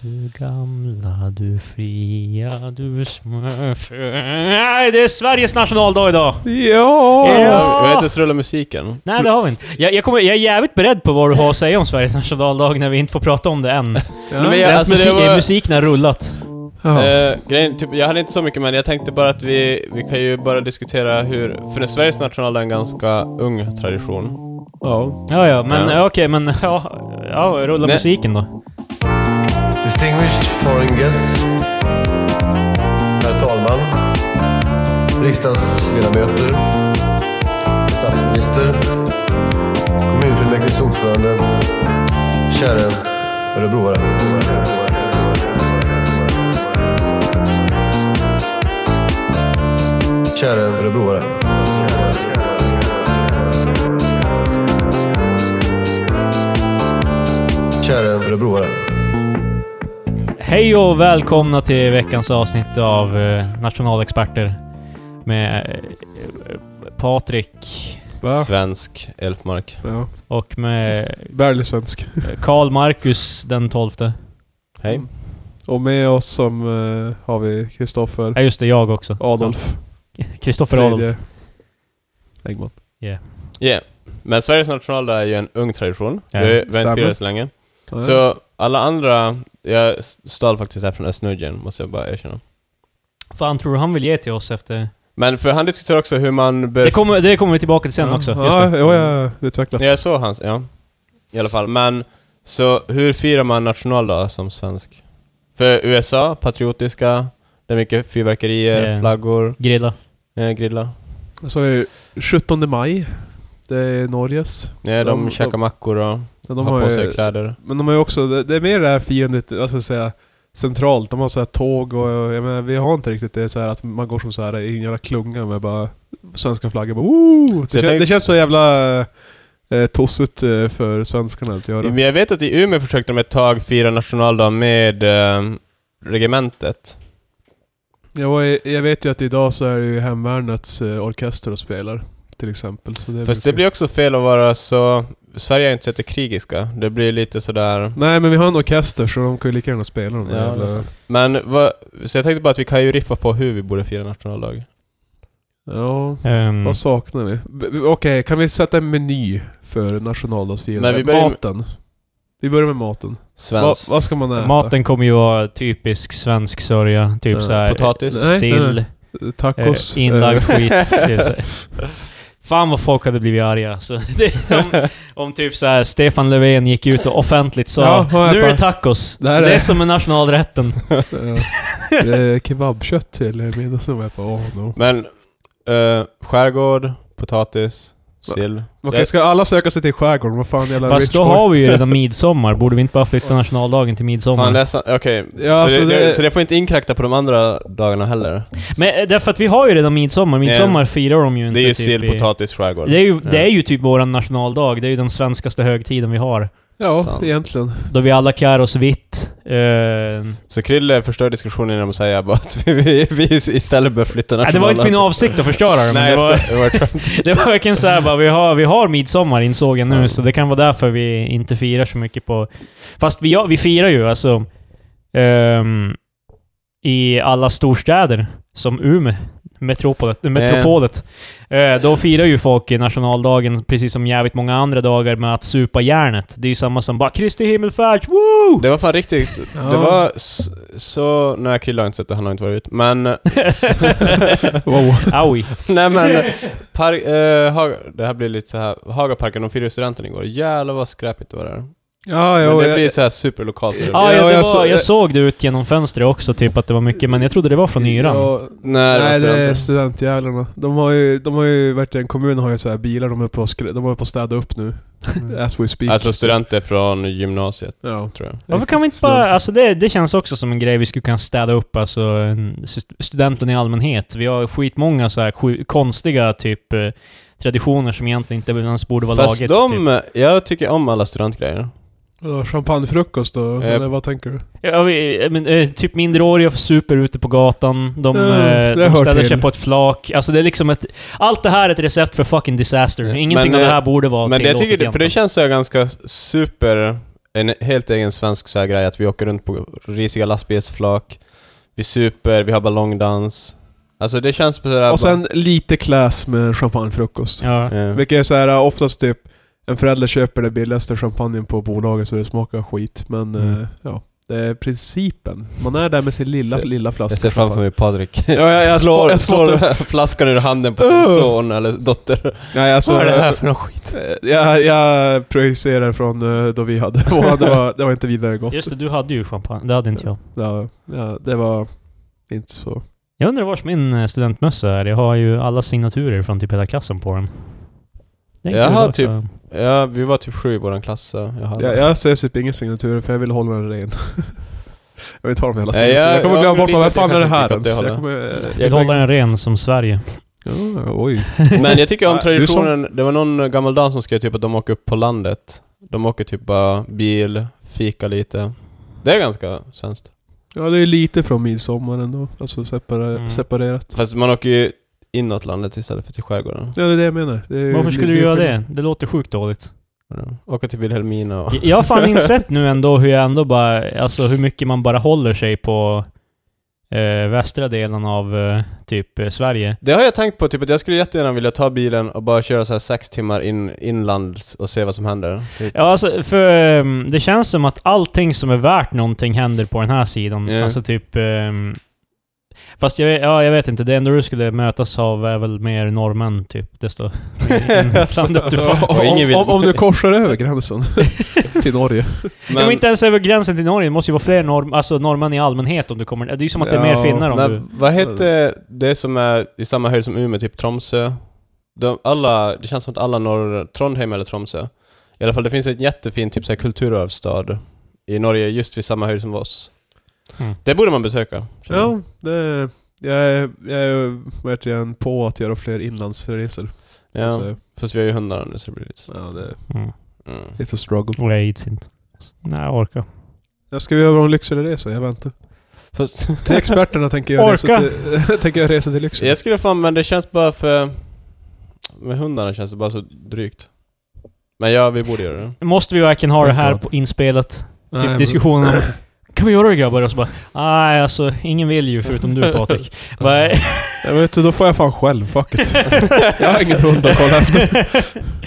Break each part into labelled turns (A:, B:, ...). A: Du gamla, du fria, du smörfrö... Nej, det är Sveriges nationaldag idag!
B: Ja!
A: Ja!
C: Jag har inte ens rullat musiken.
A: Nej, det har vi inte. Jag, jag, kommer, jag är jävligt beredd på vad du har att säga om Sveriges nationaldag när vi inte får prata om det än.
C: Men jag,
A: Deras
C: alltså,
A: musik,
C: det var,
A: Musiken har rullat.
C: eh, grejen, typ, jag hade inte så mycket men jag tänkte bara att vi, vi kan ju bara diskutera hur... För Sveriges nationaldag är en ganska ung tradition.
B: ja.
A: Ja, ja, men
C: Ja.
A: ja. okej, men ja, ja rulla
C: Nej.
A: musiken då.
D: Distinguished foreign guests. Herr talman. Riksdagsledamöter. Statsminister. Kommunfullmäktiges ordförande. Käre örebroare. Käre örebroare. Käre örebroare.
A: Hej och välkomna till veckans avsnitt av eh, Nationalexperter med eh, Patrik
B: Va?
C: Svensk Elfmark.
B: Ja.
A: och med
B: Värlig svensk.
A: Karl Marcus den 12.
C: Hej.
B: Och med oss som eh, har vi Kristoffer,
A: Ja, just det, jag också.
B: Adolf,
A: Kristoffer Adolf.
B: tredje Engman.
C: Yeah. Men Sveriges nationaldag är ju en ung tradition.
A: Ja.
C: Vi har ju- vi har inte
B: Stämmer.
C: firat så länge.
B: Ja, ja.
C: Så alla andra... Jag stal faktiskt här från Östnudgen, måste jag bara erkänna.
A: Fan, tror du han vill ge till oss efter...
C: Men för han diskuterar också hur man... Bör...
A: Det kommer, det kommer vi tillbaka till sen
B: Eh, ja.
A: också. Just
B: Ja,
A: det.
B: ja, ja, utvecklats.
C: Ja, så hans... Ja. I alla fall. Men, så hur firar man nationaldag som svensk? För USA, patriotiska, det är mycket fyrverkerier,
A: Yeah.
C: flaggor,
A: Grilla.
C: eh, grillar.
B: Så är det 17 maj. Det är Norges.
C: Ja, de,
B: De-
C: käkar mackor och
B: Men de
C: har på
B: har
C: sig
B: ju,
C: kläder.
B: men de har ju också, det, det är mer det här firandet, alltså så att säga, centralt. De har så här tåg och, och jag menar, vi har inte riktigt det så här att man går som så här i en jävla klunga med bara svenska flaggor. Bara, "Woo!" det,
C: jag
B: kän-
C: tänk-
B: det känns så jävla eh, tossigt eh, för svenskarna att göra.
C: Men jag vet att i Umeå försökte de ett tag fira nationaldag med eh, regementet.
B: Ja, jag, jag vet ju att idag så är det ju Hemvärnets eh, orkester och spelar. Till exempel. Så det
C: Fast
B: brukar-
C: det blir också fel att vara så... Sverige är inte så jättekrigiska. Det blir lite sådär...
B: Nej men vi har en orkester så de kan ju lika gärna spela de där
C: Ja, det är
B: jävla...
C: sant. Men vad... Så jag tänkte bara att vi kan ju riffa på hur vi borde fira nationaldag.
B: Ja,
A: Ehm,
B: vad saknar vi? B- b- Okej, kan vi sätta en meny för nationaldagsfirande?
C: Men vi börjar med-
B: Maten. Vi börjar med maten. Va,
C: Svenskt.
B: vad ska man äta?
A: maten kommer ju vara typisk svensk sörja. Typ
B: Ja,
A: såhär...
C: Potatis.
B: Nej, nej,
A: Sill.
B: nej. Tacos.
A: Eh, inlagd
B: eh,
A: skit. Det är så här. Fan vad folk hade blivit arga. Så det, om, om typ så här, Stefan Löfven gick ut och offentligt
B: Ja,
A: sa
B: har jag
A: Nu är
B: bara-
A: det tacos.
B: Det
A: Det,
B: här är-
A: är som med nationalrätten.
B: eh, det är kebabkött till middag som jag bara, åh no.
C: Men eh, skärgård, potatis, sill.
B: Okej,
C: Jag-
B: ska alla söka sig till skärgården? Vad fan jävla
A: Fast
B: rich
A: då
B: boy.
A: har vi ju redan midsommar. Borde vi inte bara flytta nationaldagen till
C: Fan, det
A: midsommar?
C: är sant. Okej.
B: Ja, alltså
C: så, det, det,
B: det-
C: så det får inte inkräkta på de andra dagarna heller.
A: Men eh, därför att vi har ju redan midsommar. Midsommar firar de ju inte
C: Eh, Det är ju
A: typ
C: sill,
A: i-
C: potatis, skärgård.
A: Det är, ju,
C: Ja.
A: det är ju typ vår nationaldag. Det är ju den svenskaste högtiden vi har.
B: Ja,
C: Sant.
B: egentligen.
A: Då vi alla klär oss vitt. Eh,
C: Så Krille förstör diskussionen genom att säga bara att vi, vi, vi istället bör flytta
A: nej, det var inte min avsikt att förstöra det, men
C: Nej,
A: det var...
C: jag skojar. Det var tvärtom.
A: Det var verkligen såhär bara, vi har, vi har midsommar insåg jag nu,
C: Ja.
A: så det kan vara därför vi inte firar så mycket på... Fast vi, ja, vi firar ju alltså ehm, i alla storstäder, som Umeå, metropolet, metropolet. Eh, då firar ju folk i nationaldagen, precis som jävligt många andra dagar, med att supa järnet. Det är ju samma som bara Kristi himmelfärd, woo!
C: det var fan riktigt...
B: Ja.
C: Det var s- så... Nej, Krille har inte sett det, han har inte varit ute. Men...
B: Wow.
A: Aui.
C: nej men... Par, eh, Haga, det här blir lite så här. Hagaparken, de firade ju studenten igår. Jävlar vad skräpigt det var där.
B: Ja,
C: Men
B: jo,
C: det
B: jag-
C: blir så här superlokalt. så det
A: Ah,
B: Ja,
A: ja, det
B: jag
A: jag,
B: så-
A: var, jag såg det ut genom fönstret också, typ att det var mycket, men jag trodde det var från yran.
B: Ja,
C: Nej, det var
B: Nej, det är
C: studenter.
B: studentjävlarna. De har ju, de har ju verkligen, kommunen har ju så här bilar de är på, att skrä- de är på att städa upp nu. As we speak.
C: Alltså studenter från gymnasiet,
B: Ja.
C: tror jag.
A: Varför kan vi inte bara... Alltså det, det känns också som en grej vi skulle kunna städa upp, alltså en- st- studenten i allmänhet. Vi har skitmånga så här sju- konstiga typ eh, traditioner som egentligen inte ens borde vara
C: Fast
A: lagets.
C: de...
A: Typ.
C: Jag tycker om alla studentgrejer.
B: Ja, Champagnefrukost då,
C: Eh.
B: eller vad tänker du?
A: Ja, vi, eh, men, eh, typ minderåriga super ute på gatan, de,
B: Ja,
A: eh,
B: det
A: de
B: hör
A: ställer
B: till.
A: sig på ett flak. Alltså det är liksom ett... Allt det här är ett recept för fucking disaster.
C: Ja,
A: Ingenting
C: men,
A: av det
C: eh,
A: här borde vara
C: Men det jag
A: tillåtet
C: tycker, för det
A: egentligen.
C: känns så här ganska super En helt egen svensk så här grej att vi åker runt på risiga lastbilsflak, vi super, vi har ballongdans. Alltså det känns på det där
B: Och sen lite class med champagnefrukost.
A: Ja.
C: Ja.
B: Vilket är så här, oftast typ en förälder köper den billigaste champagnen på bolaget så det smakar skit. Men
A: Mm.
B: eh, ja, det är principen. Man är där med sin lilla,
C: Så-
B: lilla
C: Jag
B: flaska.
C: ser framför mig Patrik.
B: Ja, ja, jag
C: slår,
B: slår- jag slår-
C: slår flaskan ur handen på sin son eller dotter.
B: Nej, alltså,
C: Vad är det här för någon skit?
B: eh, jag, jag projicerar från eh, då vi hade vår. det, var, det var inte vidare gott.
A: Just det, du hade ju champagne. Det hade inte jag.
B: Ja, ja, det var inte så...
A: Jag undrar vars min eh, studentmössa är. Jag har ju alla signaturer från typ hela klassen på den. Det är en
C: Jag
A: kul
C: har
A: också.
C: typ- Ja, vi var typ sju i våran klass så jag hade...
B: Jag, jag ser typ ingen signatur för jag vill hålla den ren. jag vill inte ha dem hela
C: Nej,
B: signaturen.
C: jag-
B: Jag kommer
C: jag
B: glömma bort
C: blir
B: vad
C: lite-
B: fan är det
C: jag
B: här
C: kanske inte
B: ens?
C: åt det
B: Jag kommer...
A: Jag håller den ren som Sverige.
B: Ja, oj.
C: Men jag tycker om
B: Ja, du som-
C: traditionen, det var någon gammal dam som skrev typ att de åker upp på landet. De åker typ bara bil, fika lite. Det är ganska svenskt.
B: Ja, det är lite från midsommar ändå. Alltså separa-
A: Mm.
B: separerat.
C: Fast man åker ju inåt landet istället för till skärgården.
B: Ja, det är det jag menar. Det är,
A: Varför skulle
B: är
A: du göra
B: skillnad.
A: det? Det låter sjukt dåligt.
C: Ja. Åka till Vilhelmina och...
A: Jag- Jag har fan insett nu ändå hur jag ändå bara, alltså hur mycket man bara håller sig på eh, västra delen av eh, typ eh, Sverige.
C: Det har jag tänkt på, typ att jag skulle jättegärna vilja ta bilen och bara köra så här sex timmar in, inland och se vad som händer. Typ.
A: Ja, alltså, för ehm, det känns som att allting som är värt någonting händer på den här sidan.
C: Ja.
A: Alltså typ... ehm, fast jag, ja, jag vet inte, det enda du skulle mötas av är väl mer norrmän, typ. Desto mer inlandet du får.
C: Och
B: Om,
C: ingen vill-
B: om, om du korsar över gränsen till Norge.
A: Men, inte ens över gränsen till Norge, det måste ju vara fler norr, alltså, norrmän i allmänhet om du kommer... Det är ju som att det är mer
B: Ja,
A: finnar om
C: Nej,
A: du...
C: Vad heter det som är i samma höjd som Umeå, typ Tromsö? De, alla, det känns som att alla norr... Trondheim eller Tromsö. I alla fall, det finns ett jättefint typ så här kulturarvsstad i Norge, just vid samma höjd som oss.
A: Mm.
C: Det borde man besöka. känner jag.
B: Ja, det... Jag är, jag är verkligen på att göra fler inlandsresor.
C: ja.
B: Så,
C: Fast vi har ju hundar nu så det blir lite...
B: ja, det,
A: Mm.
C: Mm.
B: it's a struggle.
A: Och jag ids inte. Nej, jag orkar.
B: Jag ska vi göra en Lyckseleresa? Jag väntar.
C: Fast,
B: Till experterna tänker jag resa
A: Orka.
B: till, tänker jag resa till Lycksele.
C: jag skulle fan, men det känns bara för... Med hundarna känns det bara så drygt. Men ja, vi borde göra det.
A: Måste vi verkligen ha det här
B: Självklart.
A: på inspelat?
B: Nej,
A: Typ
B: men-
A: diskussionen om... Kan vi göra det grabbar? Och så bara... Nej, alltså ingen vill ju förutom du Patrik. Bara,
B: Jag vet inte, då får jag fan själv. Fuck it. jag har ingen hund att kolla efter.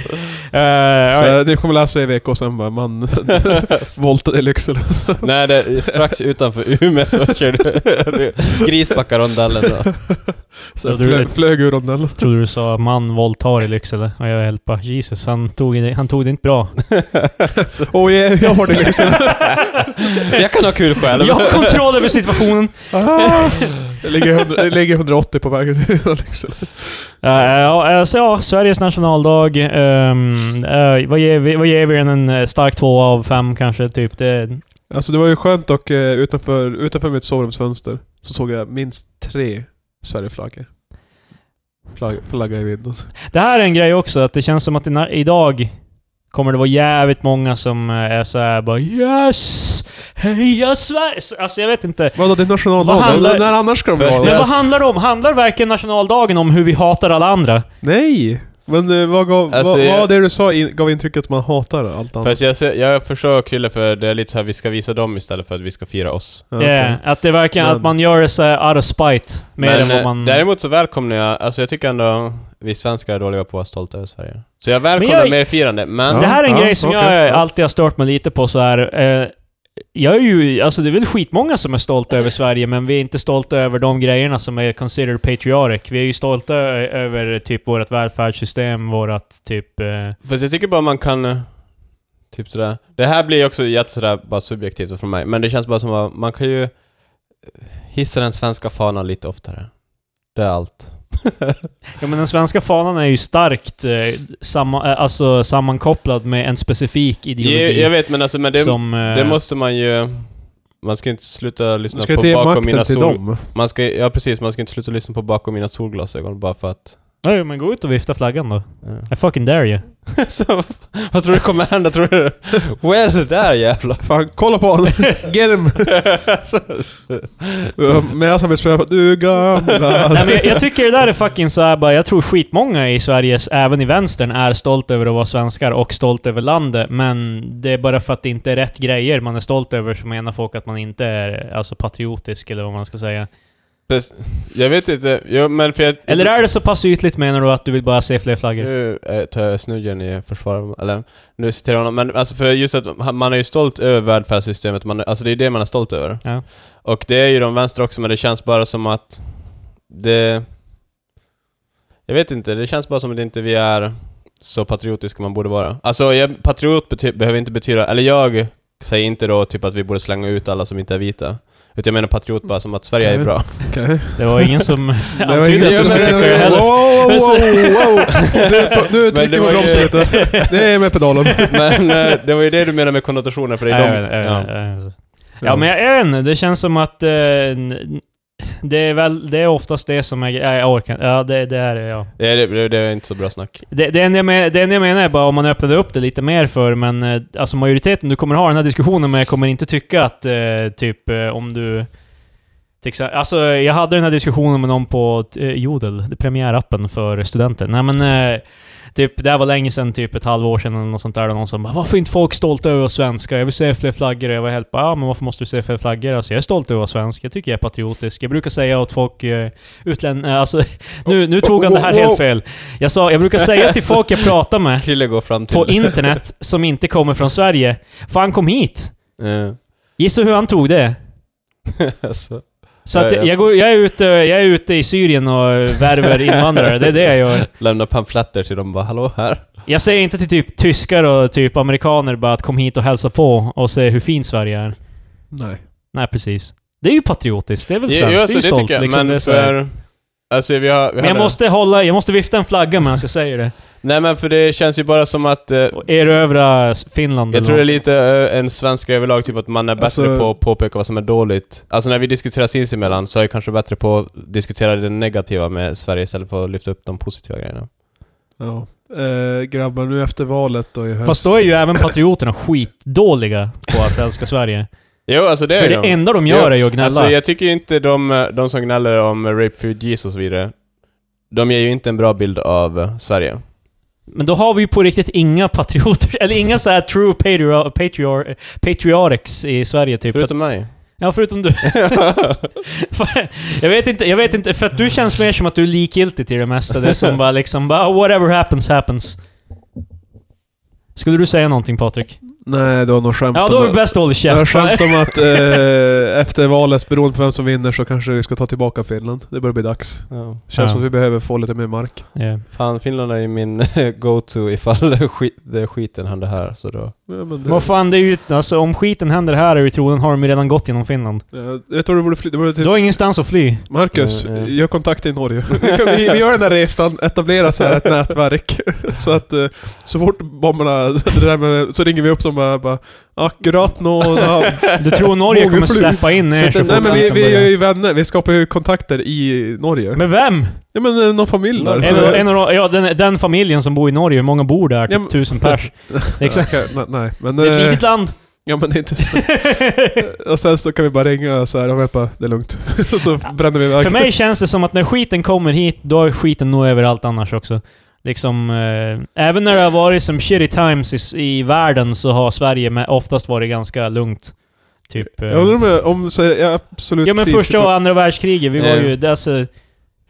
A: Eh,
B: Så
A: alright.
B: ni kommer läsa i VK och sen bara man voltade i Lycksele. Så.
C: Nej, det är strax utanför Umeå så körde Grisbackarondellen då.
B: Så
A: Ja,
B: jag
A: du
B: flög,
A: vet.
B: flög ur rondellen.
A: Trodde du sa man våldtar i Lycksele och jag hjälpa. Jesus, han tog det, han tog det inte bra.
B: Oh yeah, jag har det i Lycksele.
C: Jag kan ha kul själv.
A: Jag har kontroll över situationen.
B: Ah! Det ligger, 100, det ligger 180 på vägen till Lycksele.
A: Eh, Ja, eh, så ja, Sveriges nationaldag. ehm, eh, vad, ger vi, vad ger vi den? En eh, stark två av fem kanske, typ. Det,
B: Alltså det var ju skönt och eh, utanför, utanför mitt sovrumsfönster så såg jag minst tre Sverigeflaggor. Flagg, flagga i vinden.
A: det här är en grej också, att det känns som att det, när- idag kommer det vara jävligt många som eh, är såhär bara Yes! Heja Sverige! Alltså jag vet inte.
B: Vadå, det är
A: Vad
B: nationaldagen?
A: handlar-
B: Alltså, När annars ska de
C: Fest-
B: vara
A: Men
B: det?
A: vad handlar det om? Handlar verkligen nationaldagen om hur vi hatar alla andra?
B: Nej! Men eh, vad, gav,
C: Alltså,
B: vad,
C: jag-
B: vad det du sa in, gav intrycket att man hatar allt annat?
C: Fast jag, ser, jag förstår Krille för det är lite så här vi ska visa dem istället för att vi ska fira oss.
A: Ja,
B: Ja, okej.
A: Eh, Att det verkligen
B: Men-
A: att man gör det så här out of spite. Mer
C: Men
A: än
C: eh,
A: vad man...
C: däremot så välkomnar jag, alltså jag tycker ändå vi svenskar är dåliga på att vara stolta över Sverige. Så jag välkomnar
A: Men jag-
C: mer firande, men...
A: det här är en
B: Ja,
A: grej som
B: okej.
A: jag
B: Ja.
A: alltid har stört mig lite på så här. Eh, jag är ju, alltså det är väl skitmånga som är stolta över Sverige, men vi är inte stolta över de grejerna som är considered patriotic. Vi är ju stolta ö- över typ vårt välfärdssystem, vårat typ... Eh,
C: Fast jag tycker bara man kan... eh, Typ sådär. Det här blir ju också jätte sådär bara subjektivt från mig, men det känns bara som att man kan ju eh, hissa den svenska fanan lite oftare. Det är allt.
A: ja men den svenska fanan är ju starkt eh, samma, eh, alltså sammankopplad med en specifik
C: Jag,
A: ideologi
C: jag vet men alltså, men det,
A: som... eh,
C: det måste man ju... Man ska inte sluta lyssna
B: Du ska
C: på
B: inte ge
C: bakom
B: makten
C: mina
B: till
C: sol...
B: dem.
C: Man ska, ja precis, man ska inte sluta lyssna på bakom mina solglasögon bara för att
A: Ja, jo, men gå ut och vifta flaggan då.
C: Ja.
A: I fucking dare you.
C: så, vad tror du kommer hända, tror du? Well, där jävlar.
B: Fan, kolla på honom! Get him! Medan han blir spöad på du gamla...
A: Nej, men jag, jag tycker det där är fucking så här bara, jag tror skitmånga i Sveriges, även i vänstern, är stolt över att vara svenskar och stolt över landet, men det är bara för att det inte är rätt grejer man är stolt över så menar folk att man inte är alltså, patriotisk eller vad man ska säga.
C: Precis. Jag vet inte, jo, men för jag...
A: Eller är det så pass ytligt menar du att du vill bara se fler flaggor?
C: Nu eh, tar jag snudgen i försvar, eller nu citerar jag honom, men alltså för just att han- man är ju stolt över välfärdssystemet, man, är- alltså det är det man är stolt över.
A: Ja.
C: Och det är ju de vänster också, men det känns bara som att det... Jag vet inte, det känns bara som att inte vi är så patriotiska man borde vara. Alltså, jag, patriot bety- behöver inte betyda, eller jag säger inte då typ att vi borde slänga ut alla som inte är vita. Utan jag menar patriot bara som att Sverige är
A: Mm.
B: Okej.
C: bra.
B: Okej.
A: Det var ingen som
B: Det var
A: antydde
B: inget
A: att
C: jag
A: du
B: du
A: skulle
C: menar-
A: tycka det
B: skulle... Wow,
A: heller.
B: wow,
A: Men så-
B: wow, wow! Nu- Nu
C: Men det
B: trycker vi
C: var
B: på
C: ju-
B: bromsen lite. Det är med pedalen.
C: Men eh, det var ju det du menade med konnotationer, för det
A: Nej,
C: är
A: jag vet- jag
C: de...
A: vet- jag vet. Ja, men jag, jag vet inte. Det känns som att eh, n- n- det är väl, det är oftast det som är... ja, Jag orkar inte. Ja, det, det är det, ja.
C: Ja, det, det, det är inte så bra snack.
A: Det, det, enda jag men, det enda jag menar är bara om man öppnade upp det lite mer för, men eh, alltså majoriteten, du kommer ha den här diskussionen, men jag kommer inte tycka att eh, typ eh, om du... till exempel- Alltså jag hade den här diskussionen med någon på eh, Jodel, det- premiärappen för studenter. Nej men... Eh, typ, det här var länge sedan, typ ett halvår sedan eller något sånt där. och Någon som bara, varför är inte folk stolta över oss svenskar? Jag vill se fler flaggor. Och Jag var helt bara, ja men varför måste du se fler flaggor? Alltså jag är stolt över att vara svensk. Jag tycker jag är patriotisk. Jag brukar säga åt folk, eh, utlän... eh, Alltså, nu, nu tog han det här helt fel. Jag, sa, jag brukar säga till folk jag pratar med
C: Krille går fram till...
A: på internet som inte kommer från Sverige. Fan kom hit!
C: Eh,
A: Gissa hur han tog det?
C: alltså.
A: Så att
C: Ja, ja.
A: jag, går, jag, är ute, jag är ute i Syrien och värver invandrare. Det är det jag gör.
C: Lämna pamfletter till dem bara ”Hallå, här”.
A: Jag säger inte till typ tyskar och typ amerikaner bara att kom hit och hälsa på och se hur fin Sverige är.
B: Nej.
A: Nej, precis. Det är ju patriotiskt. Det är väl
C: Jo,
A: svenskt.
C: jo,
A: det är ju stolt. liksom, det är
C: men
A: så här.
C: för... Alltså, vi har... Vi
A: men jag
C: hade-
A: måste hålla... Jag måste vifta en flagga medan jag säger det.
C: Nej, men för det känns ju bara som att... Eh,
A: Och Erövra Finland
C: jag
A: eller
C: tror det är
A: något.
C: lite eh, en svensk överlag, typ att man är bättre
B: Alltså-
C: på att påpeka vad som är dåligt. Alltså när vi diskuterar sinsemellan så är jag kanske bättre på att diskutera det negativa med Sverige istället för att lyfta upp de positiva grejerna.
B: Ja. Eh, grabbar, nu efter valet och i höst...
A: Fast då är ju även patrioterna skitdåliga på att älska Sverige.
C: Jo, alltså det är
A: För
C: ju
A: det
C: de.
A: enda de gör
C: Jo,
A: är ju att gnälla.
C: Alltså jag tycker ju inte de, eh, de som gnäller om refugees och så vidare, de ger ju inte en bra bild av eh, Sverige.
A: Men då har vi ju på riktigt inga patrioter, eller inga så här true patriar, patriar, patriarchs i Sverige typ.
C: Förutom mig.
A: Ja, förutom du. Fan, jag, vet inte, jag vet inte, för att du känns mer som att du är likgiltig till det mesta. Det är som bara liksom bara, "Oh, whatever happens happens. Skulle du säga någonting Patrik?
B: Nej, det var nog skämt
A: Ja,
B: om
A: då är det
B: att-
A: bäst att hålla
B: Jag har
A: käft.
B: skämt om att eh, efter valet, beroende på vem som vinner, så kanske vi ska ta tillbaka Finland. Det börjar bli dags.
C: Ja.
A: Ja.
B: Känns som att vi behöver få lite mer mark.
A: Ja.
C: Fan, Finland är ju min go-to ifall det skit, det skiten händer här, så då...
B: Ja, men det,
A: Vad fan, det är ju, alltså, om skiten händer här är ju troligen har de ju redan gått genom Finland.
B: Eh, jag tror du borde fly... Du borde
A: Du
B: till,
A: har ingenstans att fly.
B: Marcus,
C: Mm, mm.
B: gör kontakt i Norge. Vi, kan- vi, vi gör den här resan, etablerar så här ett nätverk. så att eh, så fort bomberna... Det där med, så ringer vi upp dem och bara... Akkurat nå... nå
A: Du tror Norge
B: Någon
A: kommer
B: fly.
A: släppa in er
B: Så
A: så
B: att- Nej
A: fort
B: men vi,
A: skiten
B: vi är
A: börjar.
B: ju vänner, vi skapar ju kontakter i Norge.
A: Men vem?
B: Ja men eh, någon familj där.
A: En, en, av de- ja, den, den familjen som bor i Norge, hur många bor där?
B: Ja,
A: Typ
B: men-
A: tusen pers. Det är exakt-
B: Okej, nej, nej, men...
A: Det är ett
B: eh,
A: litet land.
B: Ja men det är inte så. och sen så kan vi bara ringa och så här, och bara, det är lugnt. och så bränner vi iväg.
A: För mig känns det som att när skiten kommer hit, då är skiten nog överallt annars också. Liksom, eh, även när det har varit som shitty times i, i världen så har Sverige med, oftast varit ganska lugnt. Typ... Eh,
B: Jag undrar om, jag- om så är det absolut
A: ja men
B: kris,
A: första och andra världskriget, vi var
C: Eh.
A: ju... Det, är alltså,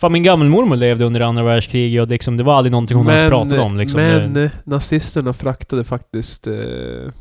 A: fan min gammelmormor levde under andra världskriget och liksom, det var aldrig någonting hon ens pratade om. Liksom.
B: Men
A: det,
B: eh, nazisterna fraktade faktiskt eh,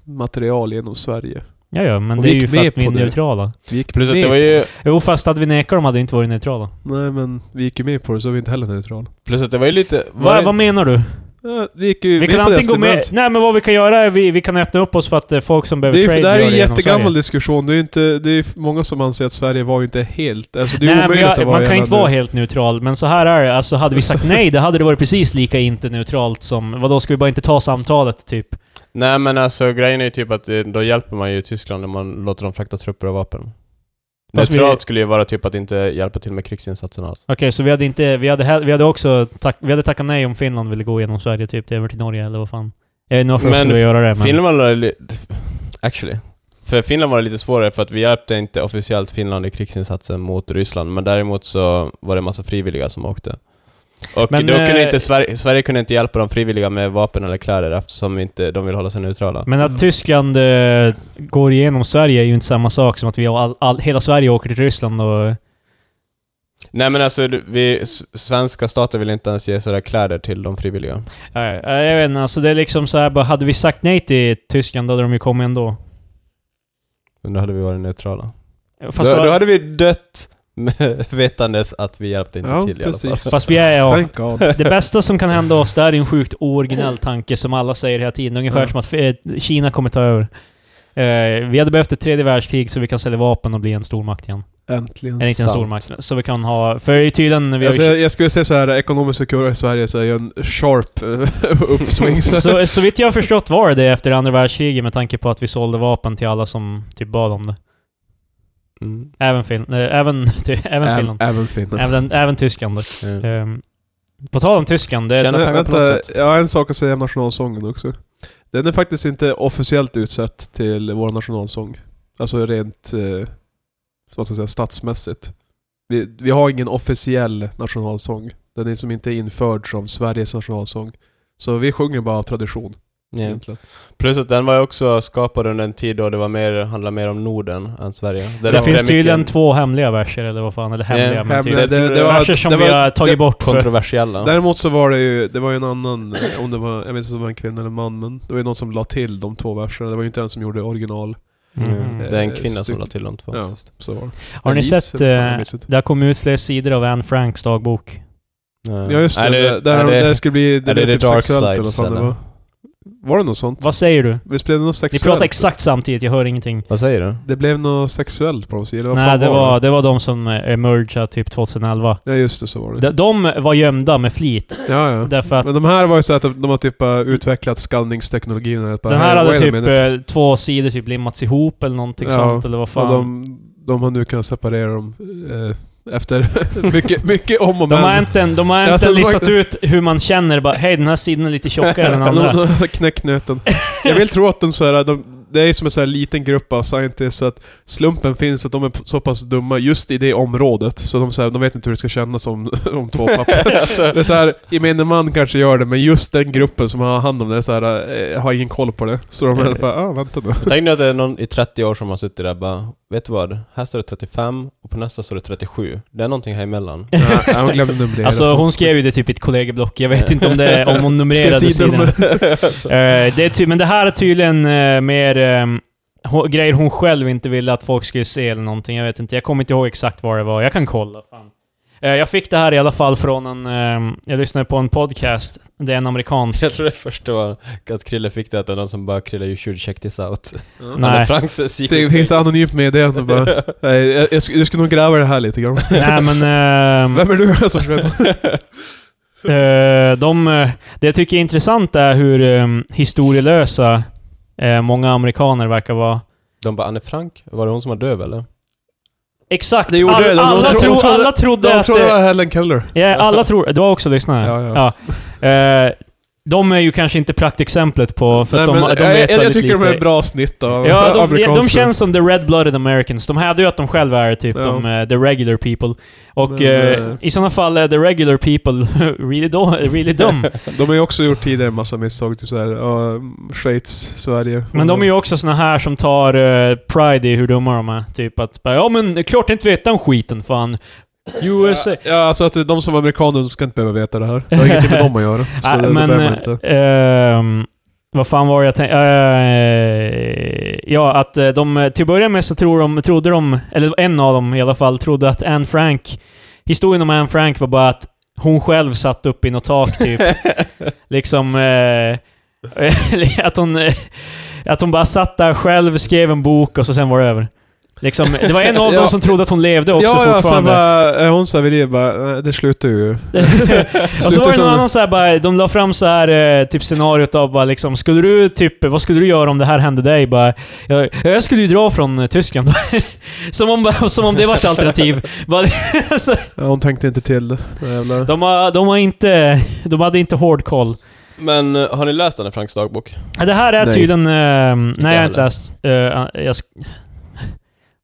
B: material genom Sverige.
A: ja, ja, men
B: och
A: det
B: vi
A: är ju
B: gick
A: för
B: med
A: att vi är
B: på det.
A: neutrala.
B: Vi gick
C: Plus att
B: med.
C: det var ju,
A: Jo, fast hade vi nekat dem hade vi inte varit neutrala.
B: Nej men vi gick ju med på det så vi är inte heller neutrala.
C: plus att det var ju lite... var
A: Va,
C: det-
A: vad menar du?
B: Ja, vi gick ju
A: Vi
B: med
A: kan
B: på
A: antingen
B: deras
A: gå med...
B: stimulans.
A: Nej men vad vi kan göra är vi, vi kan öppna upp oss för att eh, folk som
B: Det
A: behöver
B: är,
A: trade
B: ju- det här är
A: gör
B: en
A: det genom
B: jättegammal
A: Sverige.
B: diskussion. Det är ju inte, det är ju många som anser att Sverige var ju inte helt... Alltså det är
A: Nej, men
B: omöjligt att
A: jag,
B: vara
A: man kan
B: hela
A: inte vara
B: nu.
A: helt neutral, men så här är det. Alltså hade vi sagt nej, det hade det varit precis lika inte neutralt som... Vadå, ska vi bara inte ta samtalet, typ?
C: Nej men alltså grejen är ju typ att eh, då hjälper man ju Tyskland när man låter dem frakta trupper och vapen.
A: Fast vi-
C: Neutralt skulle ju vara typ att inte hjälpa till med krigsinsatserna alls.
A: Okej, så vi hade inte... Vi hade, hell- vi hade också... Tack, vi hade tackat nej om Finland ville gå genom Sverige typ över till Norge eller vad fan. Jag vet inte varför de
C: Men
A: skulle göra det men...
C: Finland var li- Actually. För Finland var det lite svårare för att vi hjälpte inte officiellt Finland i krigsinsatsen mot Ryssland, men däremot så var det en massa frivilliga som åkte. Och
A: Men,
C: då kunde
A: eh,
C: inte Sverige, Sverige kunde inte hjälpa de frivilliga med vapen eller kläder eftersom inte, de vill hålla sig neutrala.
A: Men att Tyskland eh, går igenom Sverige är ju inte samma sak som att vi all, all, hela Sverige åker till Ryssland och...
C: Nej men alltså, du- vi, s- svenska staten vill inte ens ge sådär kläder till de frivilliga.
A: Nej, eh, jag vet inte, alltså det är liksom så här bara, hade vi sagt nej till Tyskland då hade de ju kommit ändå.
C: Men då hade vi varit neutrala. Då,
A: Fast,
C: då hade vi dött med, vetandes att vi hjälpte inte
B: Ja,
C: till i alla fall.
B: precis.
A: fast vi är ja,
B: Thank God.
A: Det bästa som kan hända oss, det här är en sjukt originell tanke som alla säger hela tiden. Ungefär
B: Ja.
A: som att eh, Kina kommer ta över. Eh, vi hade behövt ett tredje världskrig så vi kan sälja vapen och bli en stormakt igen.
B: Äntligen.
A: Eller inte en
C: Sant.
A: stormakt, så vi kan ha... För i tiden... Vi har
B: Alltså,
A: ju,
B: jag, jag skulle säga så här, ekonomiska kurva i Sverige så är ju en sharp eh, uppsving. så.
A: så, så vitt jag har förstått var det det efter andra världskriget med tanke på att vi sålde vapen till alla som typ bad om det.
C: Mm.
A: Även, fin, eh, även, ty, även Finland.
B: Även Finland.
A: Även, även Tyskland. dock.
C: Ja.
A: Ehm, på tal om Tyskland, det,
C: Tjena. pengar på något sätt.
B: jag har en sak att säga om nationalsången också. Den är faktiskt inte officiellt utsett till vår nationalsång. Alltså rent, eh, vad ska jag säga, statsmässigt. Vi, vi har ingen officiell nationalsång. Den är som inte införd som Sveriges nationalsång. Så vi sjunger bara av tradition
C: Ja.
B: egentligen.
C: Plus att den var ju också skapad under en tid då det var mer, handlade mer om Norden än Sverige.
A: det,
C: är därför
A: finns
C: är
A: tydligen
C: mycket
A: två hemliga verser, eller vad fan, eller hemliga,
C: Ja,
A: men typ.
C: hemliga. det- det var-
A: verser som
B: det
A: vi
B: var-
A: har tagit
B: det-
A: bort för...
C: kontroversiella.
B: Däremot så var det ju, det var ju en annan, eh, om det var, jag vet inte om det var en kvinna eller en man, men det var ju någon som la till de två verserna. Det var ju inte den som gjorde original.
A: Mhm.
C: Mm. Det är en
B: Eh,
C: kvinna som
B: styck-
C: la till de två.
B: Ja, så var det.
A: Har ni
B: Alice,
A: sett...
B: eller vad fan
A: eh,
B: jag missat.
A: det har kommit ut fler sidor av Anne Franks dagbok.
C: Nej.
B: Ja just det,
C: Är
B: det, där,
C: är
B: det,
C: det,
B: skulle bli det
C: är det
B: blev typ
C: The Dark
B: sexuellt eller vad
C: Sides,
B: fan det
C: eller?
B: var. Var det något sånt?
A: Vad säger du?
B: Visst blev det något
A: Ni
B: sexuellt?
A: pratar exakt samtidigt, jag hör ingenting.
C: vad säger du?
B: Det blev något sexuellt på något sätt, eller vad
A: Nej,
B: fan
A: det var, det var de som eh, emergade typ 2011.
B: Ja just det, så var det.
A: De, de var gömda med flit,
B: Ja, ja.
A: därför att
B: Men de här var ju så att de de har typ uh, utvecklat skallningsteknologin. och bara,
A: den
B: "Hey,
A: här hade
B: wait a
A: typ
B: minute."
A: eh, två sidor typ limmats ihop eller någonting
B: Ja,
A: sånt, eller vad
B: Och
A: fan. De,
B: de, de har nu kunnat separera dem eh, efter mycket, mycket om och men.
A: har inte, en- de har inte
B: Alltså, det var-
A: listat ut hur man känner bara hej den här sidan är lite tjockare än den
B: De
A: andra.
B: har knäckt nöten. Jag vill tro att de, så här, de det är som en så här liten grupp av scientists, så att slumpen finns att de är så pass dumma just i det området, så de, så här, de vet inte hur det ska kännas om, om två papper.
C: alltså,
B: Det är så här, gemene man kanske gör det, men just den gruppen som har hand om det så här, eh, har ingen koll på det. Så de är bara ah, vänta nu.
C: tänk nu att det är någon i 30 år som har suttit där och bara, vet du vad? Här står det 35 och på nästa står det 37. Det är någonting här emellan.
B: Nej, hon glömde numrera.
A: Alltså hon skrev ju det typ i ett kollegieblock, jag vet inte om, det, är- om hon numrerade sidorna. Eh, det är ty- men det här är tydligen eh, mer ehm, ho- grejer hon själv inte ville att folk skulle se eller någonting. Jag vet inte. Jag kommer inte ihåg exakt vad det var. Jag kan kolla. Fan. Eh, jag fick det här i alla fall från en... ehm, jag lyssnade på en podcast. Det är en amerikansk.
C: Jag tror det första var att Krille fick det att det var någon som bara “Krille, you should check this out”. Anne
A: Nej.
C: Franks secret
B: Det finns anonymt med det. och Bara, nej, jag, jag, sk- jag ska nog gräva det här lite grann.
A: Nej men... ehm,
B: Vem är du? Alltså, jag vet.
A: eh, de, eh, det jag tycker är intressant är hur ehm, historielösa eh, många amerikaner verkar vara.
C: De bara “Anne Frank? Var det hon som var döv eller?”
A: Exakt!
B: Det gjorde
A: All,
B: det. De
A: alla,
B: tro-
A: tro,
B: de trodde-
A: alla trodde
B: De
A: att...
B: tror det
A: det-
B: var Helen Keller.
A: Ja, alla tror... Du har också lyssnat?
B: Ja, ja.
A: Eh, de är ju kanske inte praktexemplet på... För
B: Nej,
A: att de,
B: men
A: de
B: jag,
A: vet
B: jag, jag
A: väldigt
B: tycker de är
A: lite.
B: ett bra snitt av
A: Ja, de, de
B: amerikanska.
A: känns som the red-blooded americans. De hävdar ju att de själva är typ
B: Ja.
A: de, eh, the regular people. Och
B: Men,
A: eh,
B: eh,
A: i sådana fall är the regular people really, do, really dumb.
B: De har ju också gjort tidigare en massa misstag, typ såhär, ja, Schweiz, Sverige.
A: Men de är ju också såna här som tar eh, pride i hur dumma de är. Typ att bara, ja men det är klart jag inte vet om skiten fan. USA.
B: Ja, alltså att de som är amerikaner de ska inte behöva veta det här. Det har ingenting med dem att göra. Så
A: Nej,
B: det,
A: men, eh,
B: det behöver man inte.
A: ehm, vad fan var det jag tänkte? Eh, ja, att eh, de... Till att börja med så tror de, trodde de, eller en av dem i alla fall, trodde att Anne Frank... Historien om Anne Frank var bara att hon själv satt upp i något tak, typ. liksom... eh, att hon... eh, att hon bara satt där själv, skrev en bok och så sen var det över. Liksom, det var en av
B: Ja.
A: dem som trodde att hon levde också
B: ja, ja, sen
A: fortfarande.
B: bara, är hon såhär vid det bara, "Nej, det slutar ju.
A: och så var det
B: som-
A: någon annan såhär bara, de la fram så här eh, typ scenariot av bara liksom, skulle du typ, vad skulle du göra om det här hände dig? Bara, jag, jag skulle ju dra från eh, Tyskland. som, om, bara- som om det var ett alternativ. Bara, så,
B: Ja, hon tänkte inte till det. Jävlar.
A: de, har, de har inte, de hade inte hård koll.
C: Men eh, har ni läst den här Franks dagbok?
A: Ja, Det här är
B: Nej.
A: tydligen, eh, nej jag har
C: heller.
A: inte läst. Eh, jag sk-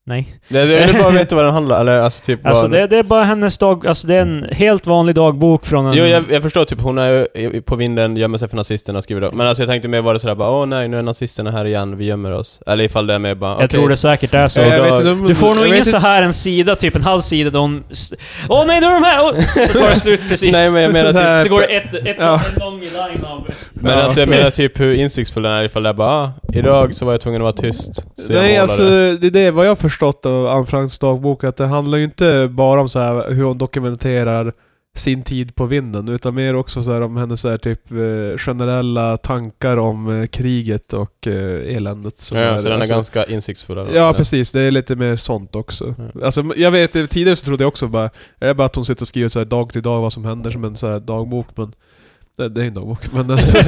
A: nej.
C: Det, det, jag vill bara veta vad den handlar eller alltså typ vad
A: Alltså
C: den-
A: det, det är bara hennes dag... Alltså det är en helt vanlig dagbok från en...
C: Jo, jag, jag förstår typ, hon är ju i- på vinden, gömmer sig för nazisterna och skriver det. Men alltså jag tänkte mer var det sådär bara, åh nej, nu är nazisterna här igen, vi gömmer oss. Eller ifall det är mer bara,
A: Jag tror det säkert är så.
C: Eh,
B: Jag
C: då-
B: vet inte om-
A: Du får nog
B: jag
A: ingen
B: vet
A: så
B: inte-
A: här en sida, typ en halv sida, där hon... s- Åh nej, nu är de här! Och, så tar det slut precis.
C: Nej men jag menar
B: Så
C: typ,
B: här-
A: så går det ett, ett,
B: Ja.
A: en lång line av...
C: men
B: Ja.
C: alltså jag menar typ hur insiktsfull den är ifall det är bara, ah, idag så var jag tvungen att vara tyst. Så jag
B: Nej,
C: målade.
B: alltså det är det vad jag har förstått av Anne Franks dagbok, att det handlar ju inte bara om så här hur hon dokumenterar sin tid på vinden, utan mer också så här om hennes så här, typ eh, generella tankar om eh, kriget och eh, eländet. som
C: ja, så den är
B: alltså-
C: ganska insiktsfull. eller?
B: Ja, precis. Det är lite mer sånt också.
C: Ja.
B: Alltså, jag vet, tidigare så trodde jag också bara, är det bara att hon sitter och skriver så här dag till dag vad som händer som en så här dagbok, men... Det, det är en dagbok, men alltså,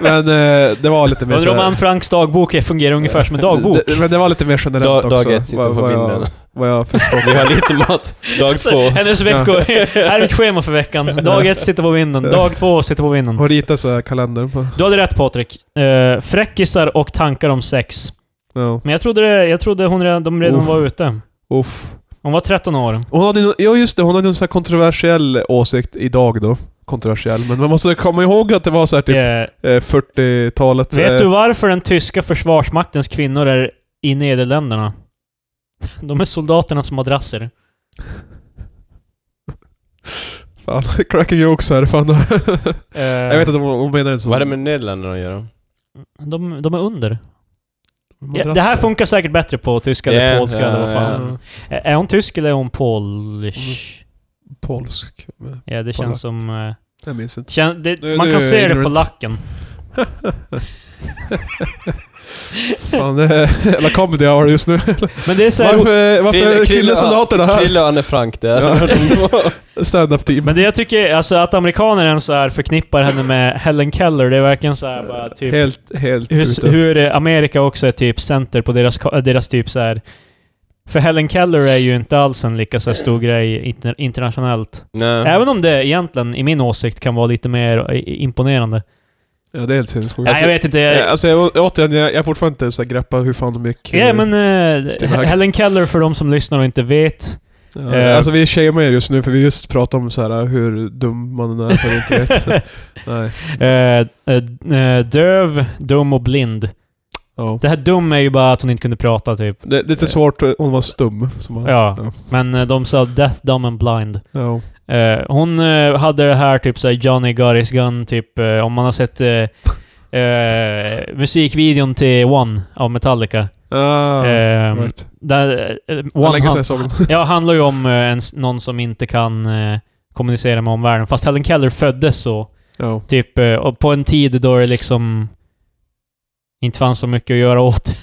B: Men eh, det var lite mer
A: Undrar
B: så
A: om
B: här-
A: Anne Franks dagbok fungerar ungefär som en dagbok.
B: Det, men det var lite mer generellt
C: Dag-
B: också.
C: dag ett sitter
B: vad- Alltså,
C: på
B: vad jag-
C: vinden.
B: Vad jag förstår.
C: Vi har lite mat, dag
A: Så,
C: två.
A: Alltså, Hennes veckor. Här är mitt schema för veckan. Dag ett sitter på vinden, dag två sitter på vinden.
B: Hon ritar så här kalendern på.
A: Du hade rätt Patrik. Uh, fräckisar och tankar om sex.
B: Ja.
A: Men jag trodde, det, jag trodde hon redan, de redan
B: Uff.
A: var ute.
B: Uff.
A: Hon var 13 år.
B: Hon hade ju, ja just det, hon hade ju en så här kontroversiell åsikt idag då. Kontroversiell, men man måste komma ihåg att det var så här typ
A: Eh,
B: eh, 40-talet.
A: Vet
B: eh,
A: du varför den tyska försvarsmaktens kvinnor är i Nederländerna? De är soldaternas madrasser.
B: Fan, cracking jokes här. Fan.
A: Eh,
B: Jag vet att de, de menar en sån.
C: Vad är det med Nederländerna att göra?
A: de, de är under.
B: madrasser.
A: Ja, det här funkar säkert bättre på tyska eller
C: Ja,
A: polska eller vad
C: ja,
A: fan.
B: Ja,
A: Eh, Är hon tysk eller är hon polish?
B: polsk. men
A: Ja, det
B: Polack.
A: känns som... eh,
B: Jag minns inte.
A: Kän, det,
B: Nu-
A: man
B: nu
A: kan
B: är
A: se
B: jag
A: det på
B: ignorant.
A: lacken.
B: Fan, det är jävla comedy jag har just nu.
A: Men det är så här,
B: Varför,
C: Krille-
B: varför är
C: Krille-
B: killesoldaterna här?
C: Krille och Anne Frank där.
B: Ja. Stand-up team.
A: Men det jag tycker, alltså att amerikaner än så här förknippar henne med Helen Keller, det är verkligen så här bara typ...
B: Helt, helt
A: Hur, hur eh, Amerika också är typ center på deras, ka- deras typ så här. För Helen Keller är ju inte alls en lika så här stor grej inter, internationellt.
B: Äh,
C: Nej.
A: Även om det egentligen, i min åsikt, kan vara lite mer eh, imponerande.
B: Ja, det är helt sinnessjukt.
A: Nej, jag vet inte.
B: Ja,
A: Jag,
B: Alltså jag, återigen, jag, jag har fortfarande inte så här greppat hur fan de gick...
A: ja, men eh,
B: Det var-
A: Helen Keller, för de som lyssnar och inte vet.
B: Ja,
A: eh,
B: alltså vi shamear er just nu för vi just pratar om så här hur dum man är för att inte vet. Nej.
A: eh, eh, eh, döv, dum och blind.
B: Ja.
A: Det här dum är ju bara att hon inte kunde prata, typ.
B: Det är lite svårt, hon var stum. Som man,
A: Ja.
B: Ja.
A: Men eh, de sa death, dumb and blind.
B: ja.
A: Eh, hon eh, hade det här typ såhär Johnny Got His Gun, typ eh, om man har sett eh, eh, musikvideon till One av Metallica.
B: Ah,
A: Ehm,
B: right.
A: Där, eh,
B: Hur
A: One
B: länge sedan
A: han,
B: jag såg den?
A: ja, handlar ju om eh, en, s- någon som inte kan eh, kommunicera med omvärlden. Fast Helen Keller föddes så.
B: Ja.
A: Typ eh, och på en tid då det liksom inte fanns så mycket att göra åt.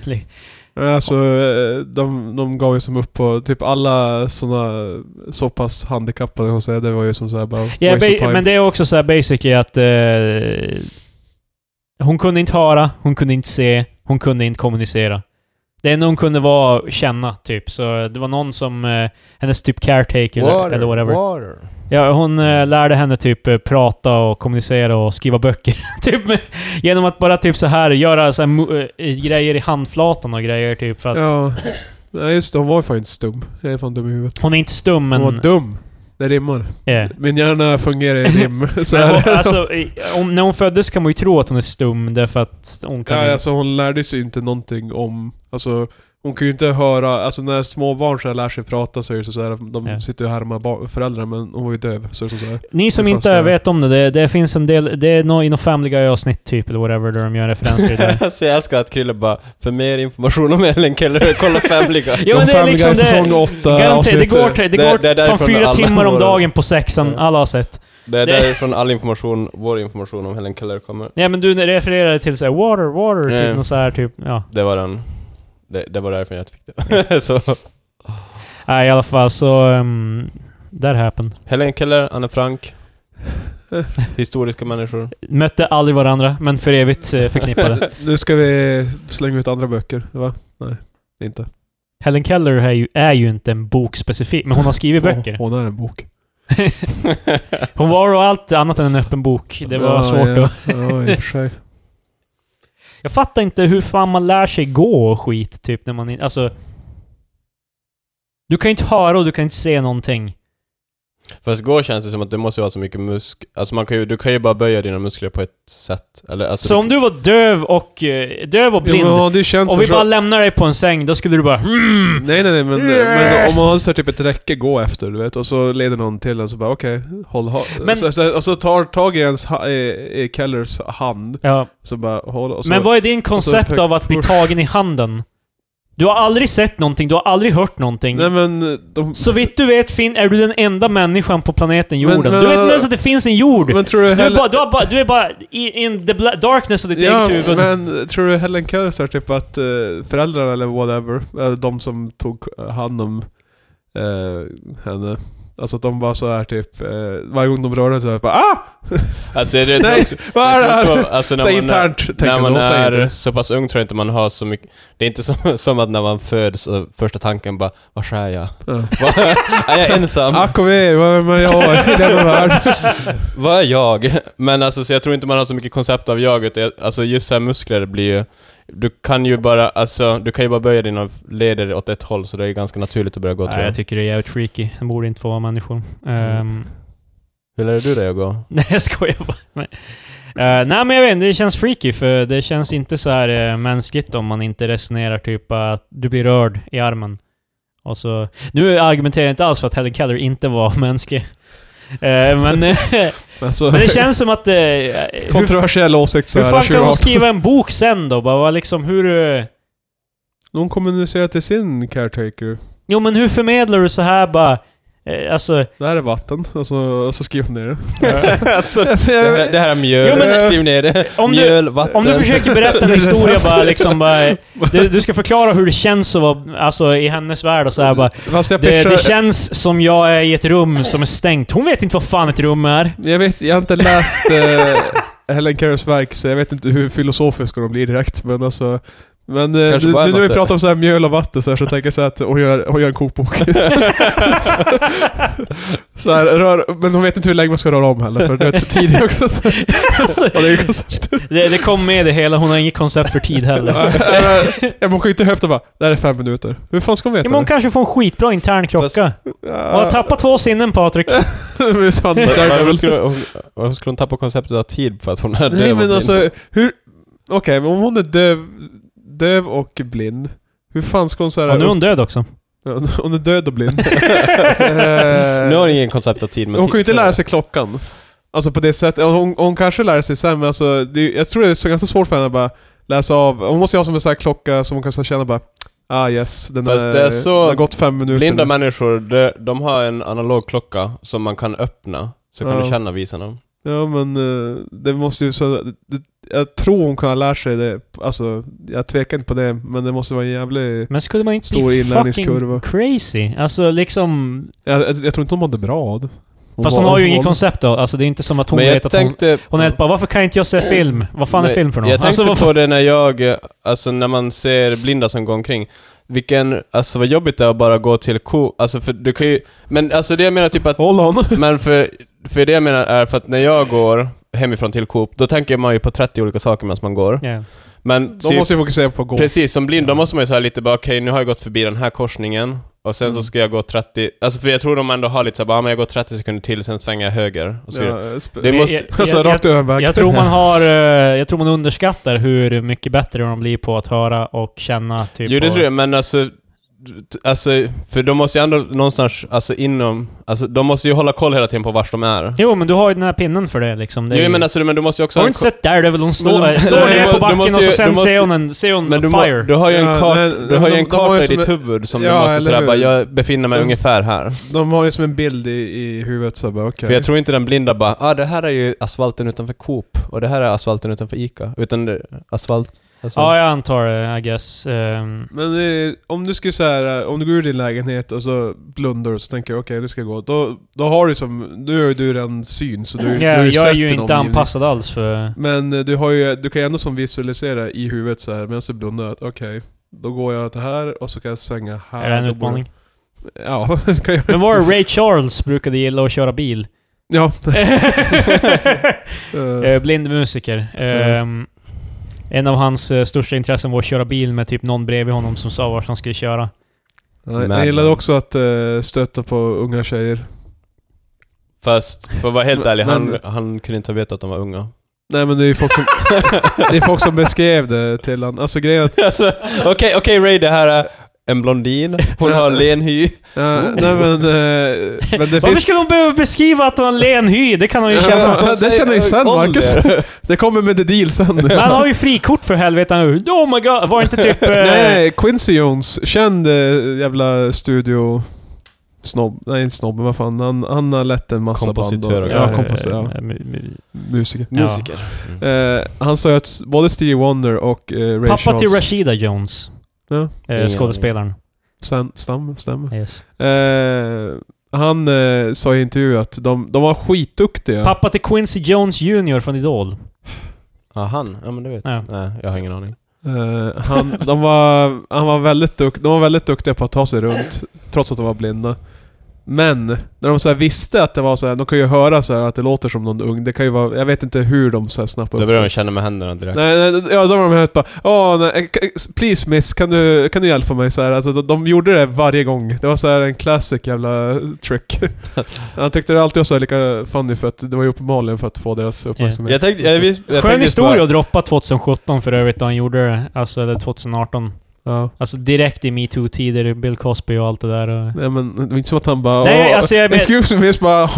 B: Alltså, eh, de, de gav ju som upp på typ alla såna så pass handikappade, hon säger, det var ju som såhär bara
A: Ja,
B: waste of
A: ba-
B: time.
A: men det är också så här basic i att eh, hon kunde inte höra, hon kunde inte se, hon kunde inte kommunicera. Det enda hon kunde var känna, typ. Så det var någon som... Eh, hennes typ caretaker eller- eller whatever.
C: water.
A: Ja, hon eh, lärde henne typ eh, prata och kommunicera och skriva böcker. typ med, genom att bara typ så här göra så här, mo- eh, grejer i handflatan och grejer typ. För att
B: Ja. Nej just det, hon var ju fan inte stum. Jag är fan dum i huvudet.
A: Hon är inte stum, men...
B: Hon var dum. Det rimmar.
A: eh.
B: Min hjärna fungerar i rim. Så
A: Men
B: här.
A: hon, alltså, i- om, när hon föddes kan man ju tro att hon är stum därför att hon kan...
B: ja, alltså, hon lärde sig inte någonting om... Alltså, hon kan ju inte höra... Alltså när små barn så här lär sig prata så är det så här, de
A: Ja.
B: sitter ju och härmar bar- föräldrar men hon var ju döv. Så är det så här.
A: Ni som
B: Det får
A: inte
B: jag säga.
A: vet om det, det, det finns en del, det är nog i något Family Guy-avsnitt typ, eller whatever, där de gör referenser till det.
C: så jag älskar att Krille bara, för mer information om Ellen Keller, kolla Family Guy.
A: Ja, men
B: de
A: det är
B: Family
A: liksom
B: Guy
A: det-
B: säsong 8
A: Garanterat, det
B: avsnitt.
A: går, till- det
C: Det-
A: går
C: det är därifrån
A: fan fyra
C: alla
A: timmar om
C: våra-
A: dagen på sexan, alla har sett.
C: Det är
A: Det-
C: därifrån all information, vår information om Helen Keller kommer.
A: Nej men du refererade till såhär 'water, water'
C: Ja, ja.
A: typ, något så här typ, ja.
C: Det var den. Det, det var därifrån jag fick det. så,
A: Nej, i alla fall så... Um, that happened.
C: Helen Keller, Anne Frank. Historiska människor.
A: Mötte aldrig varandra, men för evigt eh, förknippade.
B: Nu ska vi slänga ut andra böcker, va? Nej, inte.
A: Helen Keller är ju, är ju inte en bok specifikt, men hon har skrivit böcker.
B: Hon är en bok.
A: Hon var och allt annat än en öppen bok. Det var
B: ja,
A: svårt
B: ja.
A: att...
B: Ja, i och för sig.
A: Jag fattar inte hur fan man lär sig gå och skit, typ, när man... in- Alltså... Du kan ju inte höra och du kan inte se någonting.
C: Fast gå känns det som att det måste ju ha så mycket musk... Alltså man kan ju, du kan ju bara böja dina muskler på ett sätt. Eller alltså...
A: Så om du var döv och... eh, Döv och
B: Ja,
A: blind,
B: men har du känt
A: och
B: sig
A: vi
B: så-
A: bara lämnar dig på en säng, då skulle du bara... Mm.
B: Nej nej nej men, eh, men om man har så här typ ett räcke gå efter du vet och så leder någon till en så bara okej, håll ha
A: Men-
B: så, så, Och så tar tag i ens ha, i, i Kellers hand,
A: Ja.
B: så bara håll och så,
A: Men vad är din
B: och
A: koncept
B: så-
A: av att bli tagen i handen? Du har aldrig sett någonting, du har aldrig hört någonting.
B: Nej men eh, de...
A: Så vitt du vet fin, är du den enda människan på planeten jorden.
B: Men- men-
A: du vet inte ens att det finns en jord!
B: Men tror du
A: du, är
B: Helen...
A: bara, du, har bara, du är bara i, in the bla- darkness of ditt
B: Ja,
A: eget huvud.
B: men tror du Helen Keller så här typ att eh, föräldrarna eller whatever, eh, de som tog hand om eh, henne Alltså att de bara så här typ, eh, varje gång de rörde sig så här bara ah!
C: Alltså det är
B: Nej,
C: också,
B: vad är det
C: jag tror
B: här?
C: också- Alltså när
B: Säg
C: man, är-
B: internt, tänker
C: när man
B: de, säger inte
C: är
B: det.
C: så pass ung tror jag inte man har så mycket... Det är inte som, som att när man föds och första tanken bara Var är jag?
B: Ja.
C: Vad- är jag ensam?
B: Ack och ve, vad är man jag i denna värld?
C: Vad är jag? Men alltså, så jag tror inte man har så mycket koncept av jaget. Jag- Alltså just så här muskler blir ju... Du kan ju bara, alltså, du kan ju bara böja dina leder åt ett håll, så det är ju ganska naturligt att börja gå tror
A: Nej, jag
C: jag.
A: tycker det är jävligt freaky. De borde inte få vara människor. Ehm,
C: Hur lärde du dig att gå?
A: nej, jag skojar bara. Nej. Eh, nej, men jag vet inte. Det känns freaky, för det känns inte så här eh, mänskligt om man inte resonerar typ att du blir rörd i armen. Och så... Nu argumenterar jag inte alls för att Helen Keller inte var mänsklig. Eh, men, eh,
B: Alltså,
A: men det känns som att... eh, hur,
B: kontroversiell åsikt så
A: hur
B: här,
A: fan kan hon
B: 2018.
A: skriva en bok sen då? Bara, vad liksom, hur... eh,
B: Hon kommunicerar till sin caretaker.
A: Jo, men hur förmedlar du så här bara... eh, Alltså,
B: Det här är vatten. Och så, och så skriver hon ner det.
C: alltså, det, här, det här är mjöl.
A: Jo, men-
C: Skriv ner det.
A: Om du-
C: mjöl, vatten.
A: Om du försöker berätta en
B: Det är
A: historia
B: sant.
A: bara liksom bara, du, du ska förklara hur det känns att vara, alltså i hennes värld och så här bara.
B: Fast jag
A: Det,
B: pitchar...
A: det känns som jag är i ett rum som är stängt. Hon vet inte vad fan ett rum är.
B: jag, vet, jag har inte läst eh, Helen Carers verk, så jag vet inte hur filosofiska de blir direkt. Men alltså... Men eh,
C: Kanske
B: nu
C: bara
B: nu när vi
C: måste-
B: pratar om så här mjöl och vatten så, här, så tänker jag så här att hon gör, hon gör en kokbok. så här, rör, men hon vet inte hur länge man ska röra om heller, för det är tid också. Så,
A: Alltså,
B: och det är ju-
A: det, det kom med det hela, hon har inget koncept för tid heller.
B: Ja, men hon kan ju inte höfta bara det här är fem minuter. Hur fan ska hon
A: Ja,
B: veta
A: men hon kanske får en skitbra intern klocka.
B: det?
A: Hon har tappat två sinnen Patrik.
B: Visst fan,
C: Men-
B: där-
C: Varför skulle, hon, varför skulle hon tappa konceptet av tid för att hon
B: Nej
C: är döv och
B: men
C: blind?
B: alltså, hur... Okej, men om hon är döv, döv och blind. Hur fan ska hon såhär...
A: Och nu är hon död också.
B: hon är död och blind. Eh,
C: Nu har hon ingen koncept av tid. Men
B: hon kan ju inte
C: tid-
B: lära sig klockan. Alltså på det sättet. Hon, hon kanske lär sig sen men alltså, det, är- jag tror det är så ganska svårt för henne att bara läsa av. Hon måste ju ha som en sån här klocka som hon kan så här känna bara Ah yes, den,
C: Fast
B: är,
C: det är så-
B: den har gått fem minuter
C: Blinda
B: nu."
C: människor, de, de har en analog klocka som man kan öppna, så kan
B: Ja.
C: du känna visorna.
B: Ja men eh, det måste ju så... Det, jag tror hon kan ha lärt sig det, alltså jag tvekar inte på det, men det måste vara en jävlig...
A: Men skulle man inte
B: Stor
A: bli fucking
B: inlärningskurva.
A: crazy? Alltså liksom...
B: Jag, jag, jag tror inte hon mådde bra av det.
A: Fast
B: var-
A: hon har ju inget koncept då. Alltså det är inte som att hon
C: Men
A: vet
C: jag
A: att hon...
C: tänkte...
A: Hon är helt bara, varför kan inte jag se film? Vad fan är
C: Men
A: film för något?
C: Jag tänkte
A: Alltså, vad fan-
C: på det när jag, eh, alltså när man ser blinda som går omkring. Vilken, alltså vad jobbigt det är att bara gå till ko, alltså för du kan ju, men alltså det jag menar typ att,
B: Håll on!
C: men för, för det jag menar är för att när jag går hemifrån till Coop, då tänker man ju på 30 olika saker medan man går.
A: Ja.
C: Men
B: De
C: typ-
B: måste ju fokusera på att gå.
C: Precis, som blind, då måste man ju säga lite bara okej, nu har jag gått förbi den här korsningen och sen så
B: Mm.
C: ska jag gå 30, alltså för jag tror de ändå har lite såhär bara, ah, men jag går 30 sekunder till, sen svänger jag höger och så vidare.
B: Ja, sp-
C: Det måste,
A: Jag-
B: alltså
A: jag-
B: rakt över en väg.
A: Jag tror man har... eh, Jag tror man underskattar hur mycket bättre de blir på att höra och känna typ...
C: jo det
A: och-
C: tror jag, men alltså, t- alltså, för de måste ju ändå någonstans, alltså inom, alltså de måste ju hålla koll hela tiden på vars de är.
A: Jo, men du har ju den här pinnen för det liksom. Det är
C: Jo
A: ju-
C: men alltså, men du måste ju också
A: har
C: ha
A: du
C: en
A: inte sett Daredevil? Hon
B: Men-
A: slår, eh,
C: men
A: slår
C: du
A: ner
C: må-
A: på
C: du
A: backen
C: måste
A: och så
C: ju-
A: sen
C: du måste-
A: ser hon en, ser hon
C: Men du, må,
A: fire.
C: du har ju en
B: Ja,
C: kart,
B: men-
C: du har ju
B: de-
C: en
B: de har
C: karta
B: ju
C: i
B: som
C: ditt
B: en-
C: huvud som du
B: Ja,
C: måste
B: eller
C: sådär
B: hur?
C: bara, jag befinner mig
B: Mm.
C: ungefär här.
B: De har ju som en bild i, i huvudet så bara okej.
C: För jag tror inte den blinda bara, ah det här är ju asfalten utanför Coop och det här är asfalten utanför Ica. Utan det- asfalt. Alltså,
A: Ja, jag antar det, I guess. Ehm,
B: Men eh, om du skulle så här, eh, om du går ur din lägenhet och så blundar och så tänker jag okej nu ska jag gå. Då, då har du som, nu har du redan syn så du, du
A: ja,
B: har
A: jag är
B: sett
A: ju
B: en
A: inte
B: omgivning.
A: anpassad alls för...
B: Men eh, du, har ju, du kan ju ändå som visualisera i huvudet så här medan du blundar att okej, då går jag till här och så kan jag svänga här.
A: Är det en
B: Då borde-
A: utmaning?
B: Ja, det kan jag
A: Men var det Ray Charles brukade gilla att köra bil?
B: Ja. Eh,
A: Eh, blind musiker. Ehm, en av hans eh, största intressen var att köra bil med typ någon bredvid honom som sa vart han skulle köra.
B: nej,
C: Mad
B: jag gillade
C: Men.
B: också att eh, stöta på unga tjejer.
C: Fast, för att vara helt
B: Men-
C: ärlig, han,
B: men-
C: han kunde inte ha vetat att de var unga.
B: Nej men det är ju folk som, det är folk som beskrev det till honom. Alltså grejen är att...
C: alltså, okej, okej Ray, det här är en blondin, hon har len hy.
B: ja,
C: Oh.
B: nej men... eh, men det
A: Varför
B: finns...
A: skulle de behöva beskriva att det var en len hy? Det kan de ju känna.
B: Ja, det känner ju sen,
C: Ålder.
B: Marcus. Det kommer med the deal sen.
A: Men han har ju frikort för helvete nu. Oh my god, var det inte typ... eh,
B: Nej, Quincy Jones. Känd eh, jävla studio... Snobb. Nej, inte snobb, men vad fan. Han, han har lett en massa
C: Kompositör
B: band.
C: och- Mm.
B: Och, ja,
A: eh,
B: kompositör. Ja.
A: eh, mu- mu-
B: Musiker.
A: Ja.
C: Musiker.
B: Eh, han sa ju att s- både Stevie Wonder och eh, Ray
A: Pappa
B: Charles...
A: till Rashida Jones.
B: Ja.
A: Eh,
C: Ingen
A: skådespelaren.
B: Sen, stam, stämmer.
A: Yes.
B: Eh, han eh, sa i intervju att de, de var skitduktiga.
A: Pappa till Quincy Jones Jr från Idol.
C: Ja, han. Ja, men det vet jag.
A: Ja.
C: Nej, jag har ingen aning.
B: Eh, han, de, var, han var väldigt dukt, de var väldigt duktiga på att ta sig runt, trots att de var blinda. Men, när de så här visste att det var så här, de kan ju höra så här att det låter som någon ung, det kan ju vara, jag vet inte hur de så här snappade
C: Då börjar de känna med händerna direkt.
B: Nej, nej, ja, då var de helt bara Åh, nej, eh, k- please miss, kan du, kan du hjälpa mig? Så här, alltså, de, de gjorde det varje gång. Det var så här en classic jävla trick. Han tyckte det alltid var så här lika funny för att det var ju uppenbarligen för att få deras uppmärksamhet.
C: Jag tänkte, jag, vis- jag
A: Skön
C: tänkte
A: historia
C: bara-
A: att droppa 2017 för övrigt då han gjorde det. Alltså, eller 2018.
B: Ja.
A: Alltså direkt i metoo-tider, Bill Cosby och allt det där. och-
B: Nej men det var inte som att han bara
A: Nej,
B: "Åh,
A: alltså jag men-
B: Excuse me, miss", bara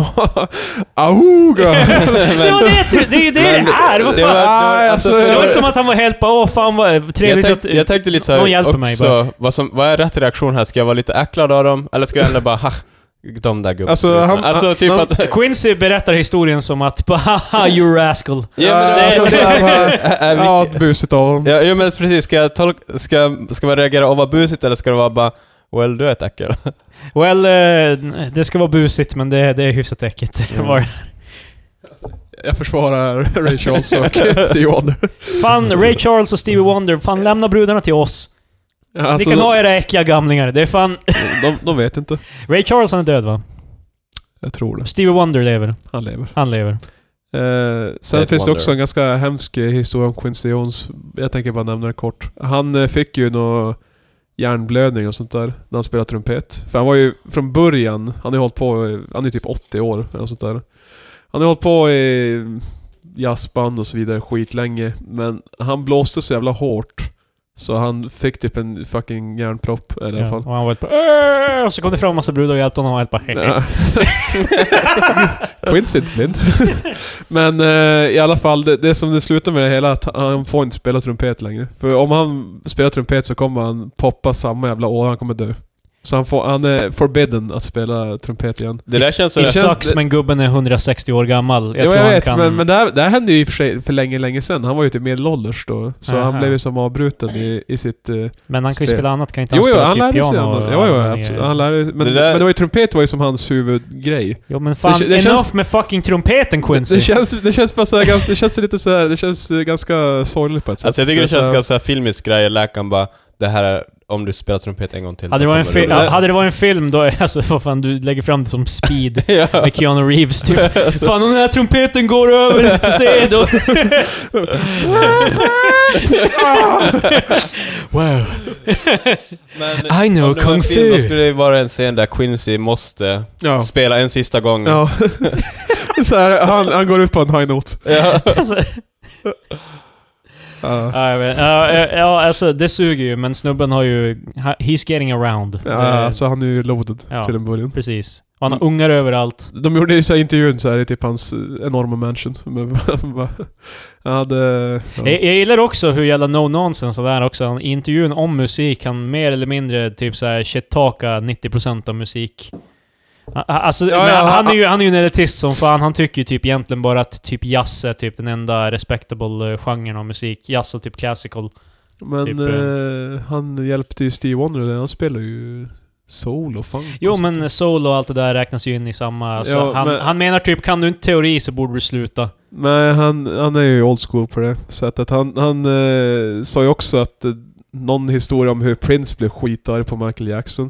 B: Auga!
A: det var det! Det är ju det
C: Men-
A: det är! Vad
C: det var- det
A: fan?
C: var-
B: Nej, alltså,
C: alltså,
A: Det var
B: jag-
A: inte som att han var helt bara åh fan vad
C: Jag
A: trevligt
C: tänkte, jag
A: att...
C: tänkte lite
A: Någon
C: såhär
A: hjälper mig
C: också, vad, som, vad är rätt reaktion här? Ska jag vara lite äcklad av dem? Eller ska jag ändå bara, ha, de där gubbarna.
B: Alltså, han-
C: alltså typ
B: han-
C: att...
A: Quincy berättar historien som att bara haha you rascal.
C: Ja, men det-
A: alltså, så här
B: bara,
C: Är- är vi-
B: ja, busigt av honom.
C: Ja, ja men precis. Ska, jag tolka, ska, ska man reagera och vara busigt eller ska det vara bara Well, du är ett äckel.
A: Well, eh, det ska vara busigt men det, det är hyfsat äckligt.
C: Mm.
A: Var-
B: Jag försvarar Ray Charles och Stevie Wonder.
A: fan, Ray Charles och Stevie Wonder, fan lämna brudarna till oss.
B: Alltså,
A: Ni kan ha era äckliga gamlingar. Det är fan...
B: de, de vet inte.
A: Ray Charles han är död va?
B: Jag tror det.
A: Stevie Wonder lever.
B: Han lever.
A: Han lever.
B: Eh, sen finns
C: Death
B: det
C: Wonder.
B: också en ganska hemsk eh, historia om Quincy Jones. Jag tänker bara nämna det kort. Han eh, fick ju nå hjärnblödning och sånt där när han spelade trumpet. För han var ju från början, han har ju hållit på, eh, han är typ 80 år eller något sånt där. Han har ju hållit på i jazzband och så vidare skitlänge. Men han blåste så jävla hårt. Så han fick typ en fucking hjärnpropp eller i alla
A: Ja,
B: fall.
A: och han var helt bara "Åh!" Och så kom det fram en massa brudar och hjälpte honom och helt bara
B: Ja. Quincy är inte blind. Men eh, i alla fall, det, det som det slutar med det hela är att han får inte spela trumpet längre. För om han spelar trumpet så kommer han poppa samma jävla år, han kommer dö. Så han, får, han är forbidden att spela trumpet igen.
C: Det där känns
A: Det
C: sådär...
B: känns-
A: sucks men gubben är 160 år gammal. Jag
B: Jag, jo,
A: tror
B: jag
A: han
B: vet,
A: kan...
B: men, men det, här, det här hände ju i och för sig för länge, länge sedan. Han var ju typ medelålders då. Så
A: Aha.
B: han blev ju som avbruten i, i sitt... Eh,
A: Men han kan ju
B: Spel.
A: spela annat, kan inte
B: jo,
A: han
B: jo,
A: spela
B: han
A: typ
B: lärde sig.
A: piano?
B: Han,
A: och
B: jo, jo,
A: andra
B: absolut.
A: grejer?
B: Han lärde, men,
C: Det där-
B: men det var ju trumpet var ju som hans huvudgrej.
A: Jo men fan,
B: det- det
A: enough
B: känns-
A: med fucking trumpeten Quincy!
B: Det känns, det känns bara så här, ganska- det känns lite så här, det känns eh, ganska sorgligt på ett sätt.
C: Alltså jag tycker det
B: är
C: känns
B: så
C: ganska såhär filmisk grej, läkaren bara Det här är om du spelar trumpet en gång till
A: hade, det varit en
C: kommer
A: fil-
C: du-
B: det-
A: hade det varit en film då, alltså vad fan, du lägger fram det som speed
C: Ja. Alltså,
A: med Keanu Reeves typ. Fan om den här trumpeten går över ett C då... wow.
C: Men
A: I know
C: om det var en
A: kung
C: film, Då
A: fu!
C: skulle det vara en scen där Quincy måste
B: Ja.
C: spela en sista gång.
B: Ja. så här, han, han går ut på en high note.
C: Ja.
A: Alltså,
B: Ja.
A: ja, jag vet. Ja, ja, ja, alltså det suger ju, men snubben har ju... ha- He's getting around.
B: Ja,
A: Det-
B: alltså han är ju loaded
A: Ja.
B: till Mm. en början.
A: Precis. Och han har ungar överallt.
B: De gjorde ju så här intervjun så här, i typ hans eh, enorma mansion. Men han hade... Ja.
A: Jag, jag gillar också hur jävla no nonsense han är också. Han- I intervjun om musik, han mer eller mindre typ såhär shit-taka 90% av musik. A- a- Alltså,
B: Ja,
A: men
B: ja,
A: han,
B: han-
A: är ju, han är ju en elitist som fan. Han tycker ju typ egentligen bara att typ jazz är typ den enda respectable eh, genren av musik. Jazz och typ classical.
B: Men
A: Typ,
B: eh, han hjälpte ju Steve Wonder där. Han spelar ju soul och funk.
A: Jo
B: och sånt.
A: men soul och allt det där räknas ju in i samma... så
B: Ja,
A: han,
B: men-
A: han menar typ, kan du inte teori så borde du sluta.
B: Nej, han, han är ju old school på det sättet. Han, han eh, sa ju också att eh, någon historia om hur Prince blev skitarg på Michael Jackson.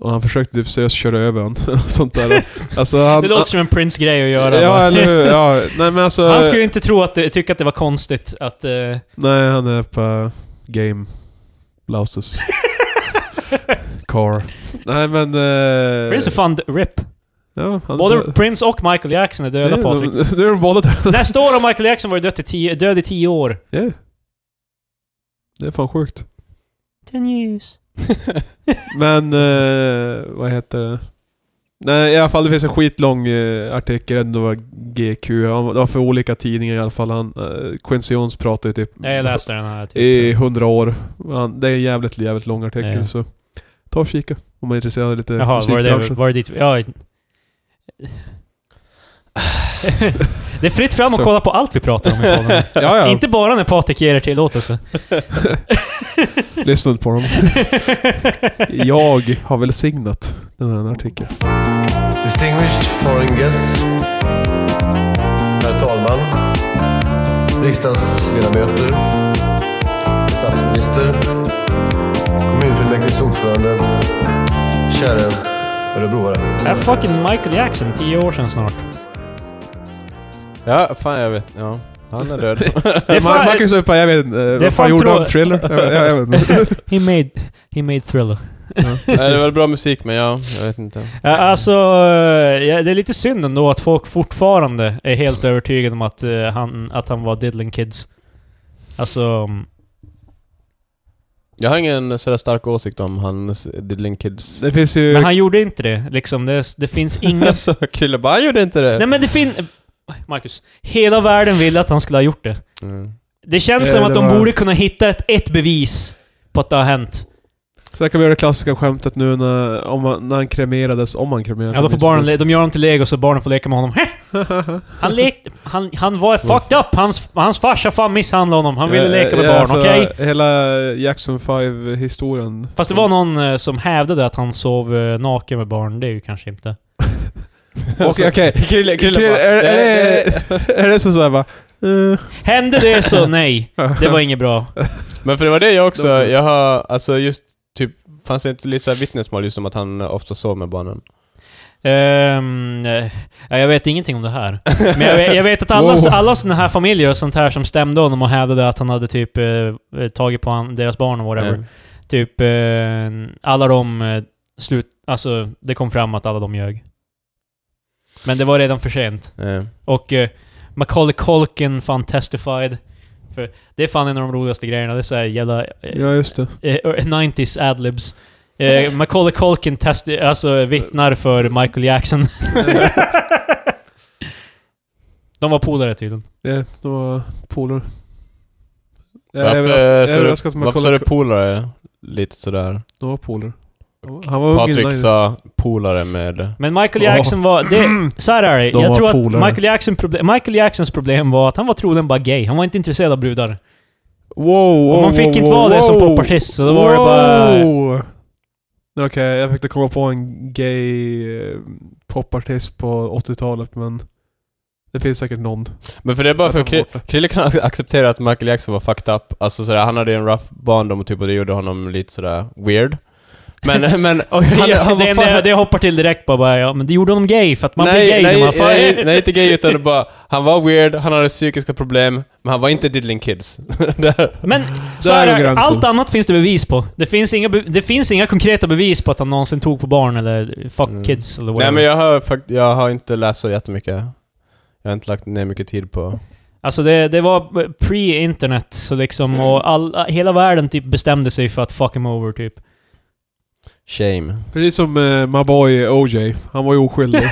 B: Och han försökte typ seriöst köra över honom. och sånt där. Alltså han...
A: det låter som en Prince-grej att göra.
B: Ja,
A: va?
B: eller hur? Ja. Nej men alltså...
A: han skulle inte tro att det, tycka att det var konstigt att... eh,
B: Nej, han är på game. Blouses. Car. Nej men... Eh,
A: Prince är fan d- RIP.
B: ja, han,
A: Både Prince och Michael Jackson är döda Patrik.
B: Nu Eh. är de båda döda.
A: Nästa år har Michael Jackson varit död, i tio, död i tio år.
B: Ja. Det är fan sjukt.
A: Ten years.
B: Men, eh, vad heter det? Nej, i alla fall det finns en skitlång eh, artikel, jag vet inte om det var GQ, han- det var för olika tidningar i alla fall. Han, eh, Quincy Jones pratade ju typ
A: Ja, jag läste den här.
B: i hundra år. Han, det är en jävligt, jävligt lång artikel
A: Ja.
B: så ta och kika om man är intresserad av lite
A: Jaha, var det, det,
B: musikbranschen.
A: var det dit? Ja. det är fritt fram
B: Så.
A: att kolla på allt vi pratar om i podden.
B: Ja, ja.
A: Inte bara när Patrik ger er tillåtelse.
B: Lyssna inte på dem. Jag har välsignat den här artikeln.
D: Distinguished foreign guests. Herr talman. Riksdagsledamöter. Statsminister. Kommunfullmäktiges ordförande. Kära örebroare.
A: Är fucking Michael Jackson, tio år sedan snart.
C: Ja, fan jag vet. Ja. Han är död.
A: Det är
B: Ma-
A: fan-
B: Marcus Uppa, jag vet inte. eh, Vad
A: fan
B: fan gjorde
A: trå-
B: han? Thriller? Jag vet- jag vet inte.
A: He made, he made thriller.
B: Ja, precis.
C: Nej, det var bra musik men ja, jag vet inte.
A: Ja, Alltså, eh, ja, det är lite synd ändå att folk fortfarande är helt övertygade om att, eh, han, att han var diddling kids. Alltså... mm,
C: Jag har ingen sådär stark åsikt om hans Diddling Kids.
B: Det finns ju...
A: Men han gjorde inte det, liksom. Det, det finns inga...
C: Alltså, Krille bara, "Han gjorde inte det!
A: Nej men det finns... Marcus. Hela världen ville att han skulle ha gjort det.
C: Mm.
A: Det känns
B: Ja,
A: som att
B: det
A: de
B: var-
A: borde kunna hitta ett, ett bevis på att det har hänt.
B: Så här kan vi göra det klassiska skämtet nu när, om han, när han kremerades, om han kremerades.
A: Ja, då får barnen, le- de gör honom till lego så barnen får leka med honom. Hä? Han, lekte, han, han var fucked up! Hans, hans farsa fan misshandlade honom. Han ville
C: Eh,
A: leka med barn,
C: alltså,
A: okej?
B: alltså, Hela Jackson 5-historien.
A: Fast det var någon eh, som hävdade att han sov eh, naken med barn. Det är ju kanske inte...
B: Okej, okej.
C: Krille, Krille
B: Krille,
C: bara,
B: Är är
C: "Nej, nej."
B: det- är det så såhär bara... eh,
A: Hände det så nej. Det var inget bra.
C: Men för det var det jag också,
B: De-
C: jag har, alltså just typ, fanns det inte lite såhär vittnesmål just om att han ofta sov med barnen?
A: Ehm, eh, ja, jag vet ingenting om det här. Men jag vet, jag vet att alla,
B: Wow.
A: alla såna här familjer och sånt här som stämde honom och hävdade att han hade typ eh, eh, tagit på han, deras barn och whatever.
C: Ja.
A: Typ eh, alla de eh, slut... Alltså, det kom fram att alla de ljög. Men det var redan för sent.
C: Ja.
A: Och eh, Macaulay Culkin fan testified. För det är fan en av de roligaste grejerna. Det är såhär jävla eh,
B: Ja, just det.
A: eh, 90s adlibs. Eh, Macaulay Culkin test, alltså, vittnar för Michael Jackson. de var polare tydligen.
B: Ja, det var polare. Jag är
C: Varför
B: överraskad- jag är
C: så
B: överraskad
C: du-
B: att man
C: varför sa du
B: kollar...
C: polare? Lite sådär.
B: Det var polare. Han var ung
C: Patrik
B: innan.
C: sa polare med...
A: Men Michael Jackson var... Det, så här är det.
B: De
A: jag
B: var
A: tror
B: polare.
A: att Michael, Jackson proble- Michael Jacksons problem var att han var troligen bara gay. Han var inte intresserad av brudar.
B: Wow, wow,
A: och man fick
B: wow,
A: inte vara det som
B: wow.
A: popartist, så då var det bara...
B: Wow! Okej, jag försökte komma på en gay eh, popartist på 80-talet men det finns säkert någon.
C: Men för det är bara
B: Jag
C: för
B: tar bort
C: Kri- Krille kan ac- acceptera att Michael Jackson var fucked up. Alltså sådär, han hade ju en rough barndom och typ och det gjorde honom lite sådär weird. Men, men...
A: Och
C: han,
A: jag,
C: han var
A: det,
C: fan-
A: det, det hoppar till direkt bara, bara ja, men det gjorde honom gay för att man blir gay när
C: nej,
A: man fan...
C: nej, nej, inte gay utan det bara, han var weird, han hade psykiska problem, men han var inte diddling kids. Där.
A: Men så
B: Där
A: här,
B: går
A: är det.
B: gränsen.
A: allt annat finns det bevis på. Det finns, inga, be- det finns inga konkreta bevis på att han någonsin tog på barn eller fuck
C: Mm.
A: kids eller
C: nej
A: whatever.
C: men jag har, fakt- jag har inte läst så jättemycket. Jag har inte lagt ner mycket tid på...
A: Alltså det, det var pre-internet, så
C: Mm.
A: liksom och all, hela världen typ bestämde sig för att fuck him over typ.
C: Shame.
B: Precis som eh, my boy OJ, han var ju oskyldig.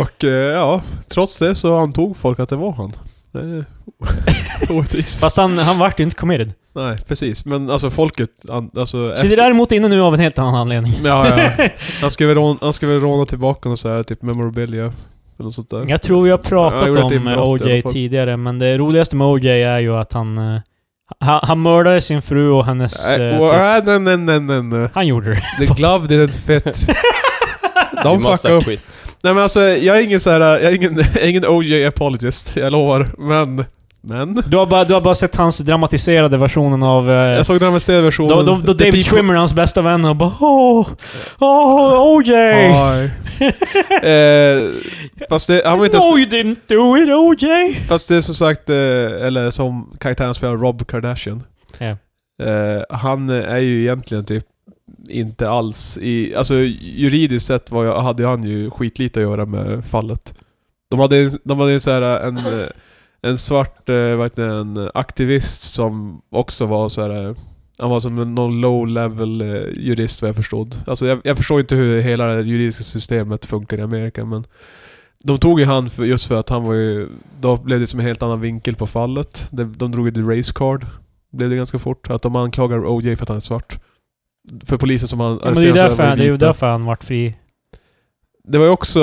B: Och eh, ja, trots det så antog folk att det var han. Det är orättvist.
A: Fast han, han vart ju inte committed.
B: Nej, precis. Men alltså folket... an- Alltså,
A: Sitter däremot inne nu av en helt annan anledning.
B: Ja, ja. Han skulle väl råna, han skulle väl råna tillbaka och så här, typ memorabilia. Eller något sånt där.
A: Jag tror vi har
B: Ja, jag
A: pratat
B: gjorde ett
A: om eh,
B: inbrott i alla
A: OJ
B: fall.
A: tidigare, men det roligaste med OJ är ju att han... eh, Han, han mördade sin fru och hennes...
B: Nej,
A: eh,
B: Äh, och-
A: typ,
B: nej, nej, nej, nej, nej.
A: han gjorde det.
B: The glove didn't fit.
C: Vi
B: Don't fuck
C: måste
B: up.
C: quit.
B: Nej men alltså, jag är ingen så här, jag är ingen, jag är ingen OJ apologist, jag lovar. Men, men.
A: Du har, bara, du har bara sett hans dramatiserade versionen av... Eh,
B: Jag såg den avancerade versionen.
A: då, då, då
B: The
A: David
B: people-
A: Schwimmer, hans bästa vän, och bara åh, åh, OJ!
B: Oj. eh, fast det, han var inte ens,
A: No you didn't do it OJ!
B: Fast det är som sagt, eh, eller som karaktären spelar, Rob Kardashian.
A: Ja.
B: Eh, han är ju egentligen typ inte alls i... Alltså juridiskt sett var jag, hade han ju skitlite att göra med fallet. De hade, en- de hade en så här, en, eh, en svart eh, vad heter det, en aktivist som också var så här. eh, Han var som en någon low level eh, jurist vad jag förstod. Alltså jag, jag förstår inte hur hela det juridiska systemet funkar i Amerika men de tog ju han för, just för att han var ju... Då blev det som en helt annan vinkel på fallet. De, de drog ju the race card. Blev det ganska fort. Att de anklagar OJ för att han är svart. För polisen som han
A: Ja, men det är ju
B: så
A: därför,
B: var
A: han- det är ju
B: vita.
A: därför han vart fri.
B: Det var ju också...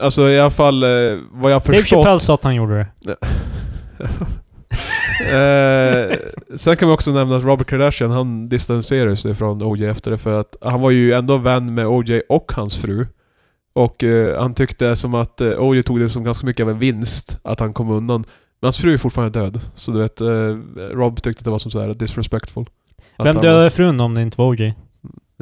B: Alltså i alla fall eh, vad jag
A: Dave
B: förstått...
A: Chappelle sa att han gjorde det.
B: eh, sen kan man också nämna att Robert Kardashian, han distanserade sig från OJ efter det för att han var ju ändå vän med OJ och hans fru. Och eh, han tyckte som att eh, OJ tog det som ganska mycket av en vinst att han kom undan. Men hans fru är fortfarande död. Så du vet, eh, Rob tyckte att det var som så här disrespectful. Att
A: Vem
B: han- Eh,
A: dödade frun om det inte var OJ?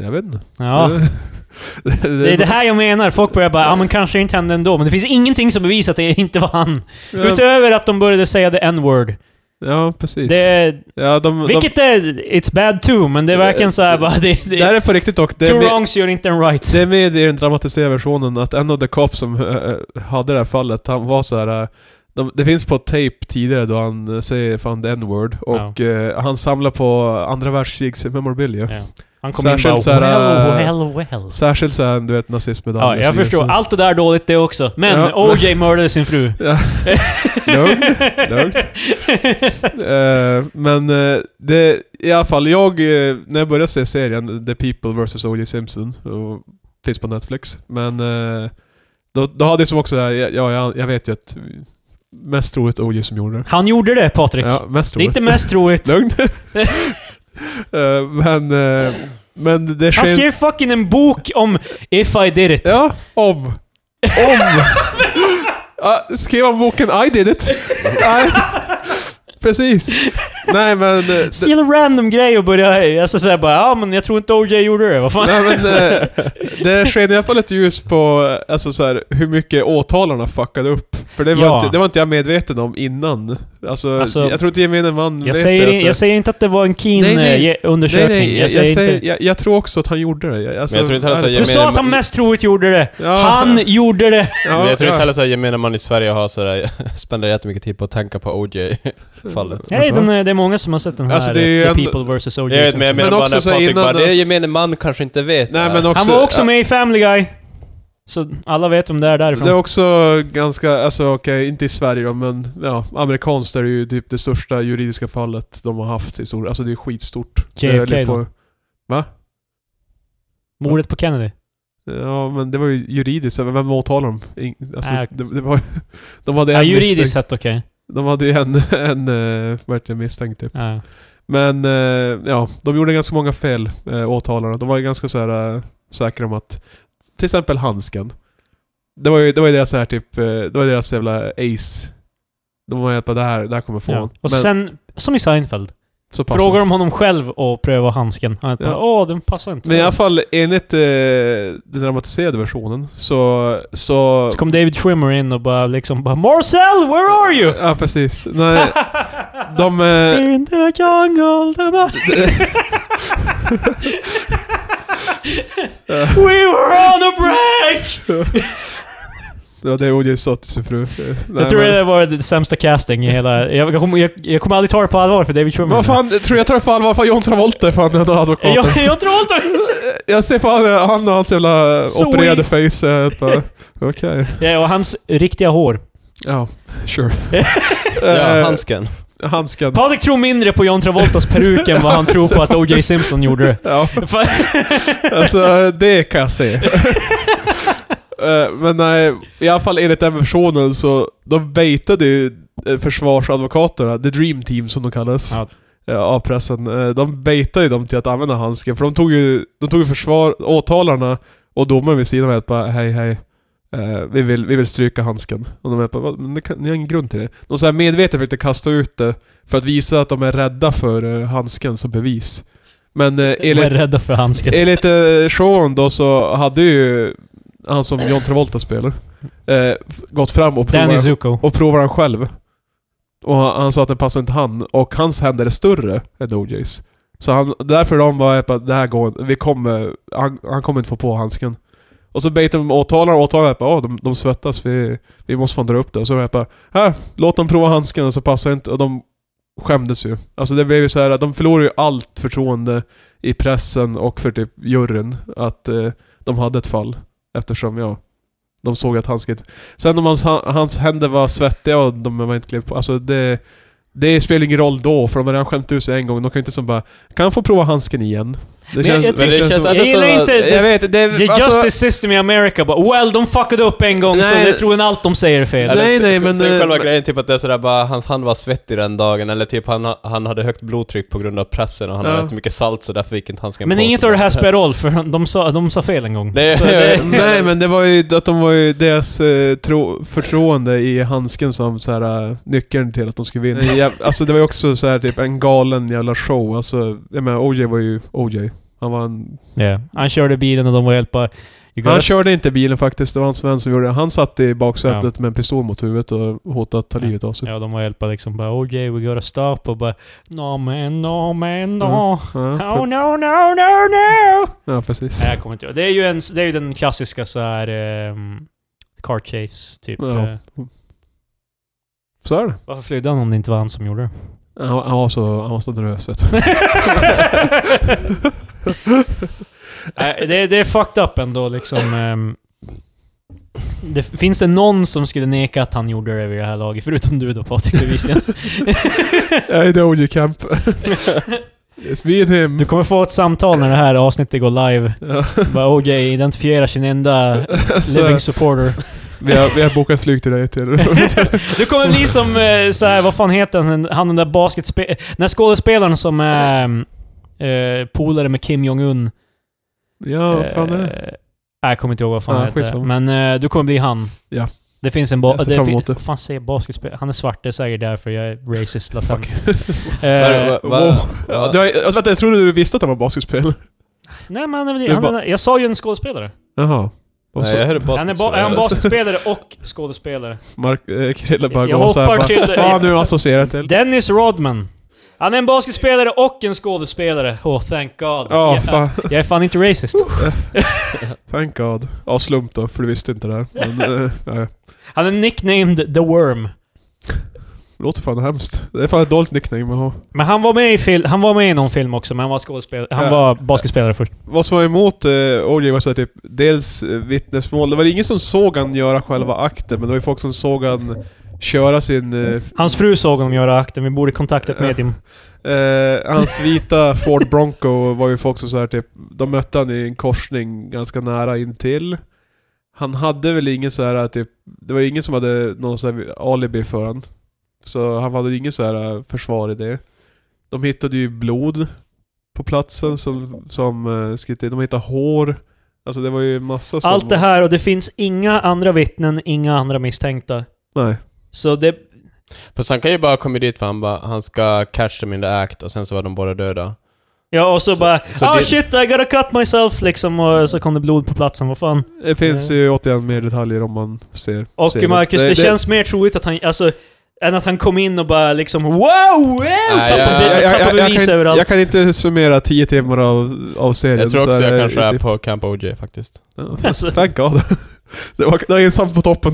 B: Jag vet inte.
A: Ja.
B: det, det,
A: Det är det här jag menar. Folk börjar bara ja men kanske inte hände ändå. Men det finns ingenting som bevisar att det inte var han. Utöver att de började säga the n-word.
B: Ja, precis.
A: Det,
B: ja, de,
A: vilket är... It's bad too, men det är verkligen såhär bara... Det,
B: de, det här
A: det,
B: är på riktigt dock. Det är
A: two
B: med-
A: wrongs gör inte en right.
B: Det är med i den dramatiserade versionen att en av de cop som eh, hade det här fallet, han var så här. eh, De, det finns på tape tidigare då han eh, säger fan the n-word och eh, han samlar på andra världskrigs memorabilia.
A: Ja. Han kom in bara
B: Särskilt såhär, äh,
A: well, well, well.
B: Särskilt så här, du vet nazistmedaljer.
A: Ja, jag förstår. Allt det där är dåligt det också. Men
B: Ja.
A: OJ mördade sin fru.
B: Lugn, lugnt. Eh, men eh, det, i alla fall, jag, eh, när jag började se serien The People vs. O.J. Simpson, och finns på Netflix, men eh, då, då hade jag som också, det här, ja jag, jag vet ju att mest troligt O.J. som gjorde det.
A: Han gjorde det, Patrik.
B: Ja, mest
A: det är
B: troligt.
A: inte mest troligt.
B: Lugn. Eh, men, eh, men det
A: Han
B: sker...
A: skrev fucking en bok om If I did it.
B: Ja, om. Om. Ja, skrev han boken I did it? Nej. Precis. Nej men... eh,
A: Så jävla random grej och börja... Alltså såhär bara, ja men jag tror inte OJ gjorde det. Vad fan?
B: Nej, men, eh, det sken i alla fall ett ljus på eh, alltså, så här, hur mycket åtalarna fuckade upp. För det var,
A: Ja.
B: inte, det var inte jag medveten om innan. Alltså,
A: Alltså,
B: jag tror inte gemene man
A: Jag
B: vet
A: säger,
B: det.
A: in, jag säger inte att det var en
B: Nej, nej. nej,
A: Keen-undersökning.
B: nej,
A: jag
B: jag,
A: säger
B: jag, säger,
A: inte...
B: jag, jag tror också att han gjorde det. Jag, alltså,
C: Men jag tror inte heller så här-
A: Du
C: Jag
A: sa
C: menar-
A: att han mest troligt gjorde det.
B: Ja.
A: Han gjorde det.
B: Ja,
C: Men jag tror
B: ja.
C: inte heller såhär gemene man i Sverige har sådär, spenderar jättemycket tid på att tänka på OJ-fallet.
A: Nej, den, är- det är många som har sett den här. eh,
B: Alltså, det är ju
A: The
B: ändå-
A: People vs. OJ.
C: Jag vet, men jag menar
B: Men
C: bara
B: också
C: när
B: så här
C: Patrik
B: innan
C: bara,
B: det-
C: det är gemene man kanske inte vet.
B: Nej,
C: det
B: men
C: här."
B: också,
A: han var också
B: ja,
A: med i Family Guy. Så alla vet vem det är därifrån.
B: Det är också ganska, alltså okej, inte i Sverige då, men ja, amerikanskt är det ju typ det största juridiska fallet de har haft i stor, Alltså det är skitstort.
A: JFK
B: det är
A: då? Mordet på Kennedy.
B: Ja, men det var ju juridiskt. Vem åtalar dem? Ing- Alltså,
A: Nej.
B: det, det var, de hade
A: Ja,
B: en
A: juridiskt
B: misstänkt.
A: sett okej.
B: De hade ju en, en eh, vad heter det, misstänkt typ.
A: Ja.
B: Men eh, ja, de gjorde ganska många fel, eh, åtalarna. De var ju ganska så här, eh, säkra om att... Till exempel handsken. Det var ju, det var ju deras så här typ, eh, det var deras jävla ace. De var helt bara det här, det här kommer få
A: Ja.
B: honom.
A: Och
B: Men
A: sen, som i Seinfeld,
B: så passade
A: frågar de honom själv och pröva handsken. Han bara,
B: Ja.
A: åh, den passar inte.
B: Men i alla fall enligt eh, den dramatiserade versionen så... Så...
A: Så kom David Schwimmer in och bara liksom bara Marcel, where are you?
B: Ja precis. Nej, Eh, de... Eh,
A: In the jungle, the ma- We were on a break!
B: Det var det OJ sa till sin fru. Eh, nej,
A: jag tror
B: men-
A: det var det sämsta casting i hela... Jag, jag, kommer- jag, jag kommer aldrig ta det på allvar för David Schwimmer.
B: Vad fan, tror jag tar på allvar? Fan John Travolta är fan den advokaten.
A: Jag, jag tror inte...
B: Jag ser fan eh, han och hans jävla
A: Zoe.
B: opererade face. eh, bara, Okej.
A: Ja, och hans riktiga hår.
B: Ja, sure.
C: Ja,
B: Eh,
C: handsken.
B: Handsken.
A: Patrik tror mindre på John Travoltas peruk än vad han tror på att O.J. Simpson gjorde det.
B: Ja,
A: Fan,
B: alltså det kan jag se. Eh, Men nej, i alla fall enligt den versionen så de baitade ju eh, försvarsadvokaterna, the dream team som de kallas.
A: Ja.
B: eh, av pressen. Eh, De baitade ju dem till att använda handsken, för de tog ju, de tog ju försvar, åtalarna och domaren vid sidan av att bara hej hej. eh, vi, vill, vi vill stryka handsken. Och de bara, "Vad? men det kan, ni har ingen grund till det. De så här medvetet försökte kasta ut det för att visa att de är rädda för eh, handsken som bevis. Men eh,
A: Jag är
B: enligt,
A: rädda för handsken.
B: enligt eh, showen då så hade ju han som John Travolta spelar, eh, f- gått fram och
A: Danny
B: provat
A: Zuko.
B: och provar han själv. Och han, han sa att den passar inte han, och hans händer är större än OJs. Så han, därför de var att det här går inte. vi kommer, han, han kommer inte få på handsken. Och så bejtade de åtalaren och åtalaren bara åh de, de svettas, vi, vi måste fan dra upp det. Och så var jag bara här, låt dem prova handsken och så passar inte, och de skämdes ju. Alltså det blev ju så här att de förlorade ju allt förtroende i pressen och för typ juryn, att eh, de hade ett fall. Eftersom, ja, de såg att handsken inte Sen om hans, hans händer var svettiga och de var inte klippt på, alltså det... Det spelar ingen roll då, för de har redan skämt ut sig en gång. De kan ju inte som bara Kan jag få prova handsken igen? Det
A: Men jag- jag
C: Men det
A: tycker-
C: känns
A: jag
C: ändå
A: gillar
C: som att-
A: inte
B: jag vet, det alltså-
A: The justice system i America bara well, de fuckade upp en gång så
B: Nej.
A: det tror en allt de säger är fel.
B: Nej,
C: Eller
B: nej,
C: så-
B: men,
C: så är
B: eh,
C: själva
B: men-
C: grejen typ att det är sådär bara, hans hand var svettig den dagen, eller typ han, han hade högt blodtryck på grund av pressen och han
B: Ja.
C: hade ätit mycket salt så därför gick inte handsken
A: Men
C: på.
A: inget
C: så
A: av det här
C: bara-
A: spelar roll, för de sa, de sa fel en gång.
C: Det-
A: så det,
B: Nej men det var ju att de var ju deras eh, tro, förtroende i handsken som så här, eh, nyckeln till att de skulle vinna. Ja, alltså det var ju också så här typ en galen jävla show. Alltså, jag menar OJ var ju OJ. Han var en...
A: Ja. Han körde bilen och de var helt bara... You
B: Han
A: gotta-
B: körde inte bilen faktiskt, det var hans vän som gjorde det. Han satt i baksätet med en pistol mot huvudet och hotade att ta livet av sig.
A: Ja, de var helt bara liksom bara oh yeah, we gotta stop och bara no man, no man, no.
B: Ja,
A: Oh no, no, no, no!
B: ja precis.
A: Nej, jag kommer inte ihåg. Det är ju, en, det är ju den klassiska så här ehm, car chase, typ.
B: Ja.
A: Eh,
B: Så är det.
A: varför flydde han om det inte var han som gjorde det?
B: Han han var så, han var så nervös vet du.
A: Nej, det, det är fucked up ändå liksom. ehm. det, finns det någon som skulle neka att han gjorde det vid det här laget? Förutom du då Patrik bevisligen.
B: Jag är OJ Camp. It's me and him.
A: Du kommer få ett samtal när det här avsnittet går live.
B: Ja.
A: Bara OJ identifierar sin enda
B: Så-
A: living supporter.
B: Vi har, vi har bokat flyg till dig till...
A: Du kommer bli som, eh, så här, vad fan heter han, han den där basketspelaren, den här skådespelaren som är ehm, eh, polare med Kim Jong-Un.
B: Ja, vad fan är det?
A: Eh, Nej, jag kommer inte ihåg vad fan
B: Ja,
A: han heter.
B: skitsamma.
A: Men eh, du kommer bli han.
B: Ja.
A: Det finns en... Ba-
B: Jag ser fram emot
A: fin-
B: det.
A: Vad fan säger basketspelare? Han är svart, det är säkert därför jag är racist latent.
C: Vad-
A: Eh,
C: vad- vad-
B: wow.
C: vad-
B: Du har, alltså, vänta, jag trodde du visste att han var basketspelare.
A: nej men han är, väl-
B: Du
A: han
B: bara-
A: är, jag sa ju en skådespelare.
B: Jaha. Och
C: Nej,
B: så
C: jag hörde basketspelare.
A: Han är, ba- är han basketspelare och skådespelare.
B: Mark, eh, Krille bara
A: Jag
B: går såhär
A: hoppar till-
B: bara... Vad har du associerat till?
A: Dennis Rodman. Han är en basketspelare och en skådespelare. Oh, thank God.
B: Ja,
A: jag,
B: fan.
A: jag är fan inte racist.
B: Thank God. Ja, slump då, för du visste inte det här. Men, eh, nej.
A: Han är nicknamed The Worm.
B: Låter fan hemskt. Det är fan ett dåligt nickname att ha.
A: Men han var med i, fil- han var med i någon film också, men han var skådespelare. Han
B: Ja.
A: var basketspelare först.
B: Vad som var emot eh, OJ var så här, typ, dels eh, vittnesmål. Det var ingen som såg han göra själva akten, men det var ju folk som såg han köra sin... Eh,
A: Hans fru såg honom göra akten, vi borde kontakta ett medium.
B: Eh, hans vita Ford Bronco var ju folk som så här typ, de mötte han i en korsning ganska nära intill. Han hade väl ingen så här typ, det var ingen som hade någon så här alibi för han. Så han hade ingen så här eh, försvar i det. De hittade ju blod på platsen som, som eh, skritt in. De hittade hår. Alltså det var ju massa som...
A: Allt det här och det finns inga andra vittnen, inga andra misstänkta.
B: Nej.
A: Så det...
C: Fast han kan ju bara komma dit för han bara, han ska catch them in the act och sen så var de båda döda.
A: Ja, och så,
C: Så-
A: bara
C: så
A: ah
C: det-
A: shit, I gotta cut myself” liksom och så kom det blod på platsen, vad fan.
B: Det finns ju återigen mer detaljer om man ser.
A: Och
B: ser
A: Marcus, det, känns mer troligt att han... Alltså, än att han kom in och bara liksom “Wow!” wow
C: jag-
A: tappade,
C: jag-
A: tappade bevis
B: kan,
A: överallt.
B: jag kan inte summera 10 timmar av, av serien.
C: Jag tror
B: så
C: också
B: det
C: jag kanske är
B: typ-
C: på Camp OJ faktiskt.
A: Alltså-
B: Thank God. Det var, det var ensamt på toppen.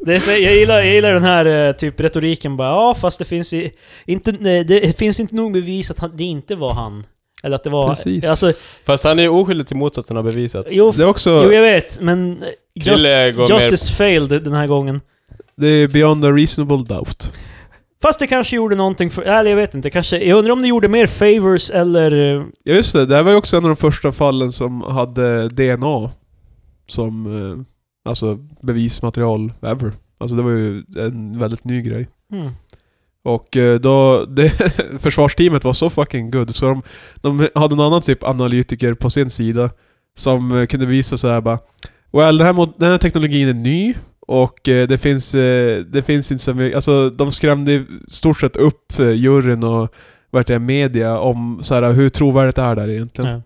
A: Det är, så- jag, gillar, jag gillar den här eh, typ retoriken bara “Ja, fast det finns, i, inte, nej, det finns inte nog bevis att han, det inte var han”. Eller att det var...
B: Precis.
A: Alltså,
C: Fast han är ju oskyldig till motsatsen har bevisats.
A: jo,
B: Det är också...
A: jo, jag vet, men... eh, Just,
C: Krille går mer...
A: justice failed den här gången.
B: Det är beyond a reasonable doubt.
A: Fast det kanske gjorde någonting för... Eller jag vet inte. Kanske, jag undrar om det gjorde mer favors eller... eh,
B: Ja just det, det här var ju också en av de första fallen som hade DNA som eh, alltså bevismaterial ever. Alltså det var ju en väldigt ny grej.
A: Hmm.
B: Och eh, då, det, försvarsteamet var så fucking good så de, de hade någon annan typ analytiker på sin sida som eh, kunde visa så här bara Well, den här, mod- den här teknologin är ny och eh, det finns, eh, det finns inte så mycket, alltså de skrämde i stort sett upp eh, juryn och vart det är media om så här, hur trovärdigt är det här egentligen?
A: Ja.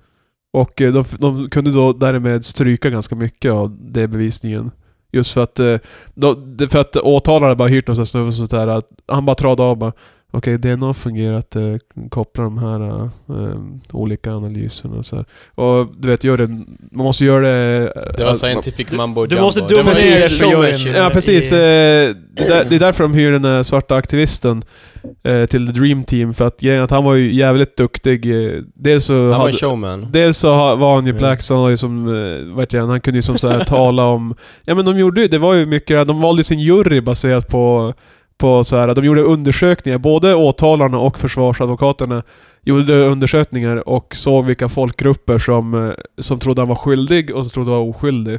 B: Och eh, de, de kunde då därmed stryka ganska mycket av det bevisningen. Just för att, eh, de, det- för att åtalaren hade bara hyrt någon sån här snubbe som sånt här att han bara tradde av bara Okej, DNA fungerar att eh, koppla de här eh, olika analyserna och så här. Och du vet, gör det, man måste göra det... eh,
C: Det var
B: att-
C: scientific mumbo
A: Du
C: jumbo.
A: måste
C: Det var
A: dumma ner
C: precis
A: dig för
C: showmanship.
A: juryn.
B: Ja, precis.
A: i-
B: eh, Det där- det är därför de hyr den där svarta aktivisten eh, till The Dream Team. För att grejen är att han var ju jävligt duktig. eh, Dels så
C: Han var
B: hade-
C: en showman.
B: Dels så ha- var han ju
C: Ja.
B: Black, så han var ju som, eh, vet jag, han kunde ju som så här tala om... Ja men de gjorde ju, det var ju mycket, de valde sin jury baserat på, på så här, de gjorde undersökningar, både åtalarna och försvarsadvokaterna gjorde undersökningar och såg vilka folkgrupper som, eh, som trodde han var skyldig och som trodde han var oskyldig.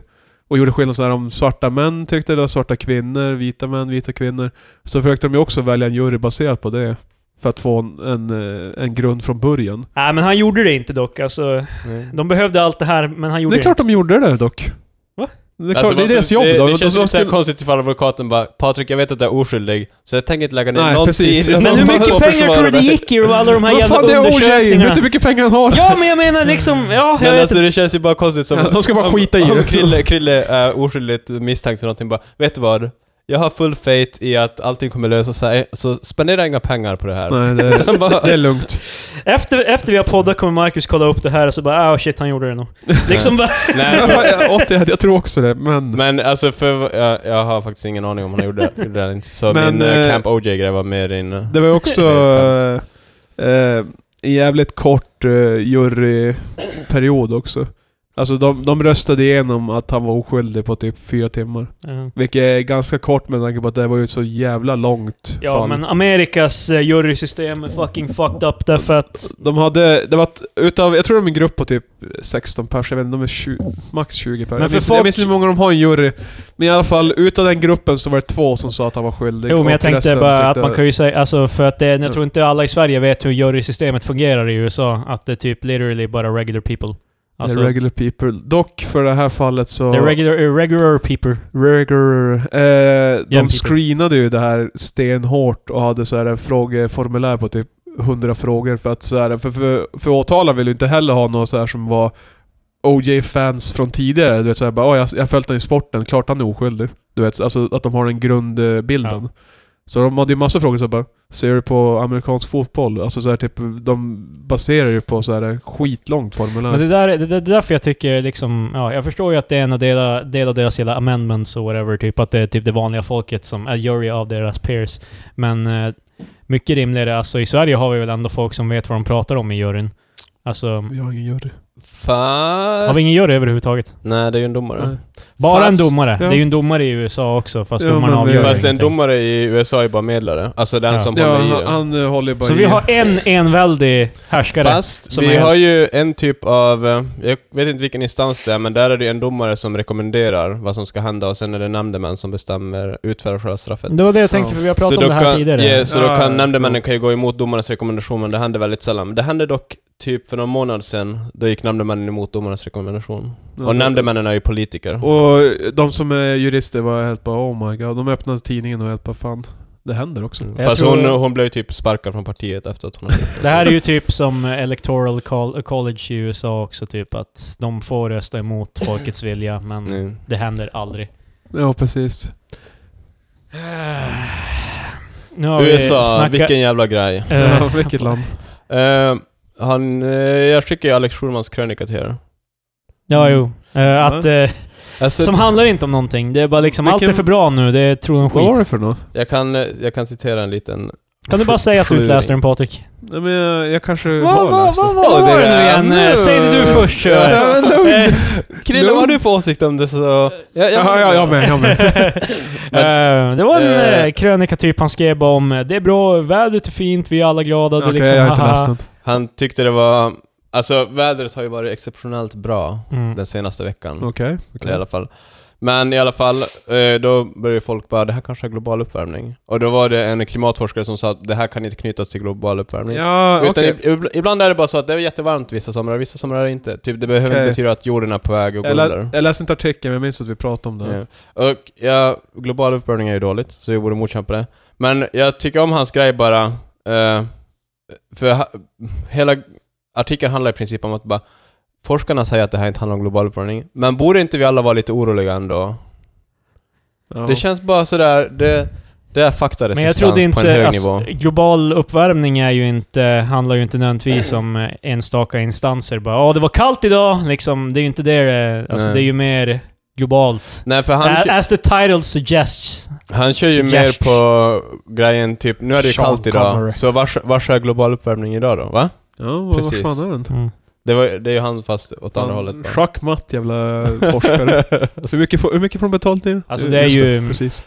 B: Och gjorde skillnad så här om svarta män tyckte det, och svarta kvinnor, vita män, vita kvinnor. Så försökte de ju också välja en jury baserat på det. För att få en, en, eh, en grund från början.
A: Nej, men han gjorde det inte dock. Alltså, de behövde allt det här, men han gjorde
B: Det är klart
A: inte.
B: de gjorde det dock.
A: Va?
B: Det är, klart, det är
C: varför-
B: deras jobb
C: Alltså, det,
B: då.
C: Det
B: De-
C: känns
B: de
C: ju så här
B: skulle-
C: konstigt ifall advokaten bara Patrik, jag vet att du är oskyldig, så jag tänker inte lägga ner
B: Nej,
C: någon
B: precis.
C: tid.
A: Men hur
B: Alltså, de-
A: mycket
C: på att
A: pengar
C: försvara
A: tror du det
C: dig."
A: gick i alla de här
B: Vad
A: jävla
B: fan det är OJ!
A: undersökningarna?
B: Vet du hur mycket pengar han har?
A: Ja, men jag menar liksom... Ja, jag
C: Men
A: vet
C: alltså det känns ju bara konstigt som...
B: Ja, de ska bara
C: om-
B: skita i
C: om
B: det.
C: Krille, Krille är oskyldigt misstänkt för någonting bara, vet du vad? Jag har full faith i att allting kommer lösa sig, så spendera inga pengar på det här.
B: Nej, det är, det är lugnt.
A: Efter, efter vi har poddat kommer Marcus kolla upp det här och så bara ah shit, han gjorde det nog. Liksom bara...
C: Nej.
B: Jag, åt det, jag tror också det, men...
C: Men alltså, för, jag, jag har faktiskt ingen aning om han gjorde det, gjorde det eller inte. Så
B: Men,
C: min eh,
B: eh,
C: Camp OJ-grej var mer in... eh,
B: Det var ju också eh, eh, en jävligt kort eh, juryperiod också. Alltså de, de röstade igenom att han var oskyldig på typ fyra timmar.
A: Ja.
B: Vilket är ganska kort med tanke på att det var ju ett så jävla långt
A: Ja,
B: fall.
A: men Amerikas eh, jurysystem är fucking fucked up därför att...
B: De hade, det var ett- utav, jag tror de är en grupp på typ 16 pers, jag vet inte, de är 20, max 20 pers.
A: Men
B: jag,
A: för
B: minns,
A: folk-
B: jag minns inte hur många de har i en jury. Men i alla fall, utav den gruppen så var det två som sa att han var skyldig.
A: Jo, men jag
B: och
A: tänkte
B: resten
A: bara att
B: tyckte-
A: man kan ju säga... Alltså för att det, jag
B: Ja.
A: tror inte alla i Sverige vet hur jurysystemet fungerar i USA. Att det är typ literally bara regular people. Alltså,
B: The regular people. Dock, för det här fallet så...
A: the regular, irregular people.
B: regular eh,
A: Yeah,
B: de
A: people.
B: screenade ju det här stenhårt och hade så här en frågeformulär på typ 100 frågor för att så här, för, för, för åtalaren vill ju inte heller ha någon så här som var OJ-fans från tidigare. Du vet såhär bara "Åh, jag, jag har följt honom i sporten, klart han är oskyldig. Du vet, alltså att de har den grundbilden. Så de hade ju massa frågor så här bara Ser du på amerikansk fotboll? Alltså så här, typ, de baserar ju på så här skitlångt formulär.
A: Men det där, det, det, det är därför jag tycker liksom, ja, jag förstår ju att det är en av dela- del av deras hela amendments och whatever, typ att det är typ det vanliga folket som är jury av deras peers. Men eh, mycket rimligare, alltså i Sverige har vi väl ändå folk som vet vad de pratar om i juryn. Alltså,
B: Vi har ingen jury.
C: Fast...
A: har vi ingen jury överhuvudtaget?
C: Nej, det är ju en domare.
B: Nej.
A: Bara
C: Fast-
A: en domare.
B: ja.
A: Det är ju en domare i USA också, fast
B: Ja,
A: domarna
B: men eh, vi-
A: avgör
C: Fast en
A: ingenting.
C: domare i USA är bara medlare. Alltså den
A: Ja.
C: som
B: Ja,
C: håller i
B: han,
C: det.
B: han eh, håller bara
A: Så
B: i-
A: vi har en enväldig härskare.
C: Fast
A: som
C: vi
A: är-
C: har ju en typ av, eh, jag vet inte vilken instans det är, men där är det ju en domare som rekommenderar vad som ska hända och sen är det nämndemän som bestämmer, utfärdar själva straffet.
A: Det var det Mm, jag tänkte, för vi har pratat om
C: då
A: det här
C: kan,
A: tidigare.
C: ja, så då
B: Ja,
C: kan
B: ja,
C: nämndemännen kan ju gå emot domarens rekommendation, men det händer väldigt sällan. Det hände dock typ för någon månad sedan, då gick nämndemännen emot domarens rekommendation.
B: Ja.
C: Och nämndemännen är ju politiker.
B: Och de som är jurister var helt bara oh my god, de öppnade tidningen och helt bara fan, det händer också.
A: Jag
C: Mm. Fast
A: tror-
C: hon, hon blev ju typ sparkad från partiet efter att hon hade gjort
A: Det här är ju typ som electoral col- college i USA också, typ att de får rösta emot folkets vilja, men
C: det.
A: det händer aldrig.
B: Ja precis.
A: Nu har
C: USA,
A: vi snackat...
C: vilken jävla grej.
A: Eh,
B: Ja, vilket land.
C: Eh, han, eh, jag skickar ju Alex Schulmans krönika till er.
A: Ja, jo. Eh, att, eh,
C: Alltså,
A: som handlar inte om någonting. Det är bara liksom, allt är
B: Vilken-
A: för bra nu, det tror de
B: Vad var det
A: skit.
B: för något?
C: jag, kan, eh, jag kan citera en liten...
A: Kan du bara säga att du inte läste den Patrik?
B: Nej men jag, jag kanske har
C: Vad va,
B: läst det.
A: Vad var det nu
C: där?
A: igen? Eh, Säg det du först kör.
C: Ja, men lugn.
A: Eh,
C: Krille, vad har du för åsikt om det så... Ja,
B: Ja, ja, jag med, jag med.
A: Eh, det var en
C: eh,
A: eh, krönika typ han skrev om eh, det är bra, vädret är fint, vi är alla glada.
B: Okej,
A: det är liksom,
B: jag har inte
A: haha.
B: läst den.
C: Han tyckte det var... Alltså, vädret har ju varit exceptionellt bra
A: Mm.
C: den senaste veckan.
B: Okej.
C: Eller i alla fall. Men i alla fall, eh, då började folk bara det här kanske är global uppvärmning. Och då var det en klimatforskare som sa att det här kan inte knytas till global uppvärmning.
B: Ja,
C: Utan
B: okej.
C: ib- ib- ibland är det bara så att det är jättevarmt vissa somrar, vissa somrar är det inte. Typ det behöver
B: Okej.
C: inte betyda att jorden är på väg att gå
B: Jag,
C: under.
B: lä- jag läste inte artikeln, men jag minns att vi pratade om det.
C: Ja. Och ja, global uppvärmning är ju dåligt, så jag borde motkämpa det. Men jag tycker om hans grej bara, eh, för ha, hela artikeln handlar i princip om att bara Forskarna säger att det här inte handlar om global uppvärmning, men borde inte vi alla vara lite oroliga ändå?
B: Ja.
C: Det känns bara sådär, det, det är
A: Men jag
C: faktaresistens
A: trodde
C: på en hög
A: inte... Alltså,
C: nivå.
A: global uppvärmning är ju inte, handlar ju inte nödvändigtvis om eh, enstaka instanser. Bara ja, det var kallt idag” liksom. Det är ju inte det det... Alltså,
C: Nej.
A: det är ju mer globalt.
C: Nej, för han,
A: A- As the title suggests.
C: han kör ju mer
A: Suggestion.
C: på grejen typ, nu är det ju
A: äh, Sean
C: kallt idag,
A: Connery.
C: så vars, vars är global uppvärmning idag då? Va?
B: Ja, vad
C: Precis.
B: vad fan är den?
A: Mm.
C: Det, var, det är ju han fast åt andra hållet. bara.
B: Schackmatt jävla forskare. hur, mycket får, hur mycket får de betalt nu?
A: Alltså,
B: Eh,
A: det är
B: just
A: ju-
B: precis.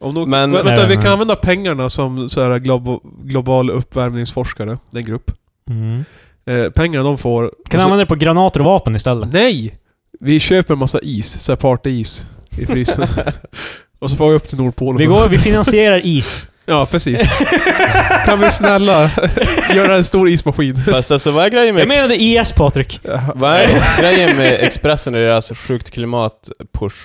B: Om någon,
C: Men-
B: men, vänta,
A: Nej,
B: vi
A: men-
B: kan använda pengarna som så här globo, global uppvärmningsforskare, den grupp.
A: Mm.
B: Eh, pengarna de får...
A: Kan
B: alltså,
A: använda det på granater och vapen istället.
B: Nej! Vi köper en massa is, så här partyis i frysen. och så får vi upp till Nordpolen.
A: Vi, går, vi finansierar is.
B: Ja, precis. kan vi snälla göra en stor ismaskin?
C: Fast alltså vad är grejen med
A: Jag menade IS, Patrik.
C: Vad är grejen med Expressen och deras sjukt klimatpush?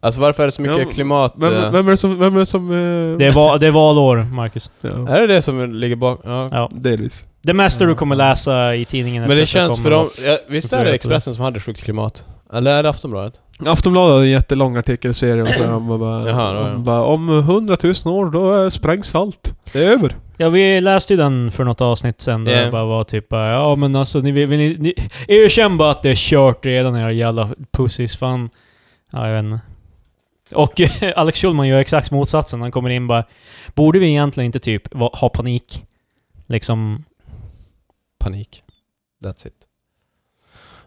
C: Alltså varför är det så mycket
B: Ja,
C: klimat... eh,
B: Vem, vem är det som... Vem är det som eh,
A: Det är, val, det är valår, Marcus.
B: ja,
C: Är det det som ligger bak? Ja.
A: Ja.
B: delvis.
A: Det mesta du kommer läsa i tidningen
C: Men det
A: etc.
C: känns
A: kommer
C: för dem...
A: att-
C: Ja, visst är det Expressen som hade sjukt klimat? Eller är det Aftonbladet?
B: Aftonbladet hade en jättelång artikelserie om det. Om, bara,
C: Jaha, ja, ja.
B: om, bara, om 100 000 år, då eh, sprängs allt. Det är över.
A: Ja, vi läste ju den för något avsnitt sen där
C: Ja.
A: det bara var typ bara, ja men alltså ni vill, vill ni, ni erkänn bara att det är kört redan era jävla pussies fan. Ja, jag vet inte. Och Alex Schulman gör exakt motsatsen. Han kommer in bara, borde vi egentligen inte typ va- ha panik? Liksom,
C: Panik. That's it.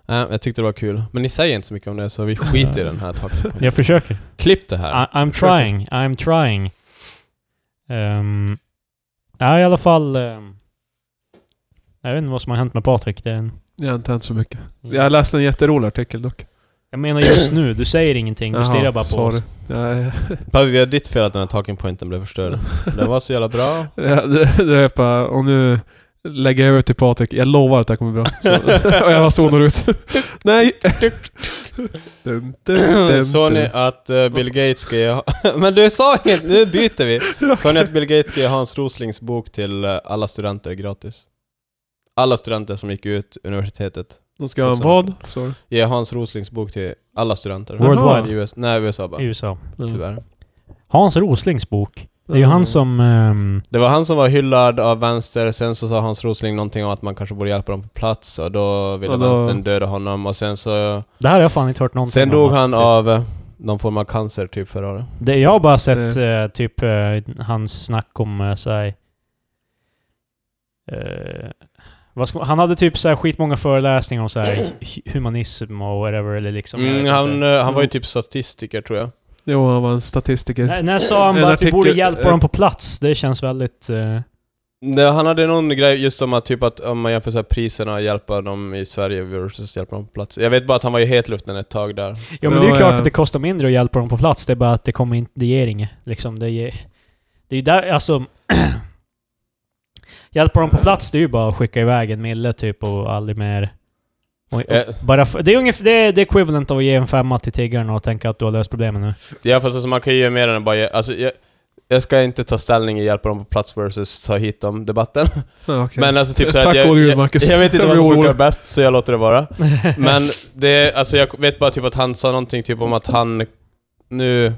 C: Nej, jag tyckte det var kul. Men ni säger inte så mycket om det, så vi skiter i den här taket.
A: jag Ah. försöker.
C: Klipp det här.
A: I, I'm trying, I'm trying. Ehm, ja, i alla fall... ehm, jag vet inte vad som har hänt med Patrik. Det är en,
B: Det har inte hänt så mycket.
C: Mm.
B: Jag läste en jätterolig artikel dock.
A: jag menar just nu, du säger ingenting. Du
B: Jaha,
A: stirrar bara på
B: sorry.
A: oss.
B: Nej,
C: Patrik, det är ditt fel att den här talking pointen blev förstörd. Den var så jävla bra.
B: det, det är bara... Och nu lägger jag över till Patrik. Jag lovar att det här kommer bli bra. Så, och jag bara zonar ut. Nej! Dun, dun, dun,
C: Sa ni
B: dun.
C: att eh, Bill Gates ska ge... Men du sa inget, nu byter vi! Sa ni att Bill Gates ska ge Hans Roslings bok till eh, alla studenter gratis? Alla studenter som gick ut universitetet.
B: De ska ha en vad? Sorry.
C: Ge Hans Roslings bok till alla studenter.
A: Worldwide.
C: I US, nej, USA bara.
A: I USA.
C: Tyvärr.
A: Hans Roslings bok. Det är ju
B: Mm.
A: han som... ehm,
C: Det var han som var hyllad av vänster, sen så sa Hans Rosling någonting om att man kanske borde hjälpa dem på plats och då ville
B: Ja, då-
C: vänstern döda honom och sen så...
A: det här har jag fan inte hört någonting
C: Sen
A: om,
C: dog
A: att
C: han
A: typ-
C: av eh, någon form av cancer typ förra året.
A: Det, jag har bara sett eh, typ eh, hans snack om eh, såhär... Eh, vad ska, man- han hade typ såhär skitmånga föreläsningar om såhär hu- humanism och whatever eller liksom... jag
C: Mm,
A: vet
C: han,
A: inte.
C: eh, han var ju typ statistiker tror jag.
B: Jo, han var en
C: eh,
B: statistiker.
A: När, när sa han
B: En
A: bara att vi
B: artikel-
A: borde hjälpa
B: eh,
A: dem på plats? Det känns väldigt... eh,
C: Nej, han hade någon grej just om att typ att om man jämför så här priserna och hjälpa dem i Sverige versus hjälpa dem på plats. Jag vet bara att han var i hetluften ett tag där.
A: ja men det är ju
B: Ja,
A: klart
B: ja.
A: att det kostar mindre att hjälpa dem på plats. Det är bara att det kommer inte... Det ger inget. Liksom, det, ger, det är ju där, alltså... hjälpa dem på plats, det är ju bara att skicka iväg en mille typ och aldrig mer... Och, och,
C: Eh,
A: Bara f- det, är ungefär, det är det är equivalent av att ge en femma till tiggaren och tänka att du har löst problemen nu.
C: ja fast alltså man kan ju göra mer än att bara ge, alltså, jag, jag ska inte ta ställning i hjälpa dem på plats versus ta hit dem debatten.
B: Ja, okej.
C: Men alltså typ
B: Tack
C: så här att jag,
B: gode gud,
C: jag,
B: Marcus.
C: jag vet inte
B: Jag
C: vad
B: blir
C: som
B: orolig.
C: funkar bäst så jag låter det vara. Men det, alltså jag vet bara typ att han sa någonting typ om att han, nu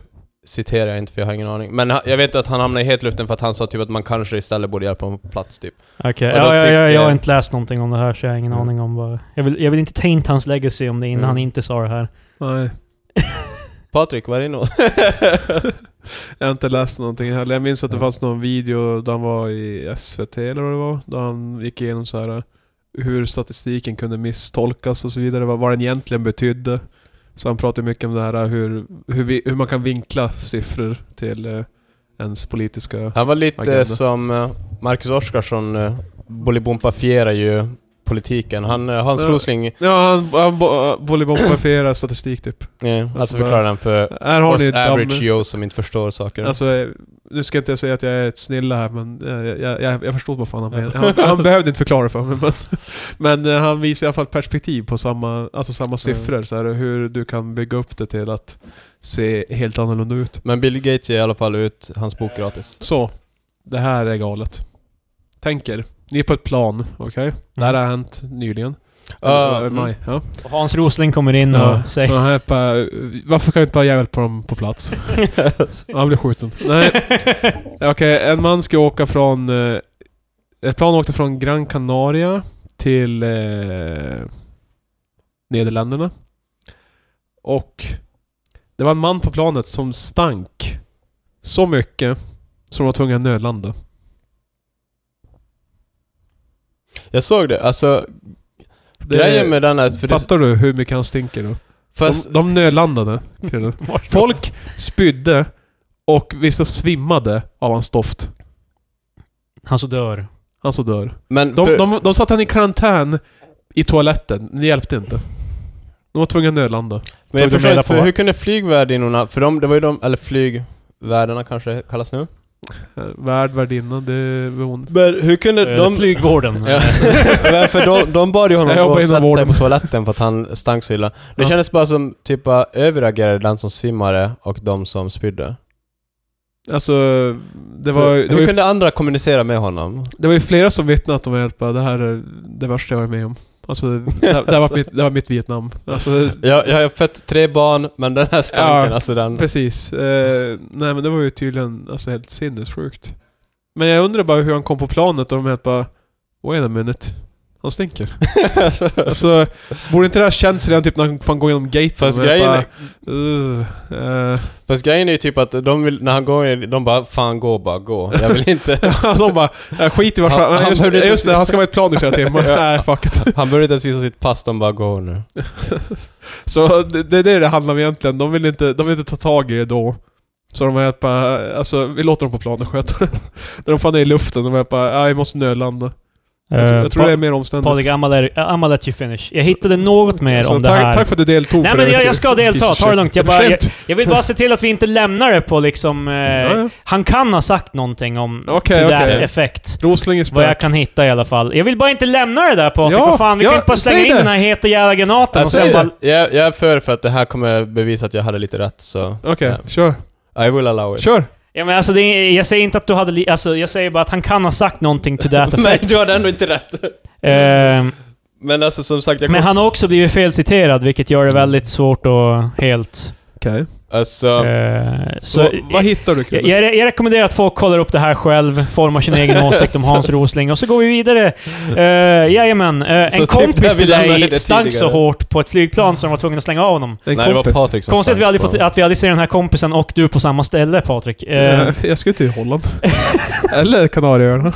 C: citerar jag inte för jag har ingen aning, men han- jag vet att han hamnade i hetluften för att han sa typ att man kanske istället borde hjälpa dem på plats typ.
A: Okej,
C: Och då
A: ja, ja, ja, jag har
C: tyckte-
A: inte läst någonting om det här så jag har ingen
C: Mm.
A: aning om vad... Jag vill, jag vill inte taint hans legacy om det innan
C: Mm.
A: han inte sa det här.
B: Nej.
C: Patrik, vad är din åsikt?
B: Jag har inte läst någonting heller. Jag minns att det
C: Ja.
B: fanns någon video där han var i SVT eller vad det var. Där han gick igenom så här hur statistiken kunde misstolkas och så vidare. Vad, vad den egentligen betydde. Så han pratade mycket om det här hur, hur, vi, hur man kan vinkla siffror till eh, ens politiska...
C: Han var lite
B: Agenda.
C: som eh, Marcus Oskarsson, eh, Bolibompafierar ju politiken. Han, eh, Hans
B: Ja.
C: Rosling, eh,
B: Ja, han, han bo- volleybombifierar statistik typ.
C: alltså
B: bara-
C: förklarar den för
B: Här har ni
C: oss average
B: damm...
C: Joe som inte förstår saker.
B: Alltså, eh, nu ska inte jag säga att jag är ett snilla här, men eh, jag, jag, jag förstod vad fan han menade. Han, han behövde inte förklara för mig, men, men eh, han visar i alla fall perspektiv på samma, alltså samma siffror. Så här, hur du kan bygga upp det till att se helt annorlunda ut.
C: Men Bill Gates ger i alla fall ut hans bok gratis.
B: Så, det här är galet. Tänk er, ni är på ett plan, okej? Det här har hänt nyligen.
C: Ja,
B: Eller, maj, ja.
A: Och Hans Rosling kommer in och
B: Ja.
A: säger...
B: Ja, han är bara, varför kan jag inte bara jävla på dem på plats? Ja, han blir skjuten. Nej. Eh, Okej, en man ska åka från... eh, Ett plan åkte från Gran Canaria till eh, Nederländerna. Och det var en man på planet som stank så mycket som var tvungen att nödlanda.
C: Jag såg det, alltså
B: Det-
C: grejen med den är... För det,
B: Fattar du hur mycket han stinker då?
C: fast,
B: De, de nödlandade. killen. Folk spydde och vissa svimmade av hans doft.
A: Han så dör.
B: Han så dör.
C: men
B: De,
C: för,
B: de, de satte han i karantän i toaletten. Det hjälpte inte. De var tvungna att nödlanda.
C: men jag
A: tog de
C: förstår
A: reda på
C: inte, för
A: vad?
C: hur kunde flygvärdinnorna... För de, det var ju de, eller flygvärdarna kanske kallas nu.
B: Eh, Värd, värdinna, det var hon.
C: Men hur
B: Eh,
C: kunde
A: De... Flygvården. Eh,
C: Ja. Men för de, de bad ju honom
B: Jag jobbar
C: gå och
B: inom
C: sätta sig
B: vården.
C: på toaletten för att han stank så illa. Det
B: Ja.
C: kändes bara som typ bara överagerade den som svimmade och de som spydde.
B: Alltså, det var,
C: Hur,
B: det, var
C: hur
B: ju,
C: kunde andra kommunicera med honom?
B: det var ju flera som vittnade att de var helt bara, det här är det värsta jag varit med om. Alltså, det, det, här var mitt, det var mitt Vietnam. Alltså, det,
C: Jag, jag har fött tre barn, men den här stanken,
B: Ja.
C: alltså den...
B: precis. Eh, nej men det var ju tydligen alltså, helt sinnessjukt. Men jag undrar bara hur han kom på planet och de helt bara, wait a minute. Han stinker.
C: Alltså,
B: Alltså, borde inte det här känts redan typ när han fan går genom gaten?
C: Fast
B: Och jag
C: grejen-
B: bara, "Ugh, eh."
C: Fast grejen är ju typ att de vill, när han går in, de bara 'Fan gå bara, gå' Jag vill inte...
B: de bara, "Äh, skit i vart
C: Han-
B: han,
C: han
B: just,
C: behövde inte-
B: just det, han ska vara i ett plan i flera timmar.
C: Ja.
B: Nej, fuck it.
C: Han behöver inte ens visa sitt pass, de bara 'Gå nu'
B: Så det, det är det det handlar om egentligen. De vill inte, de vill inte ta tag i det då. Så de är bara, alltså vi låter dem på planen sköta det. När de fan är i luften, de är bara, "Ja, vi måste nödlanda. Jag,
A: Eh,
B: tror- jag tror det är mer omständigt.
A: Patrik, I'ma let- I'ma let you finish. Jag hittade något mer
B: Så
A: om det
B: tack,
A: här.
B: tack för att du deltog.
A: Nej,
B: för
A: men
B: övrigt.
A: jag- jag ska delta.
B: Piece of
A: Ta det
B: shit.
A: lugnt. Jag
B: Ett
A: bara-
B: skämt.
A: Jag vill bara se till att vi inte lämnar det på liksom... Eh,
B: Ja, ja.
A: Han kan ha sagt någonting om
B: Okej,
A: to that
B: okej.
A: effect.
B: Rosling is
A: Vad jag
B: back.
A: kan hitta i alla fall. Jag vill bara inte lämna det där Patrik.
B: Ja,
A: Vad fan, vi
B: ja,
A: kan inte bara slänga
B: säg
A: in
B: det.
A: den här heta jävla granaten och
C: Alltså,
A: sen bara...
C: jag, jag är för för att det här kommer bevisa att jag hade lite rätt, så...
B: Okej, kör.
C: I will allow it.
B: Kör!
A: Ja, men alltså, det, är- jag säger inte att du hade... Li, alltså, jag säger bara att han kan ha sagt någonting to that
C: Men
A: effect.
C: du hade ändå inte rätt.
A: Ehm,
C: Men alltså som sagt, jag
A: men
C: kom...
A: han har också blivit felciterad, vilket gör det väldigt svårt att helt...
B: Okej.
C: Alltså...
A: eh, så,
B: Så, vad hittar du
A: jag,
B: Krille?
A: jag, jag rekommenderar att folk kollar upp det här själv, formar sin egen åsikt om Hans Rosling, och så går vi vidare. Uh, jajamän. eh,
C: Så
A: en
C: typ där
A: kompis
C: vi
A: till
C: lämnade det
A: dig stank så
C: tidigare.
A: hårt på ett flygplan så de var tvungna att slänga av honom.
B: En
C: Nej, det var
B: kompis.
C: Patrik som
A: Konstigt att vi,
C: stank
A: aldrig
C: på
A: fått, att vi aldrig ser den här kompisen och du på samma ställe, Patrik. Eh,
B: Eh, jag ska ju till Holland. Eller Kanarieöarna.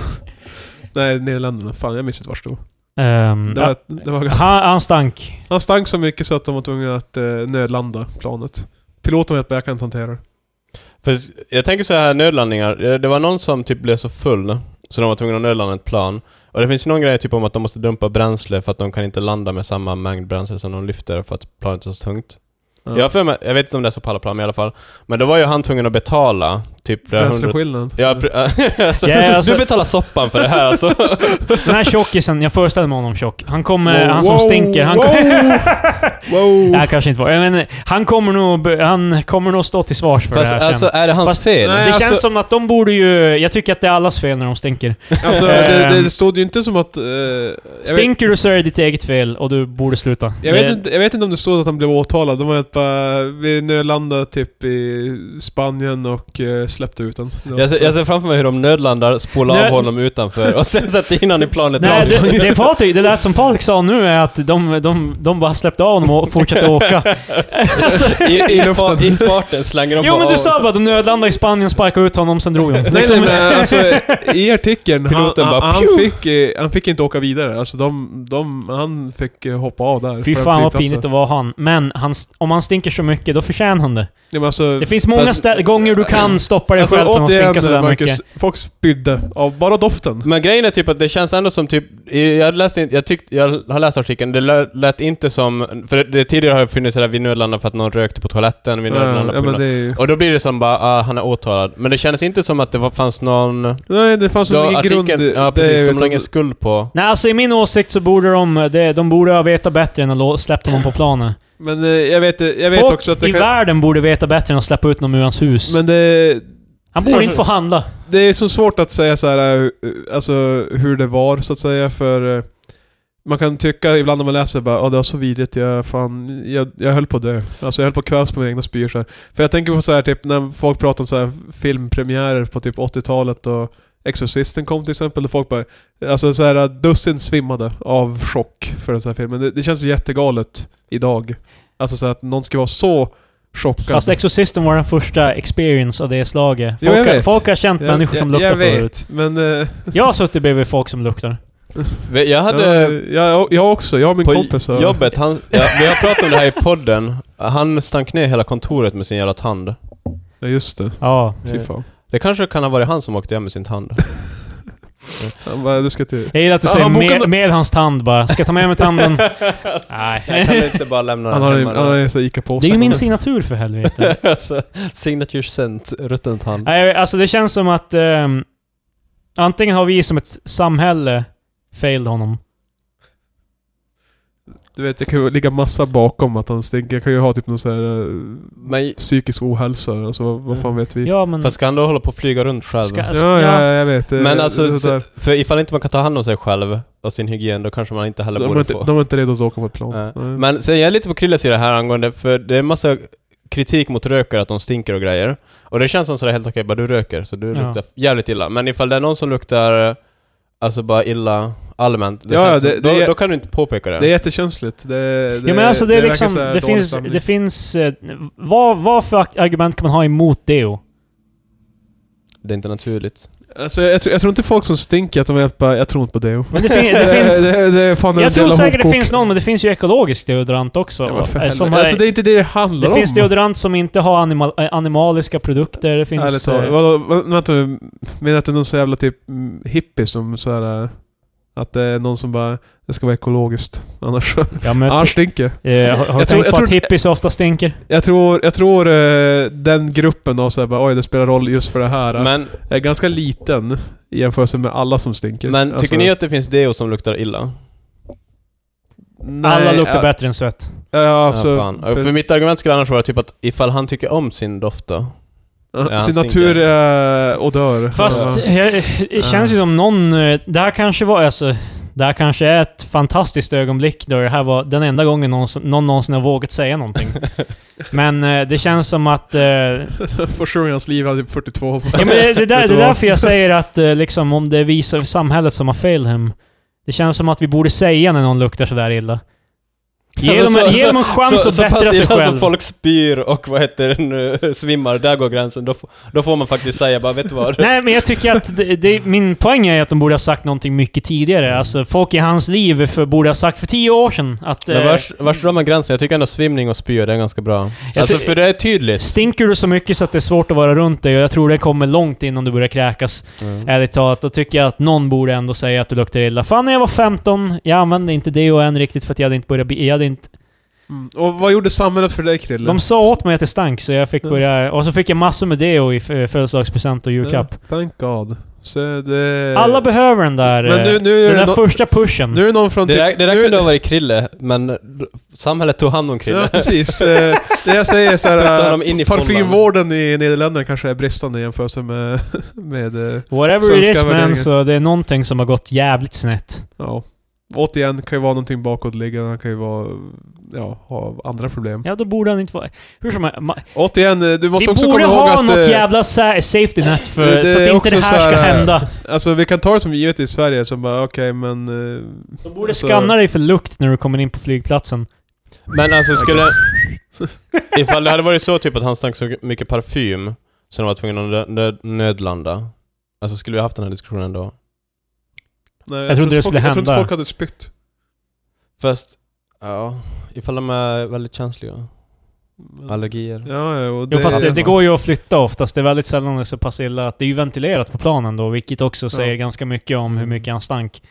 B: Nej, Nederländerna. Fan, jag minns inte vart det var.
A: ehm,
B: Det var, det var
A: han, han stank.
B: Han stank så mycket så att de var tvungna att eh, nödlanda planet. Piloten vet bara jag kan inte hantera det.
C: Fast jag tänker så här nödlandningar. Eh, Det var någon som typ blev så full så de var tvungna att nödlanda ett plan. Och det finns ju någon grej typ om att de måste dumpa bränsle för att de kan inte landa med samma mängd bränsle som de lyfter för att planet är så tungt.
B: Ja.
C: Jag, har för mig, jag vet inte om det är så på alla plan men i alla fall. Men då var ju han tvungen att betala typ... flera hundra-
B: Bränsleskillnaden.
C: Ja, pr- alltså,
A: Ja, alltså-
C: Du betalar soppan för det här alltså.
A: Den här tjockisen, jag föreställer mig honom tjock. Han kommer,
B: Wow,
A: eh, han som
B: wow,
A: stinker, han kommer...
B: Wow!
A: Nej, kanske inte var. Jag menar, han kommer nog, be- han kommer nog stå till svars för
C: Fast
A: det här
C: alltså,
A: sen.
C: är det hans
A: Fast-
C: fel?
A: Det
B: Nej.
A: känns
B: alltså-
A: som att de borde ju... Jag tycker att det är allas fel när de stinker.
B: Alltså, det, det, det stod ju inte som att... Eh, jag, vet,
A: Stinker du så är det ditt eget fel och du borde sluta.
B: jag, vet
A: Det-
B: inte, jag vet inte om det stod att han blev åtalad. De var helt bara... Vi nödlandade typ i Spanien och eh, släppte ut den. Det var
C: Jag ser,
B: så.
C: jag ser framför mig hur de nödlandar, spolar
A: Nö-
C: av honom utanför och sen sätter in honom i planet.
A: Nej,
C: Alltså,
A: det, det, är Patrik, det lät som Patrik sa nu är att de, de, de bara släppte av honom och fortsatte åka. alltså,
C: I, i, fa- I farten slänger de
A: jo
C: bara
A: men
C: av-
A: du sa bara att de nödlandade i Spanien, sparkade ut honom, sen drog de. Liksom-
B: Nej, nej, men alltså i artikeln, han,
C: Piloten
B: han,
C: bara,
B: han,
C: "Pju!"
B: fick, eh, han fick inte åka vidare. Alltså de, de, han fick eh, hoppa av där.
A: Fy
B: på den
A: fan vad
B: flygplatsen.
A: pinigt att vara han. Men han, om han stinker så mycket, då förtjänar han det.
B: Ja, men alltså,
A: Det finns många
C: Fast-
A: stä- gånger du kan stoppar dig själv från att stinka sådär
B: Marcus,
A: mycket.
B: folk spydde av bara doften.
C: Men grejen är typ att det känns ändå som typ, jag läste inte, jag tyckte, jag har läst artikeln, det lö- lät inte som, för det, det tidigare har det funnits sådär, vi nödlandade för att någon rökte på toaletten, vi nödlandade
B: ja,
C: på
B: men det
C: det...
B: är ju,
C: Och då blir det som bara, ah, han är åtalad. Men det kändes inte som att det var, fanns någon...
B: nej, det fanns
C: Då,
B: väl ingen
C: artikeln,
B: grund...
C: ja
B: det-
C: precis, de
B: utan-
C: la ingen skuld på.
A: Nej, alltså i min åsikt så borde de, det- de borde ha vetat bättre än att lå- släppt honom på planen.
B: Men eh, jag vet, jag vet
A: Folk
B: också att det
A: i
B: kan...
A: världen borde veta bättre än att släppa ut någon ur hans hus.
B: Men det,
A: han borde
B: alltså-
A: inte få handla.
B: det är så svårt att säga så här, eh, alltså hur det var så att säga för... eh, Man kan tycka ibland när man läser bara ja det var så vidrigt, jag fan, jag, jag höll på det. Alltså jag höll på att kvävas på mina egna spyor så här. För jag tänker på så här typ när folk pratar om så här filmpremiärer på typ 80-talet och Exorcisten kom till exempel, och folk bara... Alltså så här dussin svimmade av chock för den så här filmen. Det, det känns ju jättegalet idag. Alltså så här att någon ska vara så chockad.
A: Fast Exorcisten var den första experience av det slaget.
B: Jo, jag
A: Folk, har-
B: vet.
A: folk har känt människor som luktar
B: jag vet,
A: förut.
B: men... eh,
A: Jag har suttit bredvid folk som luktar.
C: Jag hade...
B: Ja, eh, jag, jag också, jag och min
C: På
B: kompis. har-
C: jobbet, han, ja, vi har pratat om det här i podden. Han stank ner hela kontoret med sin jävla tand.
B: Ja just det,
A: Ja.
B: fy fan.
C: Det kanske kan ha varit han som åkte hem med sin tand.
B: Han bara, du ska till...
A: Jag gillar att du
B: Ja,
A: säger
B: han bokade-
A: med, med hans tand bara. Ska jag ta med mig tanden? Nej.
C: Jag kan inte bara lämna
B: Han
C: den
B: har en,
C: hemma.
B: han har en sån här Ica-påse.
A: Det är ju min signatur för helvete.
C: alltså, signature sent, rutten tand.
A: Nej, alltså det känns som att ehm, antingen har vi som ett samhälle failed honom.
B: Du vet, jag kan ju ligga massa bakom att han stinker. Jag kan ju ha typ någon sån här eh,
C: Men,
B: psykisk ohälsa, alltså vad, vad fan vet vi?
A: Ja, alltså, men...
C: fast ska han då hålla på och flyga runt själv?
A: Ska-
B: ja, ja, jag vet. det-
C: Men
B: Eh, det är
C: alltså,
B: sådär.
C: för ifall inte man kan ta hand om sig själv och sin hygien, då kanske man inte heller
B: de, är
C: borde
B: inte,
C: få.
B: de är inte redo att åka på ett plan.
C: Nej.
B: Nej.
C: Men sen jag är lite på Krilles sida här angående, för det är en massa kritik mot rökare, att de stinker och grejer. Och det känns som sådär helt okej, bara du röker, så du
A: Ja.
C: luktar jävligt illa. Men ifall det är någon som luktar, alltså bara illa allmänt, det
B: Ja,
C: känns
B: ja,
C: som,
B: det-
C: då,
B: det-
C: då kan du inte påpeka det.
B: Det är jättekänsligt. Det, det,
A: ja men alltså det är
B: verkar
A: liksom,
B: så här
A: det
B: dålig
A: finns,
B: stämning.
A: det finns... eh, Vad, vad för argument kan man ha emot deo?
C: Det är inte naturligt.
B: Alltså, jag, tror- jag tror inte folk som stinker att de är bara, jag tror inte på deo.
A: Men det, fin, det finns...
B: det, det är fan en
A: Jag tror
B: jävla
A: säkert det
B: hopkok.
A: finns någon, men det finns ju ekologisk deodorant också.
B: Ja, men för
A: eh, som är-
B: helvete. alltså det är inte det det handlar
A: det
B: om.
A: finns deodorant som inte har animal, eh, animaliska produkter, det
B: Ärligt
A: finns...
B: talat.
A: eh,
B: Vadå, vad- vänta nu. Menar du att det är någon så jävla typ mm, hippie som så här... eh, Att det är någon som bara... Det ska vara ekologiskt. Annars,
A: Ja, men, jag
B: annars
A: t-
B: stinker
A: eh, har har du
B: jag tror-
A: tänkt
B: jag
A: på
B: tror-
A: att hippies ofta stinker?
B: Jag tror, jag tror eh, den gruppen av såhär bara oj det spelar roll just för det här. eh,
C: Men,
B: är ganska liten i jämförelse med alla som stinker.
C: men tycker
B: Alltså,
C: ni att det finns deo som luktar illa?
B: nej,
A: Alla luktar
B: ja,
A: bättre än svett.
B: Ja,
C: Alltså,
B: alltså,
C: ja, fan. Och För mitt argument skulle annars vara typ att ifall han tycker om sin doft då?
B: ja,
C: han
B: sin
C: stinker.
B: natur eh, och dör.
A: Fast
B: Ja.
A: eh, det känns ju som någon... eh, Det här kanske var... Alltså, det här kanske är ett fantastiskt ögonblick då det här var den enda gången någonsin, någon någonsin har vågat säga någonting. Men eh, det känns som att... Eh, ja,
B: Första gången i hans liv, han är typ 42.
A: men det, det, där, det är därför jag säger att eh, liksom, om det är vi som- samhället som har failed him. Det känns som att vi borde säga när någon luktar sådär illa. Ge
C: Alltså,
A: dem en,
C: så-
A: ge dem en chans
C: så,
A: att
C: så pass
A: bättra sig
C: illa
A: själv.
C: som folk spyr och vad heter det nu, svimmar, där går gränsen. Då, f- då får man faktiskt säga bara, vet du vad?
A: Nej, men jag tycker att det, det, min poäng är att de borde ha sagt någonting mycket tidigare. Alltså, folk i hans liv för, borde ha sagt för tio år sedan att...
C: Men
A: eh,
C: vars, vars drar man gränsen? Jag tycker ändå svimning och spyr, det är ganska bra.
A: Jag
C: Alltså
A: ty-
C: för det är tydligt.
A: Stinker du så mycket så att det är svårt att vara runt dig och jag tror det kommer långt innan du börjar kräkas.
B: Mm.
A: Ärligt talat, då tycker jag att någon borde ändå säga att du luktar illa. Fan, när jag var 15, jag använde inte det och än riktigt för att jag hade inte börjat... bi- Jag hade inte,
B: Mm. Och vad gjorde samhället för dig Krille?
A: de sa åt mig att det stank så jag
B: Mm.
A: fick börja... Och så fick jag massor med deo i f- födelsedagspresent och julklapp.
B: Ja, Eh, Thank God. Så det...
A: Alla behöver den där...
B: Mm. Men nu,
A: eh,
B: nu, är
A: den
B: det
A: där
B: nå-
A: första pushen.
B: nu är det någon från...
C: Det
B: typ-
C: där, det där
B: nu,
C: kunde ha varit Krille, men d- samhället tog hand om
B: Ja,
C: Krille.
B: precis. Eh, det jag säger är
C: Putta honom in
B: såhär...
C: i
B: Parfymvården i Nederländerna kanske är bristande i jämförelse med... med eh,
A: Whatever it
B: Svenska
A: is
B: värderingar.
A: men så det är någonting som har gått jävligt snett.
B: ja. Återigen, kan ju vara någonting bakåtliggande, kan ju vara... Ja, ha andra problem.
A: Ja, då borde han inte vara... Hur som helst, ma-
B: Återigen, eh, du
A: Vi
B: måste också
A: borde
B: komma ihåg
A: ha
B: att...
A: något
B: eh,
A: jävla sa- safety net för,
B: det- det
A: så
B: är
A: att inte
B: också
A: det här
B: så
A: ska
B: här,
A: hända.
B: Alltså vi kan ta det som givet i Sverige, som bara okej men... eh,
A: De borde
B: alltså-
A: skanna dig för lukt när du kommer in på flygplatsen.
C: Men alltså skulle... Ifall det hade varit så typ att han stank så mycket parfym, så de var tvungna att nö- nö- nödlanda. Alltså skulle vi haft den här diskussionen då?
B: Nej,
A: Jag tror inte det
B: folk-
A: skulle
B: Jag tror inte
A: hända.
B: folk hade spytt.
C: Fast, ja, ifall de är väldigt känsliga.
B: Men-
C: Allergier.
B: Ja, ja, och det, alltså,
A: Jo, fast
B: är-
A: det, det går ju att flytta oftast. Det är väldigt sällan det är så pass illa att det är ju ventilerat på planen då, vilket också säger ganska mycket om hur mycket han stank.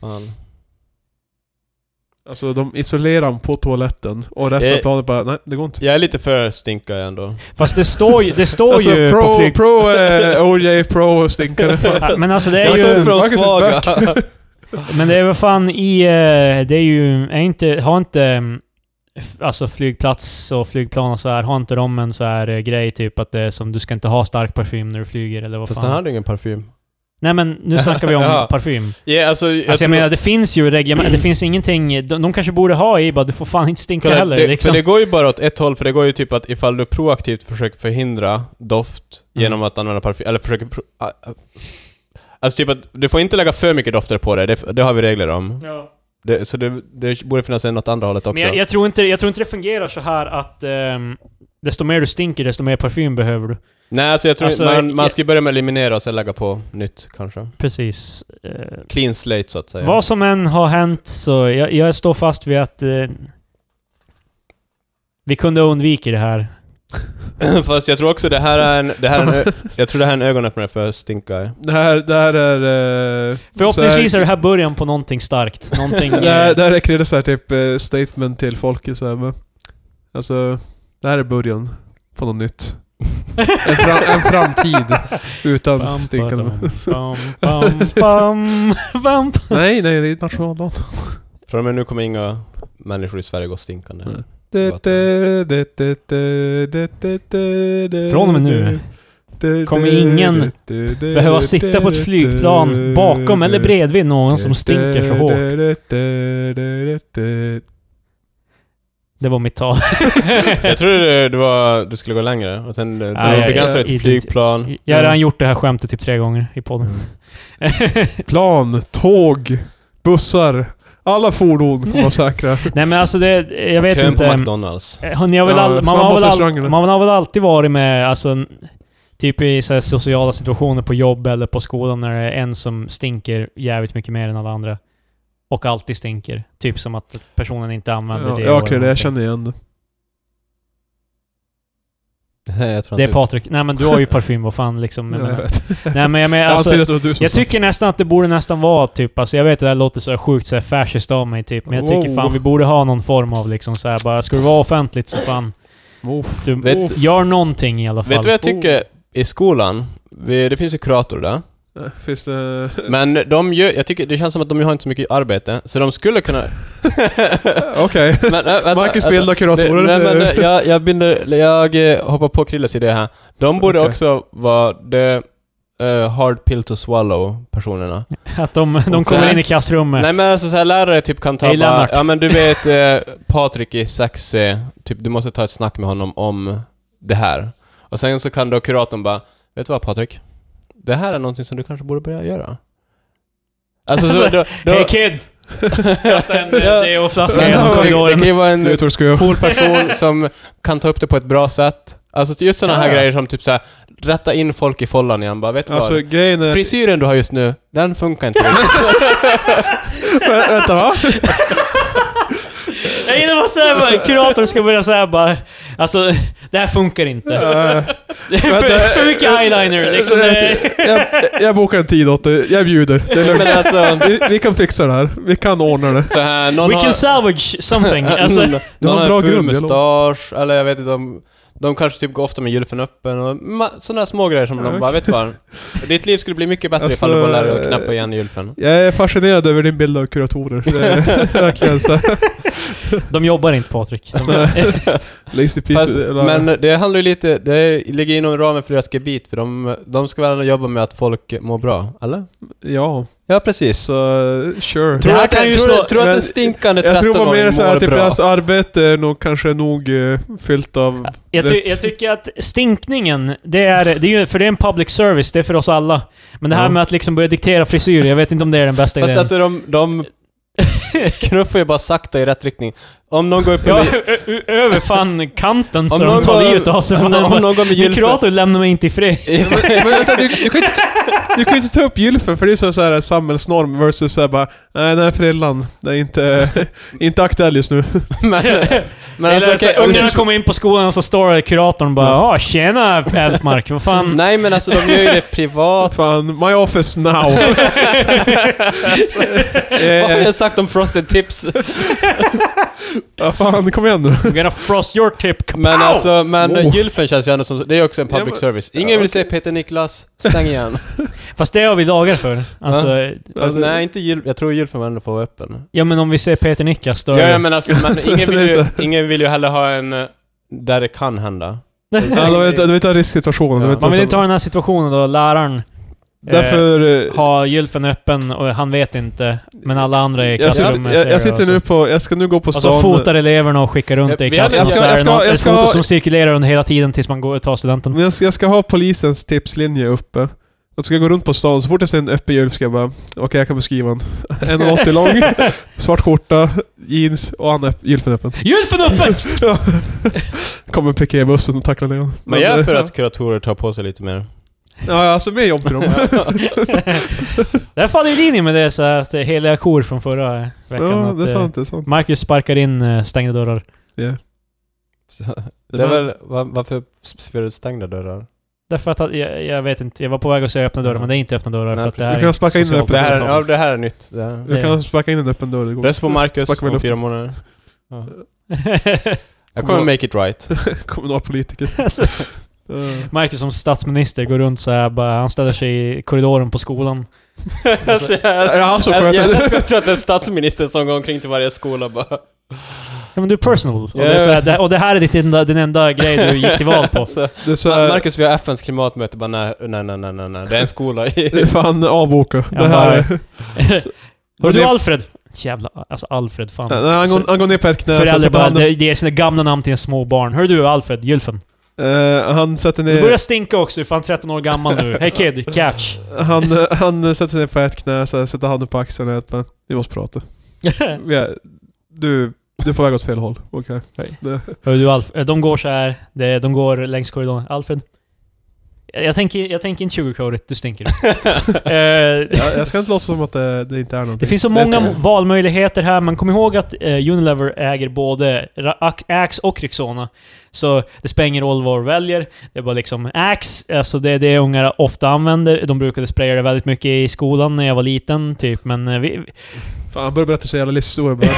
C: Fan.
B: Alltså de isolerar han på toaletten och resten av
C: Eh.
B: planet bara, nej det går inte.
C: Jag är lite för stinka ändå.
A: Fast det står ju, det står
B: Alltså
A: ju på
B: pro,
A: flyg...
B: pro eh, OJ, pro stinkare.
A: Ja, Men alltså det
B: Jag
A: är
B: står
A: ju...
B: för Marcus
C: svaga.
A: Men det är väl fan i... eh, Det är ju... Är inte, har inte... mm, f- Alltså flygplats och flygplan och så här, har inte de en så här eh, grej typ att det är som du ska inte ha stark parfym när du flyger eller vad
C: Fast han
A: fan?
C: hade ju ingen parfym.
A: Nej men nu snackar vi om
C: Ja.
A: parfym.
C: Ja, alltså... Jag,
A: Alltså jag
C: tror-
A: menar, det finns ju reglement, det finns ingenting... De, de kanske borde ha i bara, du får fan inte stinka
C: Kolla,
A: heller.
C: det,
A: liksom.
C: För det går ju bara åt ett håll, för det går ju typ att ifall du proaktivt försöker förhindra doft
A: Mm.
C: genom att använda parfym, eller försöker... Pro- a- a- alltså typ att du får inte lägga för mycket dofter på dig, det, det har vi regler om. Det, så det, det borde finnas en åt andra hållet också.
A: Men jag, jag, tror inte, jag tror inte det fungerar så här att ehm, desto mer du stinker, desto mer parfym behöver du.
C: Nej, alltså jag tror
A: Alltså,
C: man, man
A: jag-
C: ska ju börja med att eliminera och sen lägga på nytt kanske.
A: Precis. Eh,
C: Clean slate så att säga.
A: Vad som än har hänt så, jag, jag står fast vid att eh, vi kunde undvika det här.
C: Fast jag tror också det här är en... Det här är en ö- jag tror det här är en ögonöppnare för stinkare.
B: Det här, det här är... eh,
A: Förhoppningsvis
B: så
A: är
B: här-
A: det här början på någonting starkt. Någonting...
B: Det här,
A: eh,
B: det här räcker det så här typ eh, statement till folk i så här, men, Alltså, det här är början på något nytt. En, fram, en framtid utan stinkande...
A: Bam, bam, bam, bam.
B: Nej, nej, det är ju nationaldagen.
C: Från och med nu kommer inga människor i Sverige gå stinkande.
A: Mm.
B: Nej. Från
A: Från och med nu kommer ingen behöva sitta på ett flygplan bakom eller bredvid någon som stinker så hårt.
B: hårt.
A: Det var mitt tal.
C: Jag trodde det, det var, du skulle gå längre. Och sen, du
A: Nej, jag-
C: begränsade dig till
A: jag-
C: flygplan.
A: Jag har redan gjort det här skämtet typ tre gånger i podden.
B: Mm. Plan, tåg, bussar. Alla fordon får vara säkra.
A: Nej men alltså det, jag vet
C: Kön på
A: inte.
C: McDonalds.
A: Eh, Hörni, jag har väl
B: Ja,
A: all, man, har väl all,
B: snabbmatsrestaurangerna.
A: man har väl alltid varit med, alltså, n- typ i så här sociala situationer på jobb eller på skolan när det är en som stinker jävligt mycket mer än alla andra. Och alltid stinker. Typ som att personen inte använder
B: Ja,
A: det. alltså.
B: ja,
A: eller
B: okej, det jag
A: någonting.
B: känner igen det.
C: Nej, jag tror
A: Det är
C: inte-
A: Patrik. Nej men du har ju parfym, vad fan liksom. Jag
B: Ja, jag
A: menar.
B: vet.
A: Nej men jag menar
B: Jag
A: alltså...
B: antyder att det var du som
A: Jag
B: sa.
A: tycker nästan att det borde nästan vara typ, alltså jag vet att det här låter så här sjukt så här fascist av mig typ, men jag tycker
B: Wow.
A: fan vi borde ha någon form av liksom så här bara, ska det vara offentligt så fan,
B: Oh,
A: du
C: Vet-
A: gör någonting i alla fall.
C: Vet du vad jag tycker? I skolan, vi, det finns ju kurator där.
B: eh, Finns det...
C: Men de gör, jag tycker, det känns som att de har inte så mycket arbete, så de skulle kunna...
B: Okej.
C: Men, äh, vänta,
B: Marcus
C: vänta.
B: bildar kuratorer.
C: Det, nej, men, eh, jag, jag, binder, jag eh, hoppar på Krilles idé här. De borde
B: Okej.
C: också vara the eh, hard pill to swallow-personerna.
A: Att de, de
C: Och så
A: kommer
C: här-
A: in i klassrummet.
C: Nej men alltså så här, lärare typ kan ta
A: Hej,
C: bara,
A: Lennart.
C: ja men du vet eh, Patrik är sexig, typ du måste ta ett snack med honom om det här. Och sen så kan då kuratorn bara, vet du vad Patrik? Det här är någonting som du kanske borde börja göra. Alltså så, då, då,
A: Hey kid! Kasta en eh,
C: Ja.
A: DO-flaska
C: Men
A: genom
C: alltså, det, det
A: korridoren.
C: kan ju vara en
B: Jag tror du ska göra...
C: cool person som kan ta upp det på ett bra sätt. Alltså just sådana här
B: Ja.
C: grejer som typ så här, rätta in folk i follan igen bara, vet du
B: Alltså
C: vad?
B: grejen är...
C: Frisyren du har just nu, den funkar inte riktigt.
B: Vä- Vänta va?
A: Jag gillar bara såhär bara, kuratorn ska börja såhär bara, alltså det här funkar inte.
B: Eh,
A: Det är för,
B: vänta. Eh,
A: för mycket eyeliner liksom. Det,
B: jag, jag bokar en tid åt dig. Jag bjuder. Det är lugnt.
C: Men alltså,
B: Vi, vi kan fixa det här. Vi kan ordna det.
C: så här, någon
A: we
C: har... Mm.
A: can salvage something. Alltså,
C: någon
B: har en
C: har
B: bra
C: en ful
B: grund, jag
C: mustasch, eller jag vet inte om... De kanske typ går ofta med gylfen öppen och ma- sådana små grejer som
B: Ja,
C: de bara, vet du vad? Ditt liv skulle bli mycket bättre
B: Alltså,
C: ifall du bara lärde dig att knäppa igen gylfen.
B: Jag är fascinerad över din bild av kuratorer. Det är verkligen så. här.
A: de jobbar inte Patrik. De,
B: Lazy
C: Fast,
B: pieces. eller-
C: men det handlar ju lite, det ligger inom ramen för deras gebit, för de, de ska väl jobba med att folk mår bra, eller?
B: Ja,
C: Ja, precis.
B: så eh, sure.
A: Det
C: Tror
A: här
C: du att,
A: kan ju
C: tror,
A: slå-
C: du- tror du att
B: men
C: en stinkande
B: Jag tror bara
C: 13-åring
B: mer
C: mår
B: så här, typ
C: bra?
B: deras arbete är nog kanske nog eh, fyllt av...
A: Jag, ty
B: Rätt.
A: jag tycker att stinkningen, det är, det är ju, för det är en public service, det är för oss alla. Men det här
B: Ja.
A: med att liksom börja diktera frisyr, jag vet inte om det är den bästa
C: Fast
A: idén.
C: alltså de, de knuffar ju bara sakta i rätt riktning. Om någon går upp
A: Ja,
C: med...
A: ö- ö- över fan kanten
C: Om
A: så de
C: någon
A: tar
C: går-
A: livet av sig.
C: om,
A: Från den.
C: om någon går med gylfen...
A: Mikrator lämnar mig inte i fred.
B: Men vänta, du, du, kan ju inte, du kan ju inte ta upp gylfen för det är så, så här samhällsnorm versus så här bara Nej, den här frillan, den är inte, inte aktuell just nu.
C: men, men alltså,
A: Eller
C: okej,
A: så
C: om
A: ungarna
C: du-
A: kommer in på skolan så står kuratorn bara ja tjena Elfmark, vad fan?”
C: Nej men alltså de gör ju det privat.
B: Fan, my office now.
C: Vad har
B: eh,
C: jag sagt om frosted tips?
B: ja, fan, kom igen nu.
A: I'm gonna frost your tip, kapow!
C: Men alltså, men
B: Oh.
C: gylfen känns ju ändå som... Det är ju också en public
B: Ja, men-
C: service. Ingen
B: ja,
C: vill se Peter Niklas, stäng igen.
A: Fast det har vi lagar för. Alltså,
C: Fast nej, inte gylf... Jag tror gylfen var ändå få vara öppen.
A: ja men om vi ser Peter Nickas då...
C: Ja, ja men alltså, men ingen,
B: Det är
C: vill ju,
B: så.
C: ingen vill ju heller ha en... eh, Där det kan hända.
B: Ja, det var inte- det var inte en risksituation. det var inte
A: Man vill
B: så-
A: inte ha den här situationen då läraren
B: Därför... eh,
A: har gylfen öppen och han vet inte, men alla andra i
B: Jag sitter,
A: klassrummet alltså.
B: jag, jag sitter nu på... Jag ska nu gå på
A: Och så
B: stan.
A: fotar eleverna och skickar runt det i
C: Vi hade-
A: klassen.
C: jag
A: och så
C: ska-
A: är
B: jag
A: det
B: ska-
A: något-
B: jag
A: ett
B: ska-
A: foto som cirkulerar under hela tiden tills man går, tar studenten.
B: Men jag ska, jag ska ha polisens tipslinje uppe. Och ska jag gå runt på stan, så fort jag ser en öppen gylf ska jag bara... Okej, jag kan beskriva en. 1,80 lång, svart skjorta, jeans och han är öpp- gylfen öppen.
A: Gylfen öppen!
B: Ja. Kommer piketbussen och tacklar ner honom.
C: Men jag är
B: eh,
C: för att kuratorer tar på sig lite mer.
B: Ja, alltså mer jobb till dem.
A: det här faller i linje med det så här, att det är heliga kor från förra veckan.
B: ja,
A: att,
B: det är
A: eh,
B: sant. Det är sant.
A: Marcus sparkar in eh, stängda dörrar.
C: Så- Det är väl... va- Varför ser du stängda dörrar?
A: Därför att jag, jag vet inte, jag var på väg att säga öppna dörrar, men det är inte öppna dörrar
C: Nej,
A: för att det
C: precis.
A: här
B: Du kan
A: är
B: sparka in en
A: socialt.
B: öppen
C: Det här,
B: tavla.
C: ja, det här är nytt. Det här.
B: Jag kan sparka in en öppen dörr. det går.
C: Röst på Marcus
B: Sparka med
C: om fyra
B: luften.
C: månader. Jag kommer make it right.
B: Kommunalpolitiker.
A: Alltså,
B: Eh,
A: Marcus som statsminister går runt så här, bara, han ställer sig i korridoren på skolan.
C: Alltså, jag-
B: Är det han som
C: jag-
B: sköter det?
C: jag- Jag tror att det är statsministern som går omkring till varje skola och bara...
A: Ja men du är personal. Och,
C: Ja,
A: det, är så här,
C: jag
A: det, och det här är ditt enda, din enda grej du gick till val på.
C: Alltså,
B: Det är så
C: Ma-
B: här,
C: Marcus, vi har FNs klimatmöte. Bara nej, nej, nej, nej, nej, nej. Det är en skola
B: det
C: i...
B: är fan avboka.
A: Ja,
B: Det här är...
A: Hör du
B: det-
A: Alfred? Jävla, alltså Alfred, fan.
B: Nej, han, går, han går ner på ett knä, sen
A: Föräldrar
B: eh, sätter
A: bara
B: han...
A: de- ger sina gamla namn till en små barn. Hör du Alfred, Gylfen.
B: eh, han sätter
A: Du börjar
B: ner...
A: stinka också, du är fan 13 år gammal nu. Hej kid, catch.
B: Han, eh, han sätter sig ner på ett knä, så här, sätter handen på axeln och ett bara, Vi måste prata. Vi är, du, du är på väg åt fel håll. Okej. Det-
A: Hör du Alfred, de går så här. det- de går längs korridoren. Alfred? Jag jag tänker, jag tänker inte 20 du stinker. Eh,
B: Jag, jag ska inte låtsas som att det, det inte är någonting.
A: Det finns så
B: Det är
A: många
B: inte-
A: valmöjligheter här, men kom ihåg att eh, Unilever äger både Ra- Ac- Axe och Rexona. Så det spelar ingen roll vad du väljer. Det är bara liksom Axe, alltså det är det ungar ofta använder. De brukade spraya det väldigt mycket i skolan när jag var liten, typ. Men eh, vi...
B: Fan, han börjar berätta så jävla livshistorier bara.